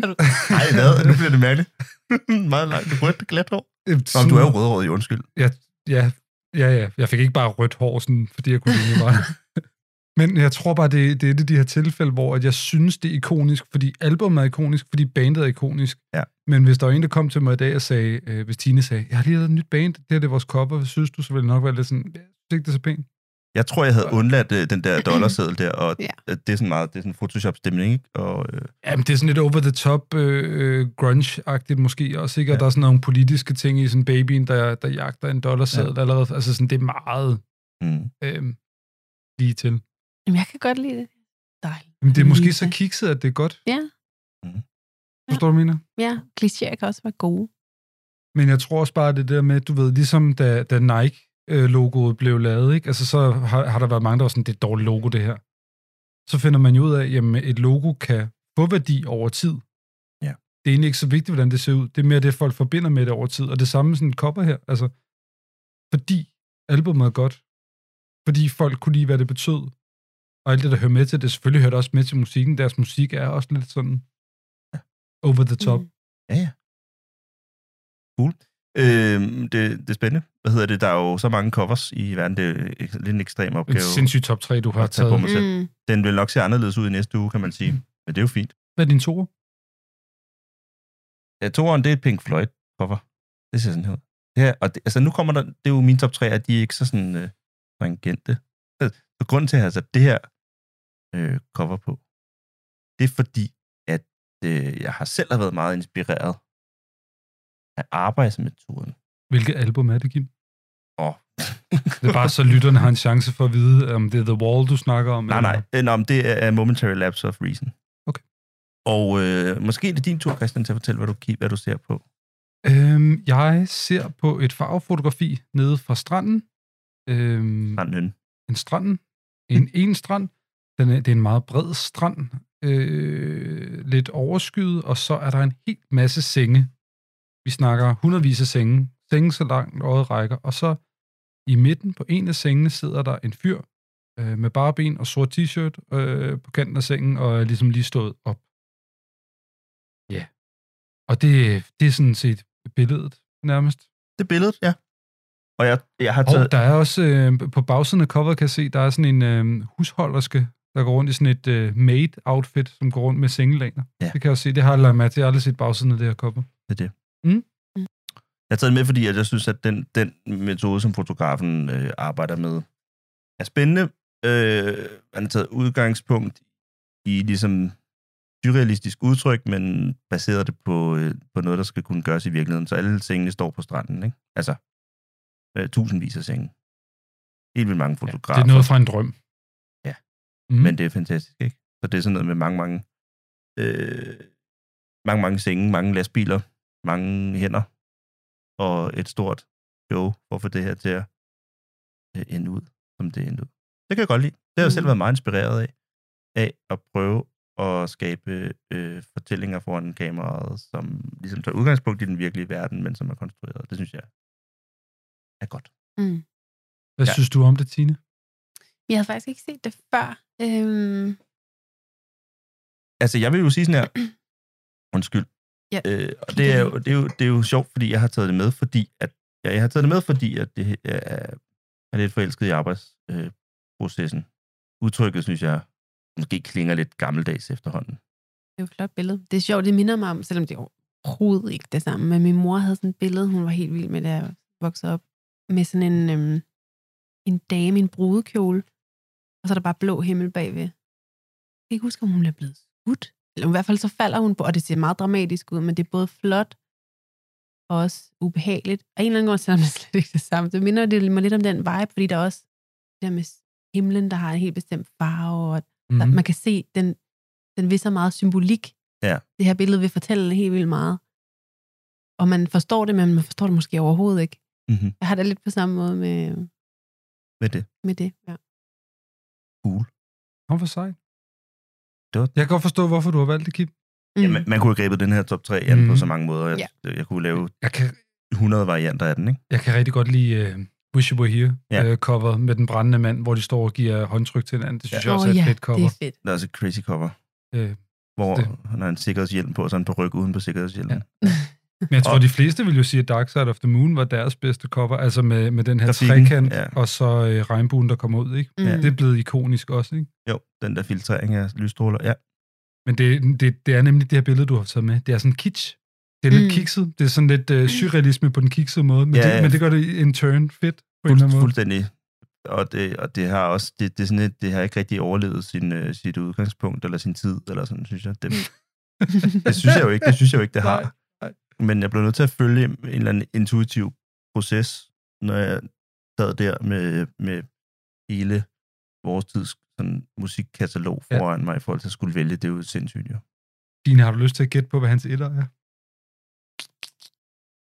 [SPEAKER 2] Nej, hvad? Nu bliver det mærkeligt. Meget langt rødt glat hår.
[SPEAKER 1] øh,
[SPEAKER 2] Nå, men du er jo rødhåret, undskyld.
[SPEAKER 1] Ja, ja, ja, ja. Jeg fik ikke bare rødt hår, sådan, fordi jeg kunne lide Nirvana. Men jeg tror bare, det, det er et af de her tilfælde, hvor at jeg synes, det er ikonisk, fordi albumet er ikonisk, fordi bandet er ikonisk.
[SPEAKER 2] Ja.
[SPEAKER 1] Men hvis der var en, der kom til mig i dag og sagde, øh, hvis Tine sagde, jeg har lige lavet et nyt band, det her det er vores cover, synes du, så ville det nok være lidt sådan, jeg synes ikke, det er så pænt.
[SPEAKER 2] Jeg tror, jeg havde undladt øh, den der dollarseddel der, og
[SPEAKER 10] Ja.
[SPEAKER 2] øh, det er sådan meget, det er sådan Photoshop-stemning, ikke? Og øh,
[SPEAKER 1] Jamen, det er sådan lidt over the top øh, øh, grunge-agtigt måske også, ikke? Og
[SPEAKER 2] Ja.
[SPEAKER 1] ja. der er sådan nogle politiske ting i sådan babyen, der, der jagter en dollarseddel ja. allerede. Altså sådan, det er meget
[SPEAKER 2] mm,
[SPEAKER 1] øh, lige til.
[SPEAKER 10] Jamen, jeg kan godt lide det. Dejligt.
[SPEAKER 1] Men det er måske
[SPEAKER 10] Lige
[SPEAKER 1] så
[SPEAKER 10] til.
[SPEAKER 1] kikset, at det er godt. Mm-hmm.
[SPEAKER 10] Ja.
[SPEAKER 2] Mhm.
[SPEAKER 1] Forstår du, hvad jeg mener?
[SPEAKER 10] Ja, klichéer kan også være gode.
[SPEAKER 1] Men jeg tror også bare, det der med, du ved, ligesom da, da Nike-logoet blev lavet, ikke? Altså, så har, har der været mange, der var sådan, det er et dårligt logo, det her. Så finder man jo ud af, jamen, et logo kan få værdi over tid.
[SPEAKER 2] Ja.
[SPEAKER 1] Det er egentlig ikke så vigtigt, hvordan det ser ud. Det er mere det, folk forbinder med det over tid. Og det samme med sådan en kopper her. Altså, fordi albumet er godt. Fordi folk kunne lide, hvad det betød. Og alt det, der hører med til det, selvfølgelig hører det også med til musikken. Deres musik er også lidt sådan over the top. Mm.
[SPEAKER 2] ja, ja. Cool. Øh, det, det er spændende. Hvad hedder det? Der er jo så mange covers i verden. Det er ek- lidt en ekstrem
[SPEAKER 1] Det er
[SPEAKER 2] opgave.
[SPEAKER 1] et sindssygt top 3, du har
[SPEAKER 2] at tage
[SPEAKER 1] taget.
[SPEAKER 2] på mig selv.
[SPEAKER 10] Mm.
[SPEAKER 2] Den vil nok se anderledes ud i næste uge, kan man sige. Men det er jo fint.
[SPEAKER 1] Hvad er din to?
[SPEAKER 2] Ja, toeren, det er et Pink Floyd cover. Det ser sådan her ud. Ja, og det, altså nu kommer der, det er jo mine top 3, at de er ikke så sådan øh, tangente. Så, så grunden til, at jeg har sat det her øh, cover på, det er fordi, at øh, jeg har selv har været meget inspireret af arbejdsmetoden.
[SPEAKER 1] Hvilket album er det, Kim?
[SPEAKER 2] Åh.
[SPEAKER 1] Det er bare så lytterne har en chance for at vide, om det er The Wall, du snakker om.
[SPEAKER 2] nej, nej, øh, nej, men det er Momentary Lapse of Reason.
[SPEAKER 1] Okay.
[SPEAKER 2] Og øh, måske er det din tur, Christian, til at fortælle, hvad du, ki- hvad du ser på.
[SPEAKER 1] Mm. Øhm, jeg ser på et farvefotografi nede fra stranden. Øhm,
[SPEAKER 2] Brandhøn.
[SPEAKER 1] en strand. En en strand. Den er, det er en meget bred strand. Øh, lidt overskyet, og så er der en helt masse senge. Vi snakker hundredvis af senge. Senge så langt øjet rækker. Og så i midten på en af sengene sidder der en fyr øh, med bare ben og sort t-shirt øh, på kanten af sengen, og er ligesom lige stået op. Ja. Yeah. Og det, det er sådan set billedet nærmest.
[SPEAKER 2] Det billede, ja. Og jeg, jeg har taget...
[SPEAKER 1] Og Altså, der er også, øh, på bagsiden af coveret kan jeg se, der er sådan en øh, husholderske, der går rundt i sådan et øh, maid-outfit, som går rundt med sengelænger.
[SPEAKER 2] Ja.
[SPEAKER 1] Ja. Det kan jeg også se, det har jeg lagt mærke til. Jeg har aldrig set bagsiden af det her cover.
[SPEAKER 2] Det er det.
[SPEAKER 1] Mm.
[SPEAKER 2] Jeg har taget den med, fordi at jeg synes, at den, den metode, som fotografen øh, arbejder med, er spændende. Øh, han har taget udgangspunkt i ligesom surrealistisk udtryk, men baseret det på, øh, på noget, der skal kunne gøres i virkeligheden. Så alle sengene står på stranden, ikke? Altså, øh, tusindvis af senge. Helt vildt mange fotografer.
[SPEAKER 1] Det er noget fra en drøm.
[SPEAKER 2] Ja.
[SPEAKER 1] Mm.
[SPEAKER 2] Men det er fantastisk, ikke? Så det er sådan noget med mange, mange, øh, mange, mange senge, mange lastbiler, mange hænder, og et stort show for at få det her til at øh, ende ud, som det endte ud. Det kan jeg godt lide. Det har jeg selv været meget inspireret af, af at prøve at skabe øh, fortællinger foran kameraet, som ligesom tager udgangspunkt i den virkelige verden, men som er konstrueret. Det synes jeg er godt.
[SPEAKER 10] Mm.
[SPEAKER 1] Hvad
[SPEAKER 2] Ja.
[SPEAKER 1] ja. synes du om det, Tine?
[SPEAKER 10] Jeg havde faktisk ikke set det før. Øhm,
[SPEAKER 2] Altså, jeg vil jo sige sådan her... Undskyld.
[SPEAKER 10] Ja.
[SPEAKER 2] Øh, og det er, jo, det, er jo, det er jo sjovt, fordi jeg har taget det med, fordi at... Ja, jeg har taget det med, fordi at det er, er lidt forelsket i arbejdsprocessen. Øh, processen. Udtrykket, synes jeg, måske klinger lidt gammeldags efterhånden.
[SPEAKER 10] det er jo et flot billede. Det er sjovt, det minder mig om, selvom det er overhovedet ikke det samme. Men min mor havde sådan et billede, hun var helt vild med, da jeg voksede op, med sådan en, øhm, en dame i en brudekjole, og så er der bare blå himmel bagved. Jeg kan ikke huske, om hun er blevet skudt. Eller i hvert fald så falder hun på, og det ser meget dramatisk ud, men det er både flot og også ubehageligt. Og en eller anden grund, selvom det er slet ikke det samme, så minder det mig lidt om den vibe, fordi der er også det der med himlen, der har en helt bestemt farve, og
[SPEAKER 1] Mm.
[SPEAKER 2] Mhm.
[SPEAKER 10] Mm. Man kan se, den, den vil så meget symbolik.
[SPEAKER 2] Ja.
[SPEAKER 10] Det her billede vil fortælle helt vildt meget. Og man forstår det, men man forstår det måske overhovedet ikke.
[SPEAKER 2] Mhm.
[SPEAKER 1] Mm-hmm.
[SPEAKER 10] Jeg har det lidt på samme måde med,
[SPEAKER 2] Med det.
[SPEAKER 10] med det. Ja.
[SPEAKER 1] Kom for sig.
[SPEAKER 2] Det var-
[SPEAKER 1] Jeg kan godt forstå, hvorfor du har valgt det, Kim.
[SPEAKER 10] Mm.
[SPEAKER 2] Ja, man, man kunne have grebet den her top 3 an mm. på
[SPEAKER 1] Mhm.
[SPEAKER 2] så mange måder. Jeg, ja. jeg kunne lave
[SPEAKER 1] Jeg kan,
[SPEAKER 2] 100 varianter af den, ikke?
[SPEAKER 1] jeg kan rigtig godt lide uh, Wish You Were Here
[SPEAKER 2] Ja.
[SPEAKER 1] ja. uh, cover med den brændende mand, hvor de står og giver håndtryk til hinanden. Det synes ja. jeg også er
[SPEAKER 10] Åh
[SPEAKER 1] et
[SPEAKER 10] ja,
[SPEAKER 1] ja, fedt
[SPEAKER 10] det
[SPEAKER 1] cover.
[SPEAKER 10] er fedt.
[SPEAKER 2] Der er også et crazy cover,
[SPEAKER 1] Øh,
[SPEAKER 2] hvor
[SPEAKER 1] Det.
[SPEAKER 2] han har en sikkerhedshjelm på, og så er han på ryg uden på sikkerhedshjelmen.
[SPEAKER 1] Men jeg tror, de fleste vil jo sige, at Dark Side of the Moon var deres bedste cover, altså med, med den her
[SPEAKER 2] Grafikken,
[SPEAKER 1] trekant,
[SPEAKER 2] ja.
[SPEAKER 1] ja. og så øh, regnbuen, der kommer ud, ikke?
[SPEAKER 10] Mm.
[SPEAKER 1] Det er blevet ikonisk også, ikke?
[SPEAKER 2] Jo, den der filtrering af lysstråler. Ja,
[SPEAKER 1] Men det, det, det er nemlig det her billede, du har taget med. Det er sådan kitsch. Det er lidt
[SPEAKER 10] Mm.
[SPEAKER 1] kikset. Det er sådan lidt øh, surrealisme på den kiksede måde, men,
[SPEAKER 2] Ja,
[SPEAKER 1] ja, det,
[SPEAKER 2] ja.
[SPEAKER 1] men det gør det en turn fedt på en eller
[SPEAKER 2] Fuld,
[SPEAKER 1] anden måde.
[SPEAKER 2] fuldstændig. Og det, og det har også, det, det, er sådan, et, det har ikke rigtig overlevet sin, øh, sit udgangspunkt, eller sin tid, eller sådan, synes jeg. Det, det synes jeg jo ikke, det synes jeg jo ikke, det har.
[SPEAKER 1] Nej, nej.
[SPEAKER 2] Men jeg blev nødt til at følge en eller anden intuitiv proces, når jeg sad der med, med hele vores tids sådan, musikkatalog
[SPEAKER 1] Ja.
[SPEAKER 2] foran ja. mig, i forhold til at skulle vælge, det er jo sindssygt jo.
[SPEAKER 1] Dine, har du lyst til at gætte på, hvad hans etter er?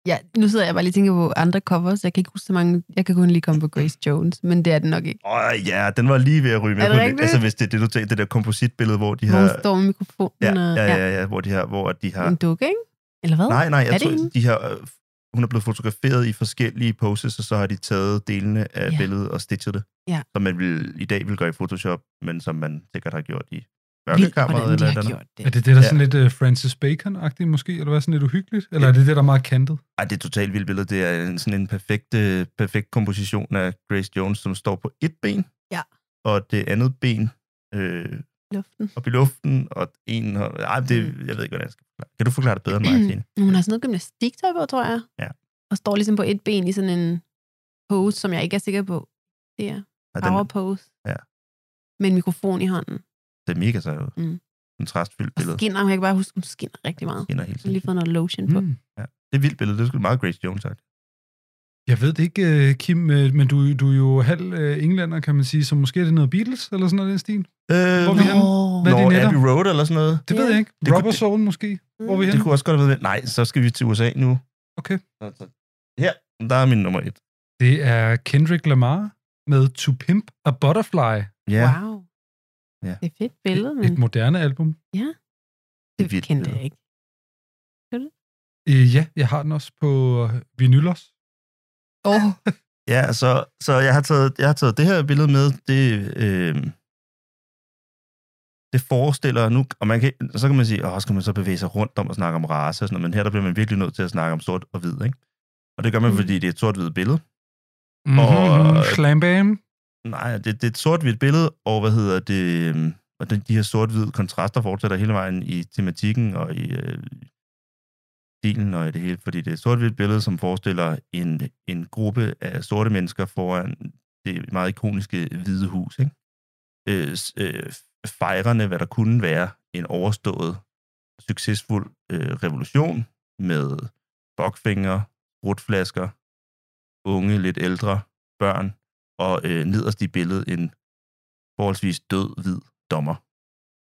[SPEAKER 10] Ja, nu sidder jeg bare lige og tænker på andre covers. Jeg kan ikke huske så mange. Jeg kan kun lige komme på Grace Jones, men det er det nok ikke.
[SPEAKER 2] Åh ja, den var lige ved at ryge med.
[SPEAKER 10] Er det
[SPEAKER 2] på lidt.
[SPEAKER 10] rigtigt?
[SPEAKER 2] Altså hvis det er det, du tænker, det der kompositbillede, hvor de
[SPEAKER 10] Hvor hun
[SPEAKER 2] har...
[SPEAKER 10] står med mikrofonen
[SPEAKER 2] Ja,
[SPEAKER 10] og...
[SPEAKER 2] ja, ja, ja, hvor de har... Hvor de har
[SPEAKER 10] En dukke, ikke? Eller hvad?
[SPEAKER 2] Nej, nej,
[SPEAKER 10] Er
[SPEAKER 2] jeg
[SPEAKER 10] det
[SPEAKER 2] tror,
[SPEAKER 10] hende?
[SPEAKER 2] de har, øh, hun er blevet fotograferet i forskellige poses, og så har de taget delene af
[SPEAKER 10] Ja.
[SPEAKER 2] ja. billedet og stitchet det.
[SPEAKER 10] Ja.
[SPEAKER 2] Som man vil, i dag vil gøre i Photoshop, men som man sikkert har gjort i
[SPEAKER 10] Vildt,
[SPEAKER 2] mørkekammeret.
[SPEAKER 10] hvordan
[SPEAKER 2] Eller
[SPEAKER 10] de
[SPEAKER 2] et
[SPEAKER 10] har
[SPEAKER 2] eller andet.
[SPEAKER 10] gjort det.
[SPEAKER 1] Er det det, der er
[SPEAKER 2] Ja.
[SPEAKER 1] sådan lidt øh, Francis Bacon-agtigt måske? Eller hvad, sådan lidt uhyggeligt? Eller er det det, der er meget kantet?
[SPEAKER 2] Ej, det er totalt vildt billede. Det er en, sådan en perfekt, øh, perfekt komposition af Grace Jones, som står på et ben,
[SPEAKER 10] Ja.
[SPEAKER 2] og det andet ben øh,
[SPEAKER 10] Luften.
[SPEAKER 2] op i luften, og en... hånd- Ej, det,
[SPEAKER 10] Mm.
[SPEAKER 2] jeg ved ikke, hvordan jeg skal forklare. Kan du forklare det bedre end mig, Tine?
[SPEAKER 10] Hun har sådan noget gymnastiktøj på, tror jeg.
[SPEAKER 2] Ja.
[SPEAKER 10] Og står ligesom på et ben i sådan en pose, som jeg ikke er sikker på. Det er
[SPEAKER 2] Ej, den-
[SPEAKER 10] power pose.
[SPEAKER 2] Ja.
[SPEAKER 10] Med en mikrofon i hånden.
[SPEAKER 2] Det er mega sejt ud.
[SPEAKER 10] Mm.
[SPEAKER 2] Kontrastfyldt
[SPEAKER 10] Og
[SPEAKER 2] billede.
[SPEAKER 10] skinner, hun, jeg kan bare huske, hun skinner rigtig meget.
[SPEAKER 2] Skinner helt
[SPEAKER 10] Hun har lige
[SPEAKER 2] sindssygt.
[SPEAKER 10] fået noget lotion på. Mm.
[SPEAKER 1] Mm.
[SPEAKER 2] Ja. Det er et vildt billede. Det er sgu meget Grace Jones sagt.
[SPEAKER 1] Jeg ved det ikke, øh, Kim, øh, men du, du er jo halv øh, englænder, kan man sige, så måske er det noget Beatles eller sådan noget i den stil?
[SPEAKER 2] Øh,
[SPEAKER 1] Hvor er vi henne? Hvad er
[SPEAKER 2] Når
[SPEAKER 1] det,
[SPEAKER 2] Abbey Road eller sådan noget.
[SPEAKER 1] Det ved
[SPEAKER 10] Ja.
[SPEAKER 1] jeg ikke.
[SPEAKER 2] Det kunne-
[SPEAKER 1] Rubber Soul måske? Hvor er vi
[SPEAKER 2] Det
[SPEAKER 1] henne?
[SPEAKER 2] kunne også godt have været... Nej, så skal vi til USA nu.
[SPEAKER 1] Okay.
[SPEAKER 2] Så- så- Her, der er min nummer et.
[SPEAKER 1] Det er Kendrick Lamar med To Pimp a Butterfly,
[SPEAKER 2] Ja,
[SPEAKER 10] Wow.
[SPEAKER 2] Ja.
[SPEAKER 10] Det er et fedt billede, men
[SPEAKER 1] et, et moderne album.
[SPEAKER 2] det er
[SPEAKER 10] det
[SPEAKER 2] vildt
[SPEAKER 10] kendte
[SPEAKER 2] billede.
[SPEAKER 10] jeg ikke.
[SPEAKER 1] Øh, ja, jeg har den også på øh, vinyl også.
[SPEAKER 10] Åh, oh,
[SPEAKER 2] ja så, så jeg, har taget, jeg har taget det her billede med. Det, øh, det forestiller nu... Og man kan, så kan man sige, åh, skal man så bevæge sig rundt om og snakke om race og sådan noget, men her der bliver man virkelig nødt til at snakke om sort og hvid, ikke? Og det gør man,
[SPEAKER 10] Mm.
[SPEAKER 2] fordi det er et sort-hvidt billede.
[SPEAKER 1] Mm-hmm.
[SPEAKER 2] Og-
[SPEAKER 1] Slam Bam.
[SPEAKER 2] Mm. Nej, det, det er et sort-hvidt billede, og hvad hedder det... øhm, Og den, de her sort-hvide kontraster fortsætter hele vejen i tematikken og i øh, stilen og i det hele, fordi det er et sort-hvidt billede, som forestiller en, en gruppe af sorte mennesker foran det meget ikoniske hvide hus, ikke? Øh, s- øh, fejrende, hvad der kunne være en overstået, succesfuld øh, revolution med bokfinger, rutflasker, unge, lidt ældre, børn, og øh, nederst i billedet en forholdsvis død hvid dommer.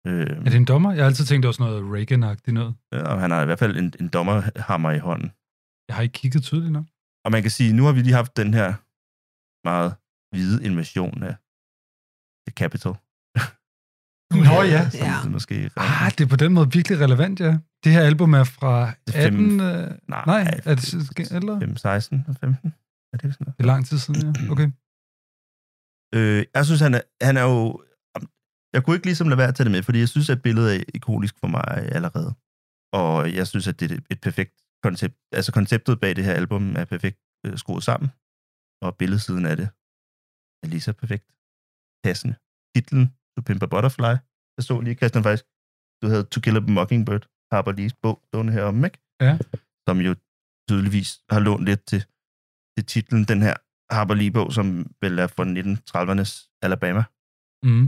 [SPEAKER 2] Øh,
[SPEAKER 1] Er det en dommer? Jeg har altid tænkt, det var sådan noget Reagan-agtigt noget.
[SPEAKER 2] og han har i hvert fald en, en dommerhammer i hånden.
[SPEAKER 1] Jeg har ikke kigget tydeligt nok.
[SPEAKER 2] Og man kan sige, nu har vi lige haft den her meget hvide invasion af The Capital.
[SPEAKER 1] Nå ja.
[SPEAKER 2] Som det måske...
[SPEAKER 1] Ah, det er på den måde virkelig relevant, ja. Det her album er fra
[SPEAKER 2] Det er fem-
[SPEAKER 1] 18... Øh, nej, er det ældre?
[SPEAKER 2] 5, 16 og 15? Er det sådan noget?
[SPEAKER 1] Det er lang tid siden, ja. Okay.
[SPEAKER 2] Øh, jeg synes, han er, han er jo... Jeg kunne ikke ligesom lade være at tage det med, fordi jeg synes, at billedet er ikonisk for mig allerede. Og jeg synes, at det er et perfekt koncept. Altså konceptet bag det her album er perfekt øh, skruet sammen, og billedsiden af det er lige så perfekt passende. Titlen, Du pimper Butterfly. Jeg så lige, Christian, faktisk, du havde To Kill a Mockingbird, Harper Lee's bog, stående heromme, ikke?
[SPEAKER 1] Ja.
[SPEAKER 2] Som jo tydeligvis har lånt lidt til, til titlen, den her Harper Lee-bog, som vel er fra 1930'ernes Alabama,
[SPEAKER 1] Mm.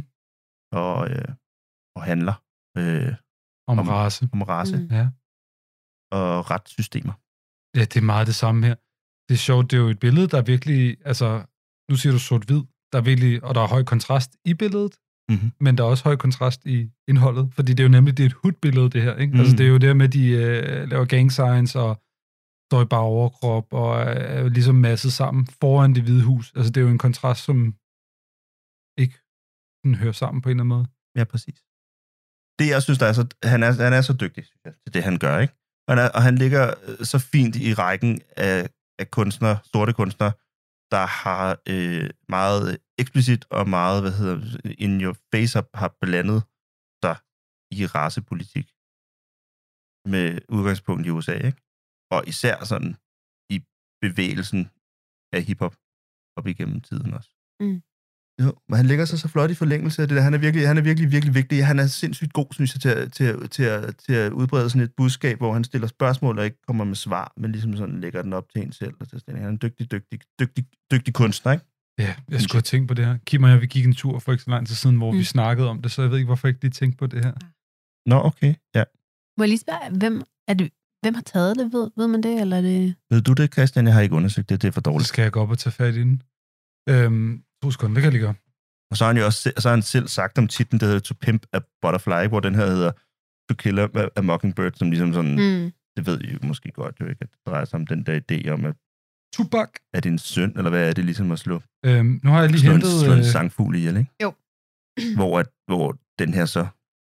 [SPEAKER 2] og, øh, og handler øh,
[SPEAKER 1] Om,
[SPEAKER 2] Om-
[SPEAKER 1] Om race.
[SPEAKER 2] om race mm.
[SPEAKER 10] Mm.
[SPEAKER 1] Ja.
[SPEAKER 2] og retssystemer.
[SPEAKER 1] Ja, det er meget det samme her. Det er sjovt, det er jo et billede, der er virkelig, altså, nu siger du sort-hvid, der er virkelig, og der er høj kontrast i billedet,
[SPEAKER 2] Mhm.
[SPEAKER 1] men der er også høj kontrast i indholdet, fordi det er jo nemlig, det er et hudbillede, det her, ikke? Mm. Altså,
[SPEAKER 2] Mhm.
[SPEAKER 1] det er jo der med, de øh, laver gang signs og står i bare overkrop og er, er jo ligesom masset sammen foran det hvide hus. Altså, det er jo en kontrast, som ikke den hører sammen på en eller anden måde.
[SPEAKER 2] Ja, præcis. Det, jeg synes, der er så, han, er, han er så dygtig synes jeg, til det, han gør, ikke? Og han, er, og han ligger øh, så fint i rækken af, af kunstnere, sorte kunstnere, der har øh, meget eksplicit og meget, hvad hedder det, in your face har- har blandet sig i racepolitik med udgangspunkt i USA, ikke? og især sådan i bevægelsen af hiphop op igennem tiden også.
[SPEAKER 10] Mm.
[SPEAKER 2] Jo, men han lægger sig så flot i forlængelse af det der. Han er virkelig, han er virkelig, virkelig vigtig. Han er sindssygt god, synes jeg, til, at- til, at- til, at, til at udbrede sådan et budskab, hvor han stiller spørgsmål og ikke kommer med svar, men ligesom sådan lægger den op til en selv. Og til sådan. Han er en dygtig, dygtig, dygtig, dygtig kunstner, ikke?
[SPEAKER 1] Ja, jeg skulle have tænkt på det her. Kim og jeg, vi gik en tur for ikke så lang tid siden, hvor mm.
[SPEAKER 10] Mm.
[SPEAKER 1] vi snakkede om det, så jeg ved ikke, hvorfor jeg ikke lige tænkte på det her.
[SPEAKER 2] Nå, okay. Ja.
[SPEAKER 10] Må jeg lige spørge, hvem, er det, hvem har taget det? Ved, ved man det, eller er det...
[SPEAKER 2] Ved du det, Christian? Jeg har ikke undersøgt det. Det er for
[SPEAKER 1] Så
[SPEAKER 2] dårligt.
[SPEAKER 1] skal jeg gå op og tage fat i den. Øhm, to sekunder, det kan jeg lige gøre.
[SPEAKER 2] Og så har han jo også se- så har han selv sagt om titlen, der hedder To Pimp a Butterfly, ikke? hvor den her hedder To Kill a, a Mockingbird, som ligesom sådan, mm.
[SPEAKER 10] Mm.
[SPEAKER 2] det ved I jo måske godt jo ikke, at det drejer sig om den der idé om, at
[SPEAKER 1] Tubak.
[SPEAKER 2] er det en synd, eller hvad er det ligesom at slå,
[SPEAKER 1] Øhm, nu har jeg lige
[SPEAKER 2] slå, en,
[SPEAKER 1] hentet...
[SPEAKER 2] slå en
[SPEAKER 1] øh,
[SPEAKER 2] sangfugl ihjel, ikke?
[SPEAKER 10] Jo.
[SPEAKER 2] Hvor, at, hvor den her så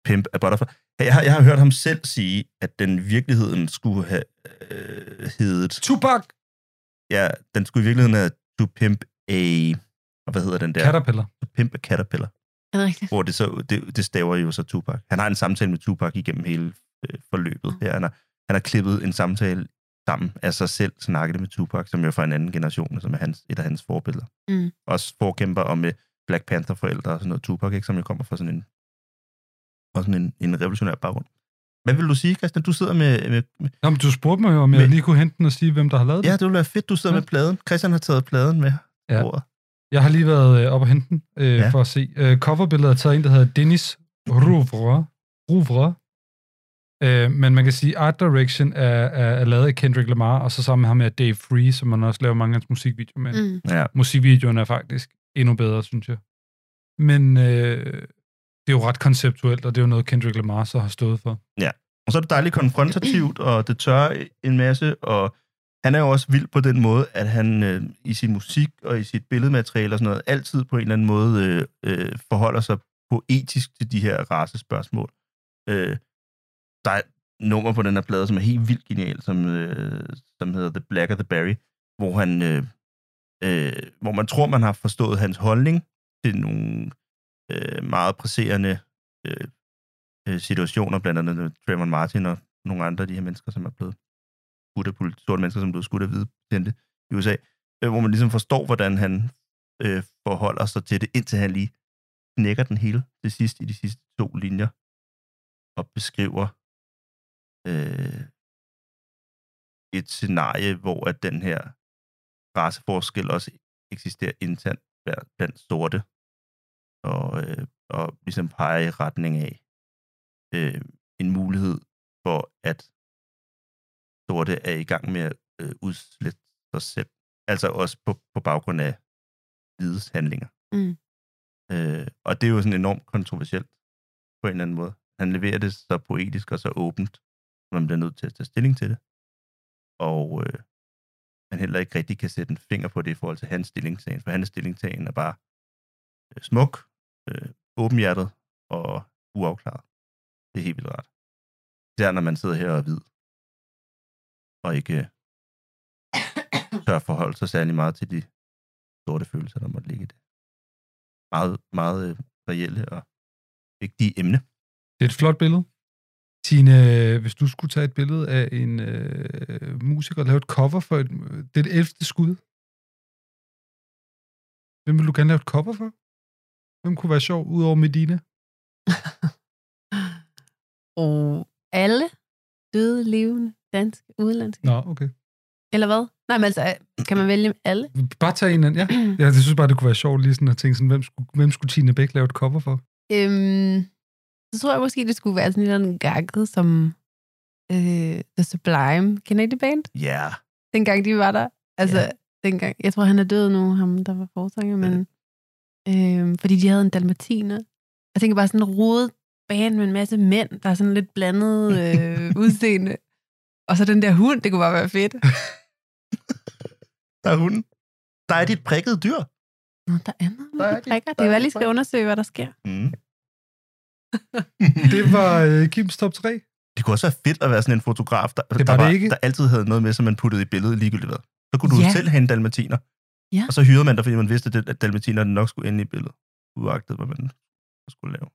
[SPEAKER 2] Pimp a Butterfly... Jeg har, jeg har hørt ham selv sige, at den i virkeligheden skulle have øh, heddet...
[SPEAKER 1] Tupac!
[SPEAKER 2] Ja, den skulle i virkeligheden have To Pimp a... Og hvad hedder den der?
[SPEAKER 1] Caterpillar.
[SPEAKER 2] To Pimp a Caterpillar.
[SPEAKER 10] Er det rigtigt?
[SPEAKER 2] hvor det, så, det, det staver jo så Tupac. Han har en samtale med Tupac igennem hele øh, forløbet. Her. Han, har, han har klippet en samtale sammen af sig selv, snakket med Tupac, som jo er fra en anden generation, og som er hans, et af hans forbilleder.
[SPEAKER 10] Mm.
[SPEAKER 2] Også forkæmper og med Black Panther-forældre og sådan noget. Tupac, ikke, som jo kommer fra sådan en, fra sådan en, en revolutionær baggrund. Hvad vil du sige, Christian? Du sidder med, med, med
[SPEAKER 1] Nå, men du spurgte mig jo, om jeg
[SPEAKER 2] Men-
[SPEAKER 1] lige kunne hente den og sige, hvem der har lavet
[SPEAKER 2] ja,
[SPEAKER 1] den.
[SPEAKER 2] det ville være fedt, du sidder
[SPEAKER 1] Ja.
[SPEAKER 2] med pladen. Christian har taget pladen med
[SPEAKER 1] Ja.
[SPEAKER 2] ja. bordet.
[SPEAKER 1] Jeg har lige været øh, op og hente den, øh,
[SPEAKER 2] Ja.
[SPEAKER 1] for at se. Øh, coverbilledet er taget en, der hedder Dennis Rouvre. Rouvre. Øh, men man kan sige, Art Direction er, er, er lavet af Kendrick Lamar, og så sammen med ham er Dave Free, som man også laver mange af hans musikvideoer med.
[SPEAKER 10] Mm.
[SPEAKER 2] Ja.
[SPEAKER 1] Musikvideoerne er faktisk endnu bedre, synes jeg. Men øh, det er jo ret konceptuelt, og det er jo noget, Kendrick Lamar så har stået for.
[SPEAKER 2] Og så er det dejligt konfrontativt, og det tør en masse, og han er jo også vild på den måde, at han øh, i sin musik og i sit billedmateriale og sådan noget, altid på en eller anden måde øh, øh, forholder sig poetisk til de her racespørgsmål. Øh, der er et nummer på den her plade, som er helt vildt genial, som, øh, som hedder The Black of the Berry, hvor han øh, øh, hvor man tror, man har forstået hans holdning til nogle øh, meget presserende øh, øh, situationer, blandt andet med Trayvon Martin og nogle andre af de her mennesker, som er blevet skudt af politi- sorte mennesker, som er blevet skudt af hvide betjente i USA, øh, hvor man ligesom forstår, hvordan han øh, forholder sig til det, indtil han lige knækker den hele til sidst i de sidste to linjer og beskriver øh, et scenarie, hvor at den her raceforskel også eksisterer internt blandt- blandt sorte og, øh, og ligesom peger i retning af øh, en mulighed for, at sorte er i gang med at øh, udslette sig selv. Altså også på, på baggrund af hvides handlinger.
[SPEAKER 10] Mm.
[SPEAKER 2] Øh, og det er jo sådan enormt kontroversielt på en eller anden måde. Han leverer det så poetisk og så åbent, at man bliver nødt til at tage stilling til det. Og øh, man heller ikke rigtig kan sætte en finger på det i forhold til hans stillingtagen, for hans stillingtagen er bare øh, smuk, øh, åbenhjertet og uafklaret. Det er helt vildt rart. Især når man sidder her og er hvid, og ikke øh, tør forholde sig særlig meget til de sorte følelser, der måtte ligge i det. Meget, meget øh, reelle og vigtige emne.
[SPEAKER 1] Det er et flot billede. Tine, hvis du skulle tage et billede af en øh, musiker og lave et cover for et, det er det 11. skud. Hvem vil du gerne lave et cover for? Hvem kunne være sjov, udover Medina?
[SPEAKER 10] Og alle døde, levende, danske, udenlandske.
[SPEAKER 1] Nå, okay.
[SPEAKER 10] Eller hvad? Nej, men altså, kan man vælge alle?
[SPEAKER 1] Bare tag en anden, ja. ja. Jeg synes bare, det kunne være sjovt lige sådan at tænke sådan, hvem skulle, hvem skulle Tine Bæk lave et cover for?
[SPEAKER 10] Øhm, så tror jeg måske, det skulle være sådan en eller anden gakket, som øh, The Sublime. Kender I det band?
[SPEAKER 2] Ja, yeah.
[SPEAKER 10] Dengang de var der. Altså,
[SPEAKER 2] Ja.
[SPEAKER 10] yeah. dengang. Jeg tror, han er død nu, ham der var forsanger, men... Øh, fordi de havde en dalmatiner. Jeg tænker bare sådan en rodet band med en masse mænd, der er sådan lidt blandet øh, udseende. Og så den der hund, det kunne bare være fedt.
[SPEAKER 2] der er hunden. Der er dit prikkede dyr.
[SPEAKER 10] Nå, der er noget
[SPEAKER 2] Der er
[SPEAKER 10] med
[SPEAKER 2] de-
[SPEAKER 10] prikker.
[SPEAKER 2] der
[SPEAKER 10] Det er
[SPEAKER 2] er
[SPEAKER 10] jo, jeg
[SPEAKER 2] de
[SPEAKER 10] lige skal
[SPEAKER 2] prikker.
[SPEAKER 10] undersøge, hvad der sker.
[SPEAKER 2] Mm.
[SPEAKER 1] Det var øh, Kims top 3.
[SPEAKER 2] Det kunne også være fedt at være sådan en fotograf, der,
[SPEAKER 1] var
[SPEAKER 2] der,
[SPEAKER 1] det ikke.
[SPEAKER 2] der altid havde noget med, som man puttede i billedet ligegyldigt hvad. Så kunne du
[SPEAKER 10] Ja.
[SPEAKER 2] ja. selv have en dalmatiner.
[SPEAKER 10] Ja.
[SPEAKER 2] Og så hyrede man dig, fordi man vidste, at det- at dalmatinerne nok skulle ind i billedet, uagtet hvad man skulle lave.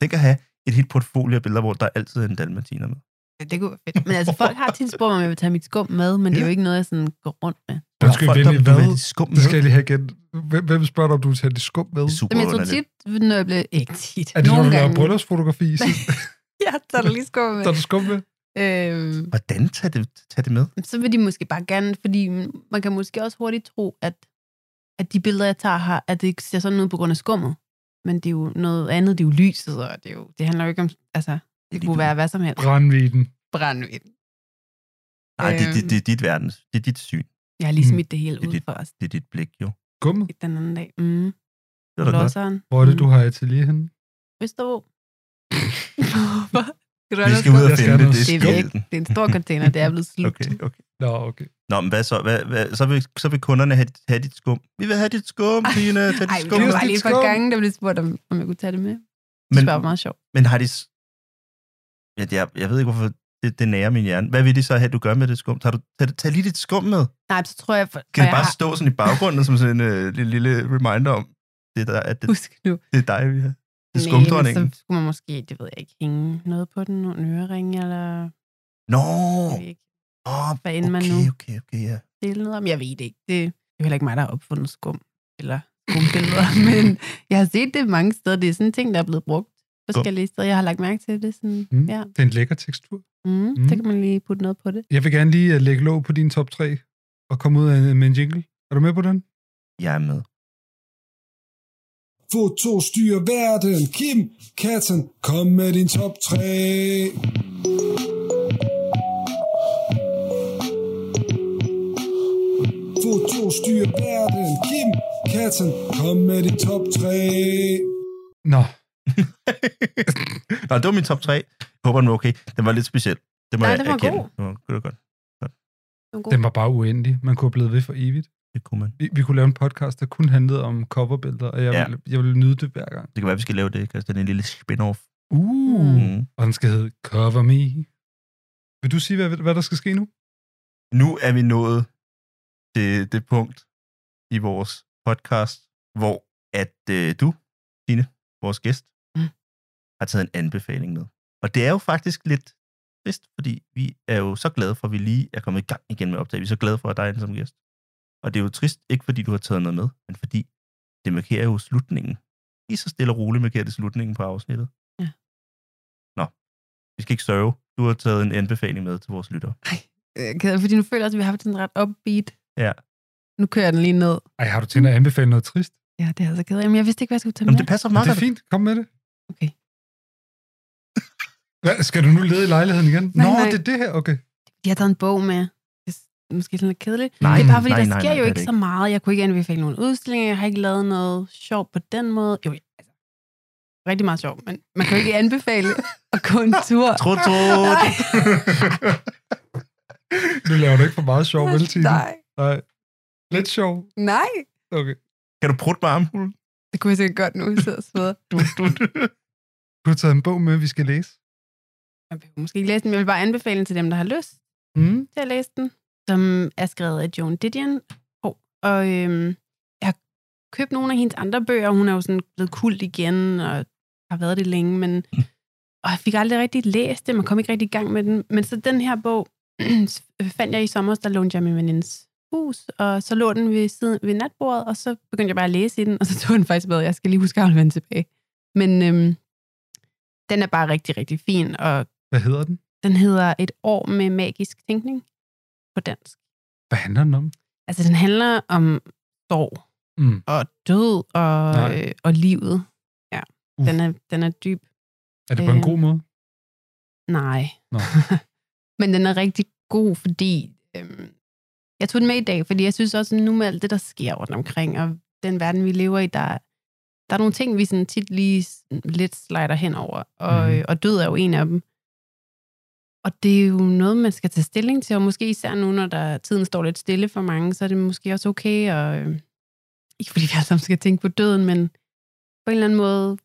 [SPEAKER 2] Tænk at have et helt portfolio af billeder, hvor der altid er en dalmatiner med.
[SPEAKER 9] Ja, det kunne være fedt. Men altså, folk har tit spurgt, om jeg vil tage mit skum med, men det er jo ikke noget, jeg sådan går rundt med.
[SPEAKER 1] Undskyld,
[SPEAKER 2] Folk,
[SPEAKER 1] venlig,
[SPEAKER 2] der-
[SPEAKER 1] hvad?
[SPEAKER 2] med skum
[SPEAKER 1] Det skal jeg lige have igen. Hvem, hvem spørger dig, om du vil tage det skum med?
[SPEAKER 2] Det er super
[SPEAKER 9] Jamen, jeg tror
[SPEAKER 2] underligt.
[SPEAKER 9] tit, når jeg bliver... Ikke tit.
[SPEAKER 1] Er det, når
[SPEAKER 9] Nogle
[SPEAKER 1] du laver
[SPEAKER 9] gange.
[SPEAKER 1] bryllupsfotografi, så
[SPEAKER 9] Ja, så er der lige skum med.
[SPEAKER 1] tager du skum med?
[SPEAKER 9] Øhm,
[SPEAKER 2] Hvordan tager det, tager det med?
[SPEAKER 9] så vil de måske bare gerne, fordi man kan måske også hurtigt tro, at, at de billeder, jeg tager her, at det ser sådan ud på grund af skummet. Men det er jo noget andet, det er jo lyset, og det, er jo, det handler jo ikke om, altså, det kunne være hvad som helst.
[SPEAKER 1] Brandviden.
[SPEAKER 9] Brændvind.
[SPEAKER 2] Nej, det, det,
[SPEAKER 9] Øhm.
[SPEAKER 2] det, er dit verdens. Det er dit syn.
[SPEAKER 9] Jeg har lige
[SPEAKER 1] Mm.
[SPEAKER 9] smidt det hele
[SPEAKER 2] Det er
[SPEAKER 9] ud
[SPEAKER 2] dit-
[SPEAKER 9] for os
[SPEAKER 2] Det er dit blik, jo.
[SPEAKER 1] Gummet?
[SPEAKER 9] den anden dag. Mm.
[SPEAKER 2] Det er da godt.
[SPEAKER 9] Losseren.
[SPEAKER 1] Hvor er det, du har atelier henne?
[SPEAKER 9] Østerbro. Hvorfor? Skal du
[SPEAKER 2] Vi
[SPEAKER 9] have
[SPEAKER 2] skal ud
[SPEAKER 9] noget
[SPEAKER 2] og
[SPEAKER 1] Jeg skal
[SPEAKER 2] finde det.
[SPEAKER 1] have
[SPEAKER 2] Det
[SPEAKER 9] noget
[SPEAKER 2] er
[SPEAKER 9] skum.
[SPEAKER 2] skælden.
[SPEAKER 9] Det er en stor container, det er blevet slut.
[SPEAKER 2] Okay, okay.
[SPEAKER 1] Nå, okay.
[SPEAKER 2] Nå, men hvad så? Hvad, hvad, så, vil, så vil kunderne have, dit- have dit skum. Vi vil have dit skum, Tina. Tag
[SPEAKER 9] Ej,
[SPEAKER 2] dit
[SPEAKER 9] det
[SPEAKER 2] skum.
[SPEAKER 9] var bare lige et par
[SPEAKER 1] Skum.
[SPEAKER 9] gange, der blev spurgt, om, om jeg kunne tage det med. Det
[SPEAKER 2] Men,
[SPEAKER 9] synes jeg var meget sjovt.
[SPEAKER 2] men har de... s- Ja, jeg, jeg ved ikke, hvorfor det, det nærer min hjerne. Hvad vil de så have, du gør med det skum? Tager du, tag, tag lige dit skum med.
[SPEAKER 9] Nej, så tror jeg, for,
[SPEAKER 2] Kan
[SPEAKER 9] for
[SPEAKER 2] det
[SPEAKER 9] jeg
[SPEAKER 2] bare
[SPEAKER 9] har,
[SPEAKER 2] stå sådan i baggrunden som sådan en øh, lille, lille reminder om, det der, at det,
[SPEAKER 9] husk nu.
[SPEAKER 2] det er dig, vi har. Det er
[SPEAKER 9] men
[SPEAKER 2] skumdronningen.
[SPEAKER 9] så skulle man måske, det ved jeg ikke, hænge noget på den, nogle øreringe, eller
[SPEAKER 2] Nå!
[SPEAKER 9] jeg ved ikke,
[SPEAKER 2] Oh,
[SPEAKER 9] Hvad end
[SPEAKER 2] okay,
[SPEAKER 9] man nu-
[SPEAKER 2] okay, okay, ja.
[SPEAKER 9] dele noget om. Jeg ved det ikke. Det, det er heller ikke mig, der har opfundet skum, eller skumbilleder, men jeg har set det mange steder. Det er sådan en ting, der er blevet brugt forskellige steder. Jeg har lagt mærke til det. Sådan,
[SPEAKER 1] Mm.
[SPEAKER 9] mm. ja.
[SPEAKER 1] Det er en lækker tekstur.
[SPEAKER 9] Mm,
[SPEAKER 1] Mm.
[SPEAKER 9] mm. Så kan man lige putte noget på det.
[SPEAKER 1] Jeg vil gerne lige øh, lægge låg på din top 3 og komme ud af- med en jingle. Er du med på den?
[SPEAKER 2] Jeg er med.
[SPEAKER 3] Foto styrer verden. Kim, katten, kom med din top 3. Foto styrer verden. Kim, katten, kom med din top 3.
[SPEAKER 1] Nå,
[SPEAKER 2] Nå, det var min top 3. Jeg håber, den var okay. Den var lidt speciel. Det må
[SPEAKER 9] Nej,
[SPEAKER 2] jeg
[SPEAKER 9] den var
[SPEAKER 2] erkende.
[SPEAKER 9] god.
[SPEAKER 2] Den var, det var godt.
[SPEAKER 1] den var bare uendelig. Man kunne have blevet ved for evigt.
[SPEAKER 2] Det kunne man.
[SPEAKER 1] Vi, vi kunne lave en podcast, der kun handlede om coverbilleder, og jeg,
[SPEAKER 2] Ja.
[SPEAKER 1] ja. ville, jeg ville nyde det hver gang.
[SPEAKER 2] Det kan være, vi skal lave det, Christian. En lille spin-off.
[SPEAKER 1] Uh.
[SPEAKER 2] Mm.
[SPEAKER 1] Og den skal hedde Cover Me. Vil du sige, hvad, hvad der skal ske nu?
[SPEAKER 2] Nu er vi nået til det punkt i vores podcast, hvor at øh, du, Dine, vores gæst,
[SPEAKER 9] Mm.
[SPEAKER 2] har taget en anbefaling med. Og det er jo faktisk lidt trist, fordi vi er jo så glade for, at vi lige er kommet i gang igen med optaget. Vi er så glade for at dig er inde som gæst. Og det er jo trist, ikke fordi du har taget noget med, men fordi det markerer jo slutningen. Lige så stille og roligt markerer det slutningen på afsnittet.
[SPEAKER 9] Ja.
[SPEAKER 2] Nå, vi skal ikke sørge. Du har taget en anbefaling med til vores lyttere.
[SPEAKER 9] Øh, ked af det, fordi nu føler jeg også, at vi har haft en ret upbeat.
[SPEAKER 2] Ja.
[SPEAKER 9] Nu kører jeg den lige ned.
[SPEAKER 1] Ej, har du tænkt at anbefale noget trist?
[SPEAKER 9] Ja, det er jeg så ked af. Men jeg vidste ikke, hvad jeg skulle tage
[SPEAKER 2] Jamen,
[SPEAKER 9] med.
[SPEAKER 2] det passer
[SPEAKER 1] Men
[SPEAKER 2] meget
[SPEAKER 1] det
[SPEAKER 2] godt.
[SPEAKER 1] er fint, kom med det.
[SPEAKER 9] Okay.
[SPEAKER 1] Hvad, skal du nu lede i lejligheden igen?
[SPEAKER 9] Nej,
[SPEAKER 1] Nå,
[SPEAKER 9] nej.
[SPEAKER 1] det er det her, okay.
[SPEAKER 9] Jeg har taget en bog med. Det er måske sådan lidt kedeligt.
[SPEAKER 1] Nej,
[SPEAKER 9] det er bare fordi,
[SPEAKER 2] nej,
[SPEAKER 9] der
[SPEAKER 2] nej,
[SPEAKER 9] sker
[SPEAKER 2] nej,
[SPEAKER 9] jo
[SPEAKER 2] det er
[SPEAKER 9] ikke
[SPEAKER 2] det
[SPEAKER 9] så meget. Jeg kunne ikke anbefale nogen udstillinger. Jeg har ikke lavet noget sjovt på den måde. Jo, altså, rigtig meget sjovt, men man kan jo ikke anbefale at gå en tur.
[SPEAKER 2] Trut, trut.
[SPEAKER 9] Nej,
[SPEAKER 1] Nu laver du ikke for meget sjov, vel, Tine?
[SPEAKER 9] nej,
[SPEAKER 1] nej. Lidt sjov.
[SPEAKER 9] nej.
[SPEAKER 1] Okay.
[SPEAKER 2] Kan du prutte med armhulen?
[SPEAKER 9] Det kunne jeg sikkert godt nu, så og sveder.
[SPEAKER 2] Du, du, du.
[SPEAKER 1] Du har taget en bog med, vi skal læse.
[SPEAKER 9] Man behøver måske ikke læse den, men jeg vil bare anbefale den til dem, der har lyst.
[SPEAKER 1] Mm.
[SPEAKER 9] til at læse den, som er skrevet af Joan Didion. Og, og øhm, jeg har købt nogle af hendes andre bøger. Hun er jo sådan blevet kult igen, og har været det længe, men og jeg fik aldrig rigtig læst det. Man kom ikke rigtig i gang med den. Men så den her bog fandt jeg i sommer, der lånte jeg min venindes hus, og så lå den ved, siden, ved natbordet, og så begyndte jeg bare at læse i den, og så tog den faktisk med. Jeg skal lige huske at aflevere den tilbage. Men øhm, den er bare rigtig, rigtig fin, og
[SPEAKER 1] Hvad hedder den?
[SPEAKER 9] den hedder Et år med magisk tænkning på dansk.
[SPEAKER 1] Hvad handler den om?
[SPEAKER 9] Altså, den handler om sorg
[SPEAKER 1] Mm.
[SPEAKER 9] og død og,
[SPEAKER 1] Nej.
[SPEAKER 9] øh, og livet. Ja,
[SPEAKER 1] Uff.
[SPEAKER 9] den er, den er dyb.
[SPEAKER 1] Er det på en
[SPEAKER 9] Øh,
[SPEAKER 1] god måde?
[SPEAKER 9] Nej.
[SPEAKER 1] Nå.
[SPEAKER 9] Men den er rigtig god, fordi... Øhm, jeg tog den med i dag, fordi jeg synes også, at nu med alt det, der sker rundt omkring, og den verden, vi lever i, der, der er nogle ting, vi sådan tit lige s- lidt slider hen over, og,
[SPEAKER 1] Mhm.
[SPEAKER 9] mm. og død er jo en af dem. Og det er jo noget, man skal tage stilling til, og måske især nu, når der, tiden står lidt stille for mange, så er det måske også okay, og, øh, ikke fordi vi alle sammen skal tænke på døden, men på en eller anden måde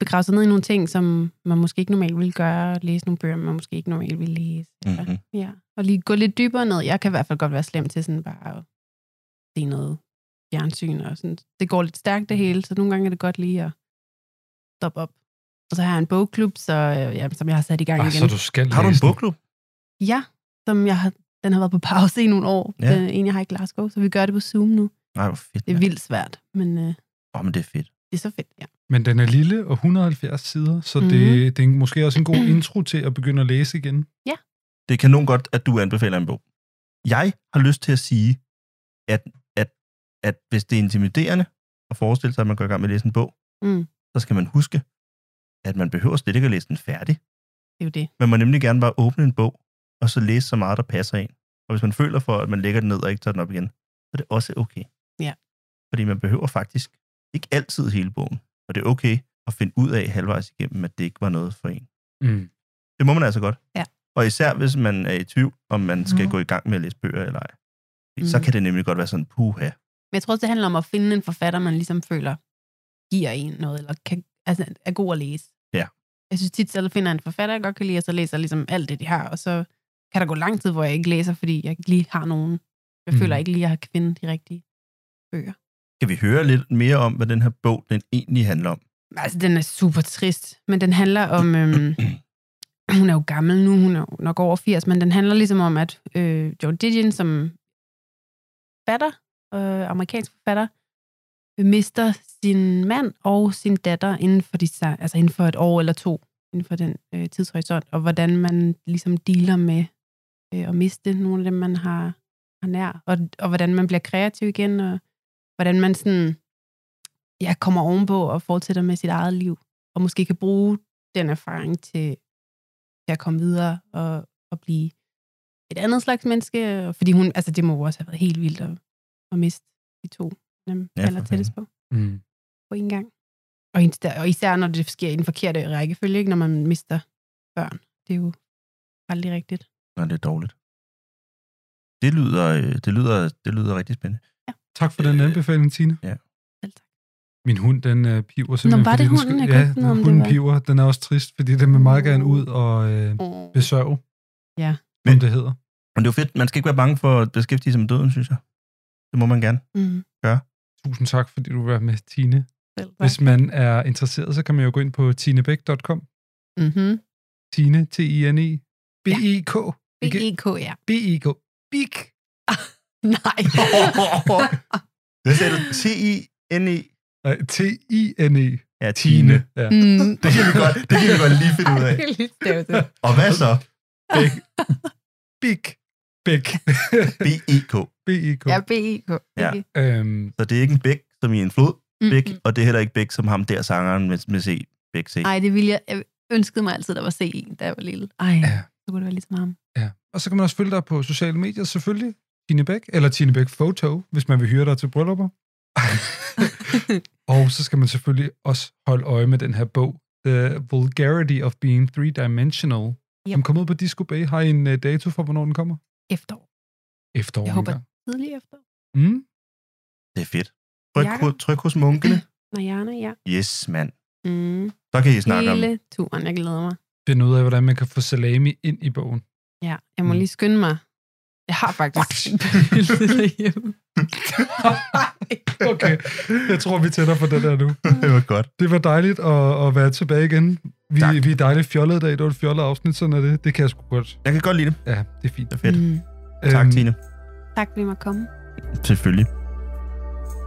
[SPEAKER 9] begrave sig ned i nogle ting, som man måske ikke normalt ville gøre, læse nogle bøger, man måske ikke normalt ville læse.
[SPEAKER 2] Mhm.
[SPEAKER 9] Ja, og lige gå lidt dybere ned. Jeg kan i hvert fald godt være slem til sådan bare at se noget fjernsyn og sådan. Det går lidt stærkt det hele, så nogle gange er det godt lige at stoppe op. Og så har jeg en bogklub, så, øh, ja, som jeg har sat i gang
[SPEAKER 1] Ah,
[SPEAKER 9] igen.
[SPEAKER 1] så du skal
[SPEAKER 2] Har du
[SPEAKER 1] læse
[SPEAKER 2] en
[SPEAKER 1] den.
[SPEAKER 2] bogklub?
[SPEAKER 9] Ja, som jeg har, den har været på pause i nogle år.
[SPEAKER 2] Ja.
[SPEAKER 9] Ja. Øh, en, jeg har i Glasgow, så vi gør det på Zoom nu.
[SPEAKER 2] Nej, hvor fedt.
[SPEAKER 9] Det er
[SPEAKER 2] mand.
[SPEAKER 9] vildt svært, men øh,
[SPEAKER 2] Åh, men det er fedt.
[SPEAKER 9] det er så fedt, ja.
[SPEAKER 1] Men den er lille og 170 sider, så mm-hmm.
[SPEAKER 9] Mhm.
[SPEAKER 1] det, det er måske også en god intro til at begynde at læse igen.
[SPEAKER 2] Det er kanon godt, at du anbefaler en bog. Jeg har lyst til at sige, at, at, at hvis det er intimiderende at forestille sig, at man går i gang med at læse en bog,
[SPEAKER 9] Mm.
[SPEAKER 2] så skal man huske, at man behøver slet ikke at læse den færdig.
[SPEAKER 9] Det er jo det.
[SPEAKER 2] Man må nemlig gerne bare åbne en bog, og så læse så meget, der passer en. Og hvis man føler for, at man lægger den ned og ikke tager den op igen, så er det også okay.
[SPEAKER 9] Ja.
[SPEAKER 2] Fordi man behøver faktisk ikke altid hele bogen. Og det er okay at finde ud af halvvejs igennem, at det ikke var noget for en.
[SPEAKER 1] Mm.
[SPEAKER 2] Det må man altså godt.
[SPEAKER 9] Ja.
[SPEAKER 2] Og især hvis man er i tvivl, om man skal
[SPEAKER 9] Mhm.
[SPEAKER 2] gå i gang med at læse bøger eller ej. Fordi Så
[SPEAKER 9] Mhm.
[SPEAKER 2] kan det nemlig godt være sådan, puha.
[SPEAKER 9] Men jeg tror også, det handler om at finde en forfatter, man ligesom føler giver en noget, eller kan, altså, er god at læse.
[SPEAKER 2] Ja.
[SPEAKER 9] Jeg synes tit selv, at finder en forfatter, jeg godt kan lide, og så læser jeg ligesom alt det, de har, og så kan der gå lang tid, hvor jeg ikke læser, fordi jeg ikke lige har nogen. Jeg
[SPEAKER 1] Mm.
[SPEAKER 9] føler ikke lige, at jeg har kvindet de rigtige.
[SPEAKER 2] Kan vi høre lidt mere om, hvad den her bog den egentlig handler om?
[SPEAKER 9] Altså, den er super trist, men den handler om... Øhm, hun er jo gammel nu, hun er jo nok over 80, men den handler ligesom om, at øh, Joe Didion, som fatter, øh, amerikansk forfatter, mister sin mand og sin datter inden for, de, sa- altså inden for et år eller to, inden for den øh, tidshorisont, og hvordan man ligesom dealer med øh, at miste nogle af dem, man har, har nær, og, og hvordan man bliver kreativ igen, og hvordan man sådan ja, kommer ovenpå og fortsætter med sit eget liv, og måske kan bruge den erfaring til, til at komme videre og, og blive et andet slags menneske, og fordi hun, altså det må jo også have været helt vildt at, at miste de to, dem
[SPEAKER 2] Ja, for
[SPEAKER 9] ja, aller tættest på,
[SPEAKER 1] Mm.
[SPEAKER 9] på en gang. Og, ens- der- og især når det sker i den forkerte rækkefølge, ikke? når man mister børn. Det er jo aldrig rigtigt.
[SPEAKER 2] Nå, det er dårligt. Det lyder, øh, det lyder, det lyder rigtig spændende.
[SPEAKER 1] Tak for den
[SPEAKER 2] Øh,
[SPEAKER 1] anbefaling, Tina.
[SPEAKER 2] ja.
[SPEAKER 9] Selv tak.
[SPEAKER 1] Min hund, den øh, piver simpelthen.
[SPEAKER 9] var
[SPEAKER 1] fordi
[SPEAKER 9] det
[SPEAKER 1] den
[SPEAKER 9] hunden?
[SPEAKER 1] ja,
[SPEAKER 9] Jeg kunne ikke vide, om det
[SPEAKER 1] hunden
[SPEAKER 9] var-
[SPEAKER 1] piver. Den er også trist, fordi den vil meget gerne ud og øh,
[SPEAKER 9] Oh.
[SPEAKER 1] besøge,
[SPEAKER 9] Ja.
[SPEAKER 1] som
[SPEAKER 2] Men-
[SPEAKER 1] det hedder.
[SPEAKER 2] Men det er jo fedt. Man skal ikke være bange for at beskæftige sig med døden, synes jeg. Det må man gerne.
[SPEAKER 9] Mm.
[SPEAKER 1] Tusind tak, fordi du var med, Tine.
[SPEAKER 9] Selv tak.
[SPEAKER 1] Hvis man er interesseret, så kan man jo gå ind på tinebæk.com.
[SPEAKER 9] Mm-hmm.
[SPEAKER 1] Tine, T-I-N-E, B-E-K. Ikke- E
[SPEAKER 9] B-E-K, ja. E
[SPEAKER 1] B-E-K. Bik.
[SPEAKER 9] Nej.
[SPEAKER 2] Hvad sagde du? T-I-N-E.
[SPEAKER 1] Nej, T-I-N-E.
[SPEAKER 2] Ja,
[SPEAKER 1] E. Tine. Ja.
[SPEAKER 9] mm.
[SPEAKER 2] Det kan vi godt, det kan vi godt lige finde ud af.
[SPEAKER 9] Jeg kan lige stave det.
[SPEAKER 2] Og hvad så?
[SPEAKER 1] Bæk. Bik. Bæk.
[SPEAKER 2] B-E-K.
[SPEAKER 1] B-E-K.
[SPEAKER 9] Ja, B-E-K. Okay.
[SPEAKER 1] Øhm,
[SPEAKER 2] Så det er ikke en bæk, som i en flod, bæk,
[SPEAKER 9] Mm-mm.
[SPEAKER 2] og det er heller ikke bæk, som ham der sangeren med, med C. Bæk C.
[SPEAKER 9] Ej, det ville jeg, jeg ønskede mig altid, der var C, E da jeg var lille. Ej,
[SPEAKER 1] Ja.
[SPEAKER 9] så kunne det være ligesom ham.
[SPEAKER 1] ja. Og så kan man også følge dig på sociale medier, selvfølgelig. Tine Bæk, eller Tine Bæk Photo, hvis man vil hyre dig til bryllupper. og så skal man selvfølgelig også holde øje med den her bog, The Vulgarity of Being Three-Dimensional, yep. som kommer ud på Disco Bay. Har I en uh, dato for, hvornår den kommer?
[SPEAKER 9] Efterår.
[SPEAKER 1] Efterår.
[SPEAKER 9] Jeg håber-
[SPEAKER 1] engang.
[SPEAKER 9] Tidlig efterår.
[SPEAKER 1] Mm?
[SPEAKER 2] Det er fedt. Tryk,
[SPEAKER 9] Jakob.
[SPEAKER 2] ho- tryk hos munkene.
[SPEAKER 9] Najana, ja.
[SPEAKER 2] Yes, mand.
[SPEAKER 9] Mm.
[SPEAKER 2] Så kan I snakke om
[SPEAKER 9] Hele turen, jeg glæder mig.
[SPEAKER 1] Finde ud af, hvordan man kan få salami ind i bogen.
[SPEAKER 9] Ja, jeg må
[SPEAKER 1] Mm.
[SPEAKER 9] lige skynde mig. Jeg har faktisk et billede derhjemme.
[SPEAKER 1] Okay, jeg tror, vi tænder for den der nu.
[SPEAKER 2] det. var godt.
[SPEAKER 1] Det var dejligt at, at være tilbage igen. Vi,
[SPEAKER 2] Tak.
[SPEAKER 1] vi er dejligt fjollede i dag. Det var et fjollet afsnit, sådan er det. Det kan jeg sgu godt.
[SPEAKER 2] Jeg kan godt lide det.
[SPEAKER 1] Ja, det er fint.
[SPEAKER 2] Det er fedt.
[SPEAKER 9] Mm.
[SPEAKER 2] Tak,
[SPEAKER 1] Øhm,
[SPEAKER 2] Tine.
[SPEAKER 9] Tak fordi I måtte komme.
[SPEAKER 2] Selvfølgelig.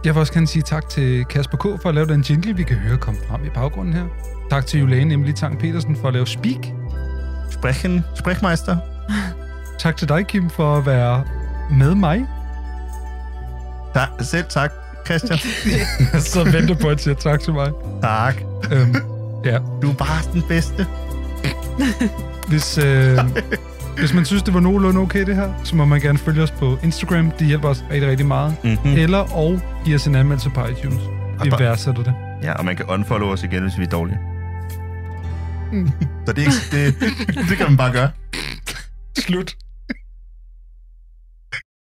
[SPEAKER 1] Jeg vil også gerne sige tak til Kasper K. for at lave den jingle, vi kan høre komme frem i baggrunden her. Tak til Juliane Emily Tang Petersen for at lave Speak.
[SPEAKER 2] Sprechen, Sprechmeister.
[SPEAKER 1] Tak til dig, Kim, for at være med mig.
[SPEAKER 2] Tak. Selv tak, Christian.
[SPEAKER 1] Så venter på at sige tak til mig.
[SPEAKER 2] tak.
[SPEAKER 1] Øhm, ja,
[SPEAKER 2] Du er bare den bedste.
[SPEAKER 1] Hvis, øh, hvis man synes, det var nogenlunde okay det her, så må man gerne følge os på Instagram. Det hjælper os rigtig, rigtig meget.
[SPEAKER 2] Mm-hmm.
[SPEAKER 1] Eller og give os en anmeldelse på iTunes. Vi
[SPEAKER 2] der-
[SPEAKER 1] værdsætter det.
[SPEAKER 2] Ja, og man kan unfollow os igen, hvis vi er dårlige.
[SPEAKER 9] Mm.
[SPEAKER 2] Så det, er ikke, det, det kan man bare gøre.
[SPEAKER 1] Slut.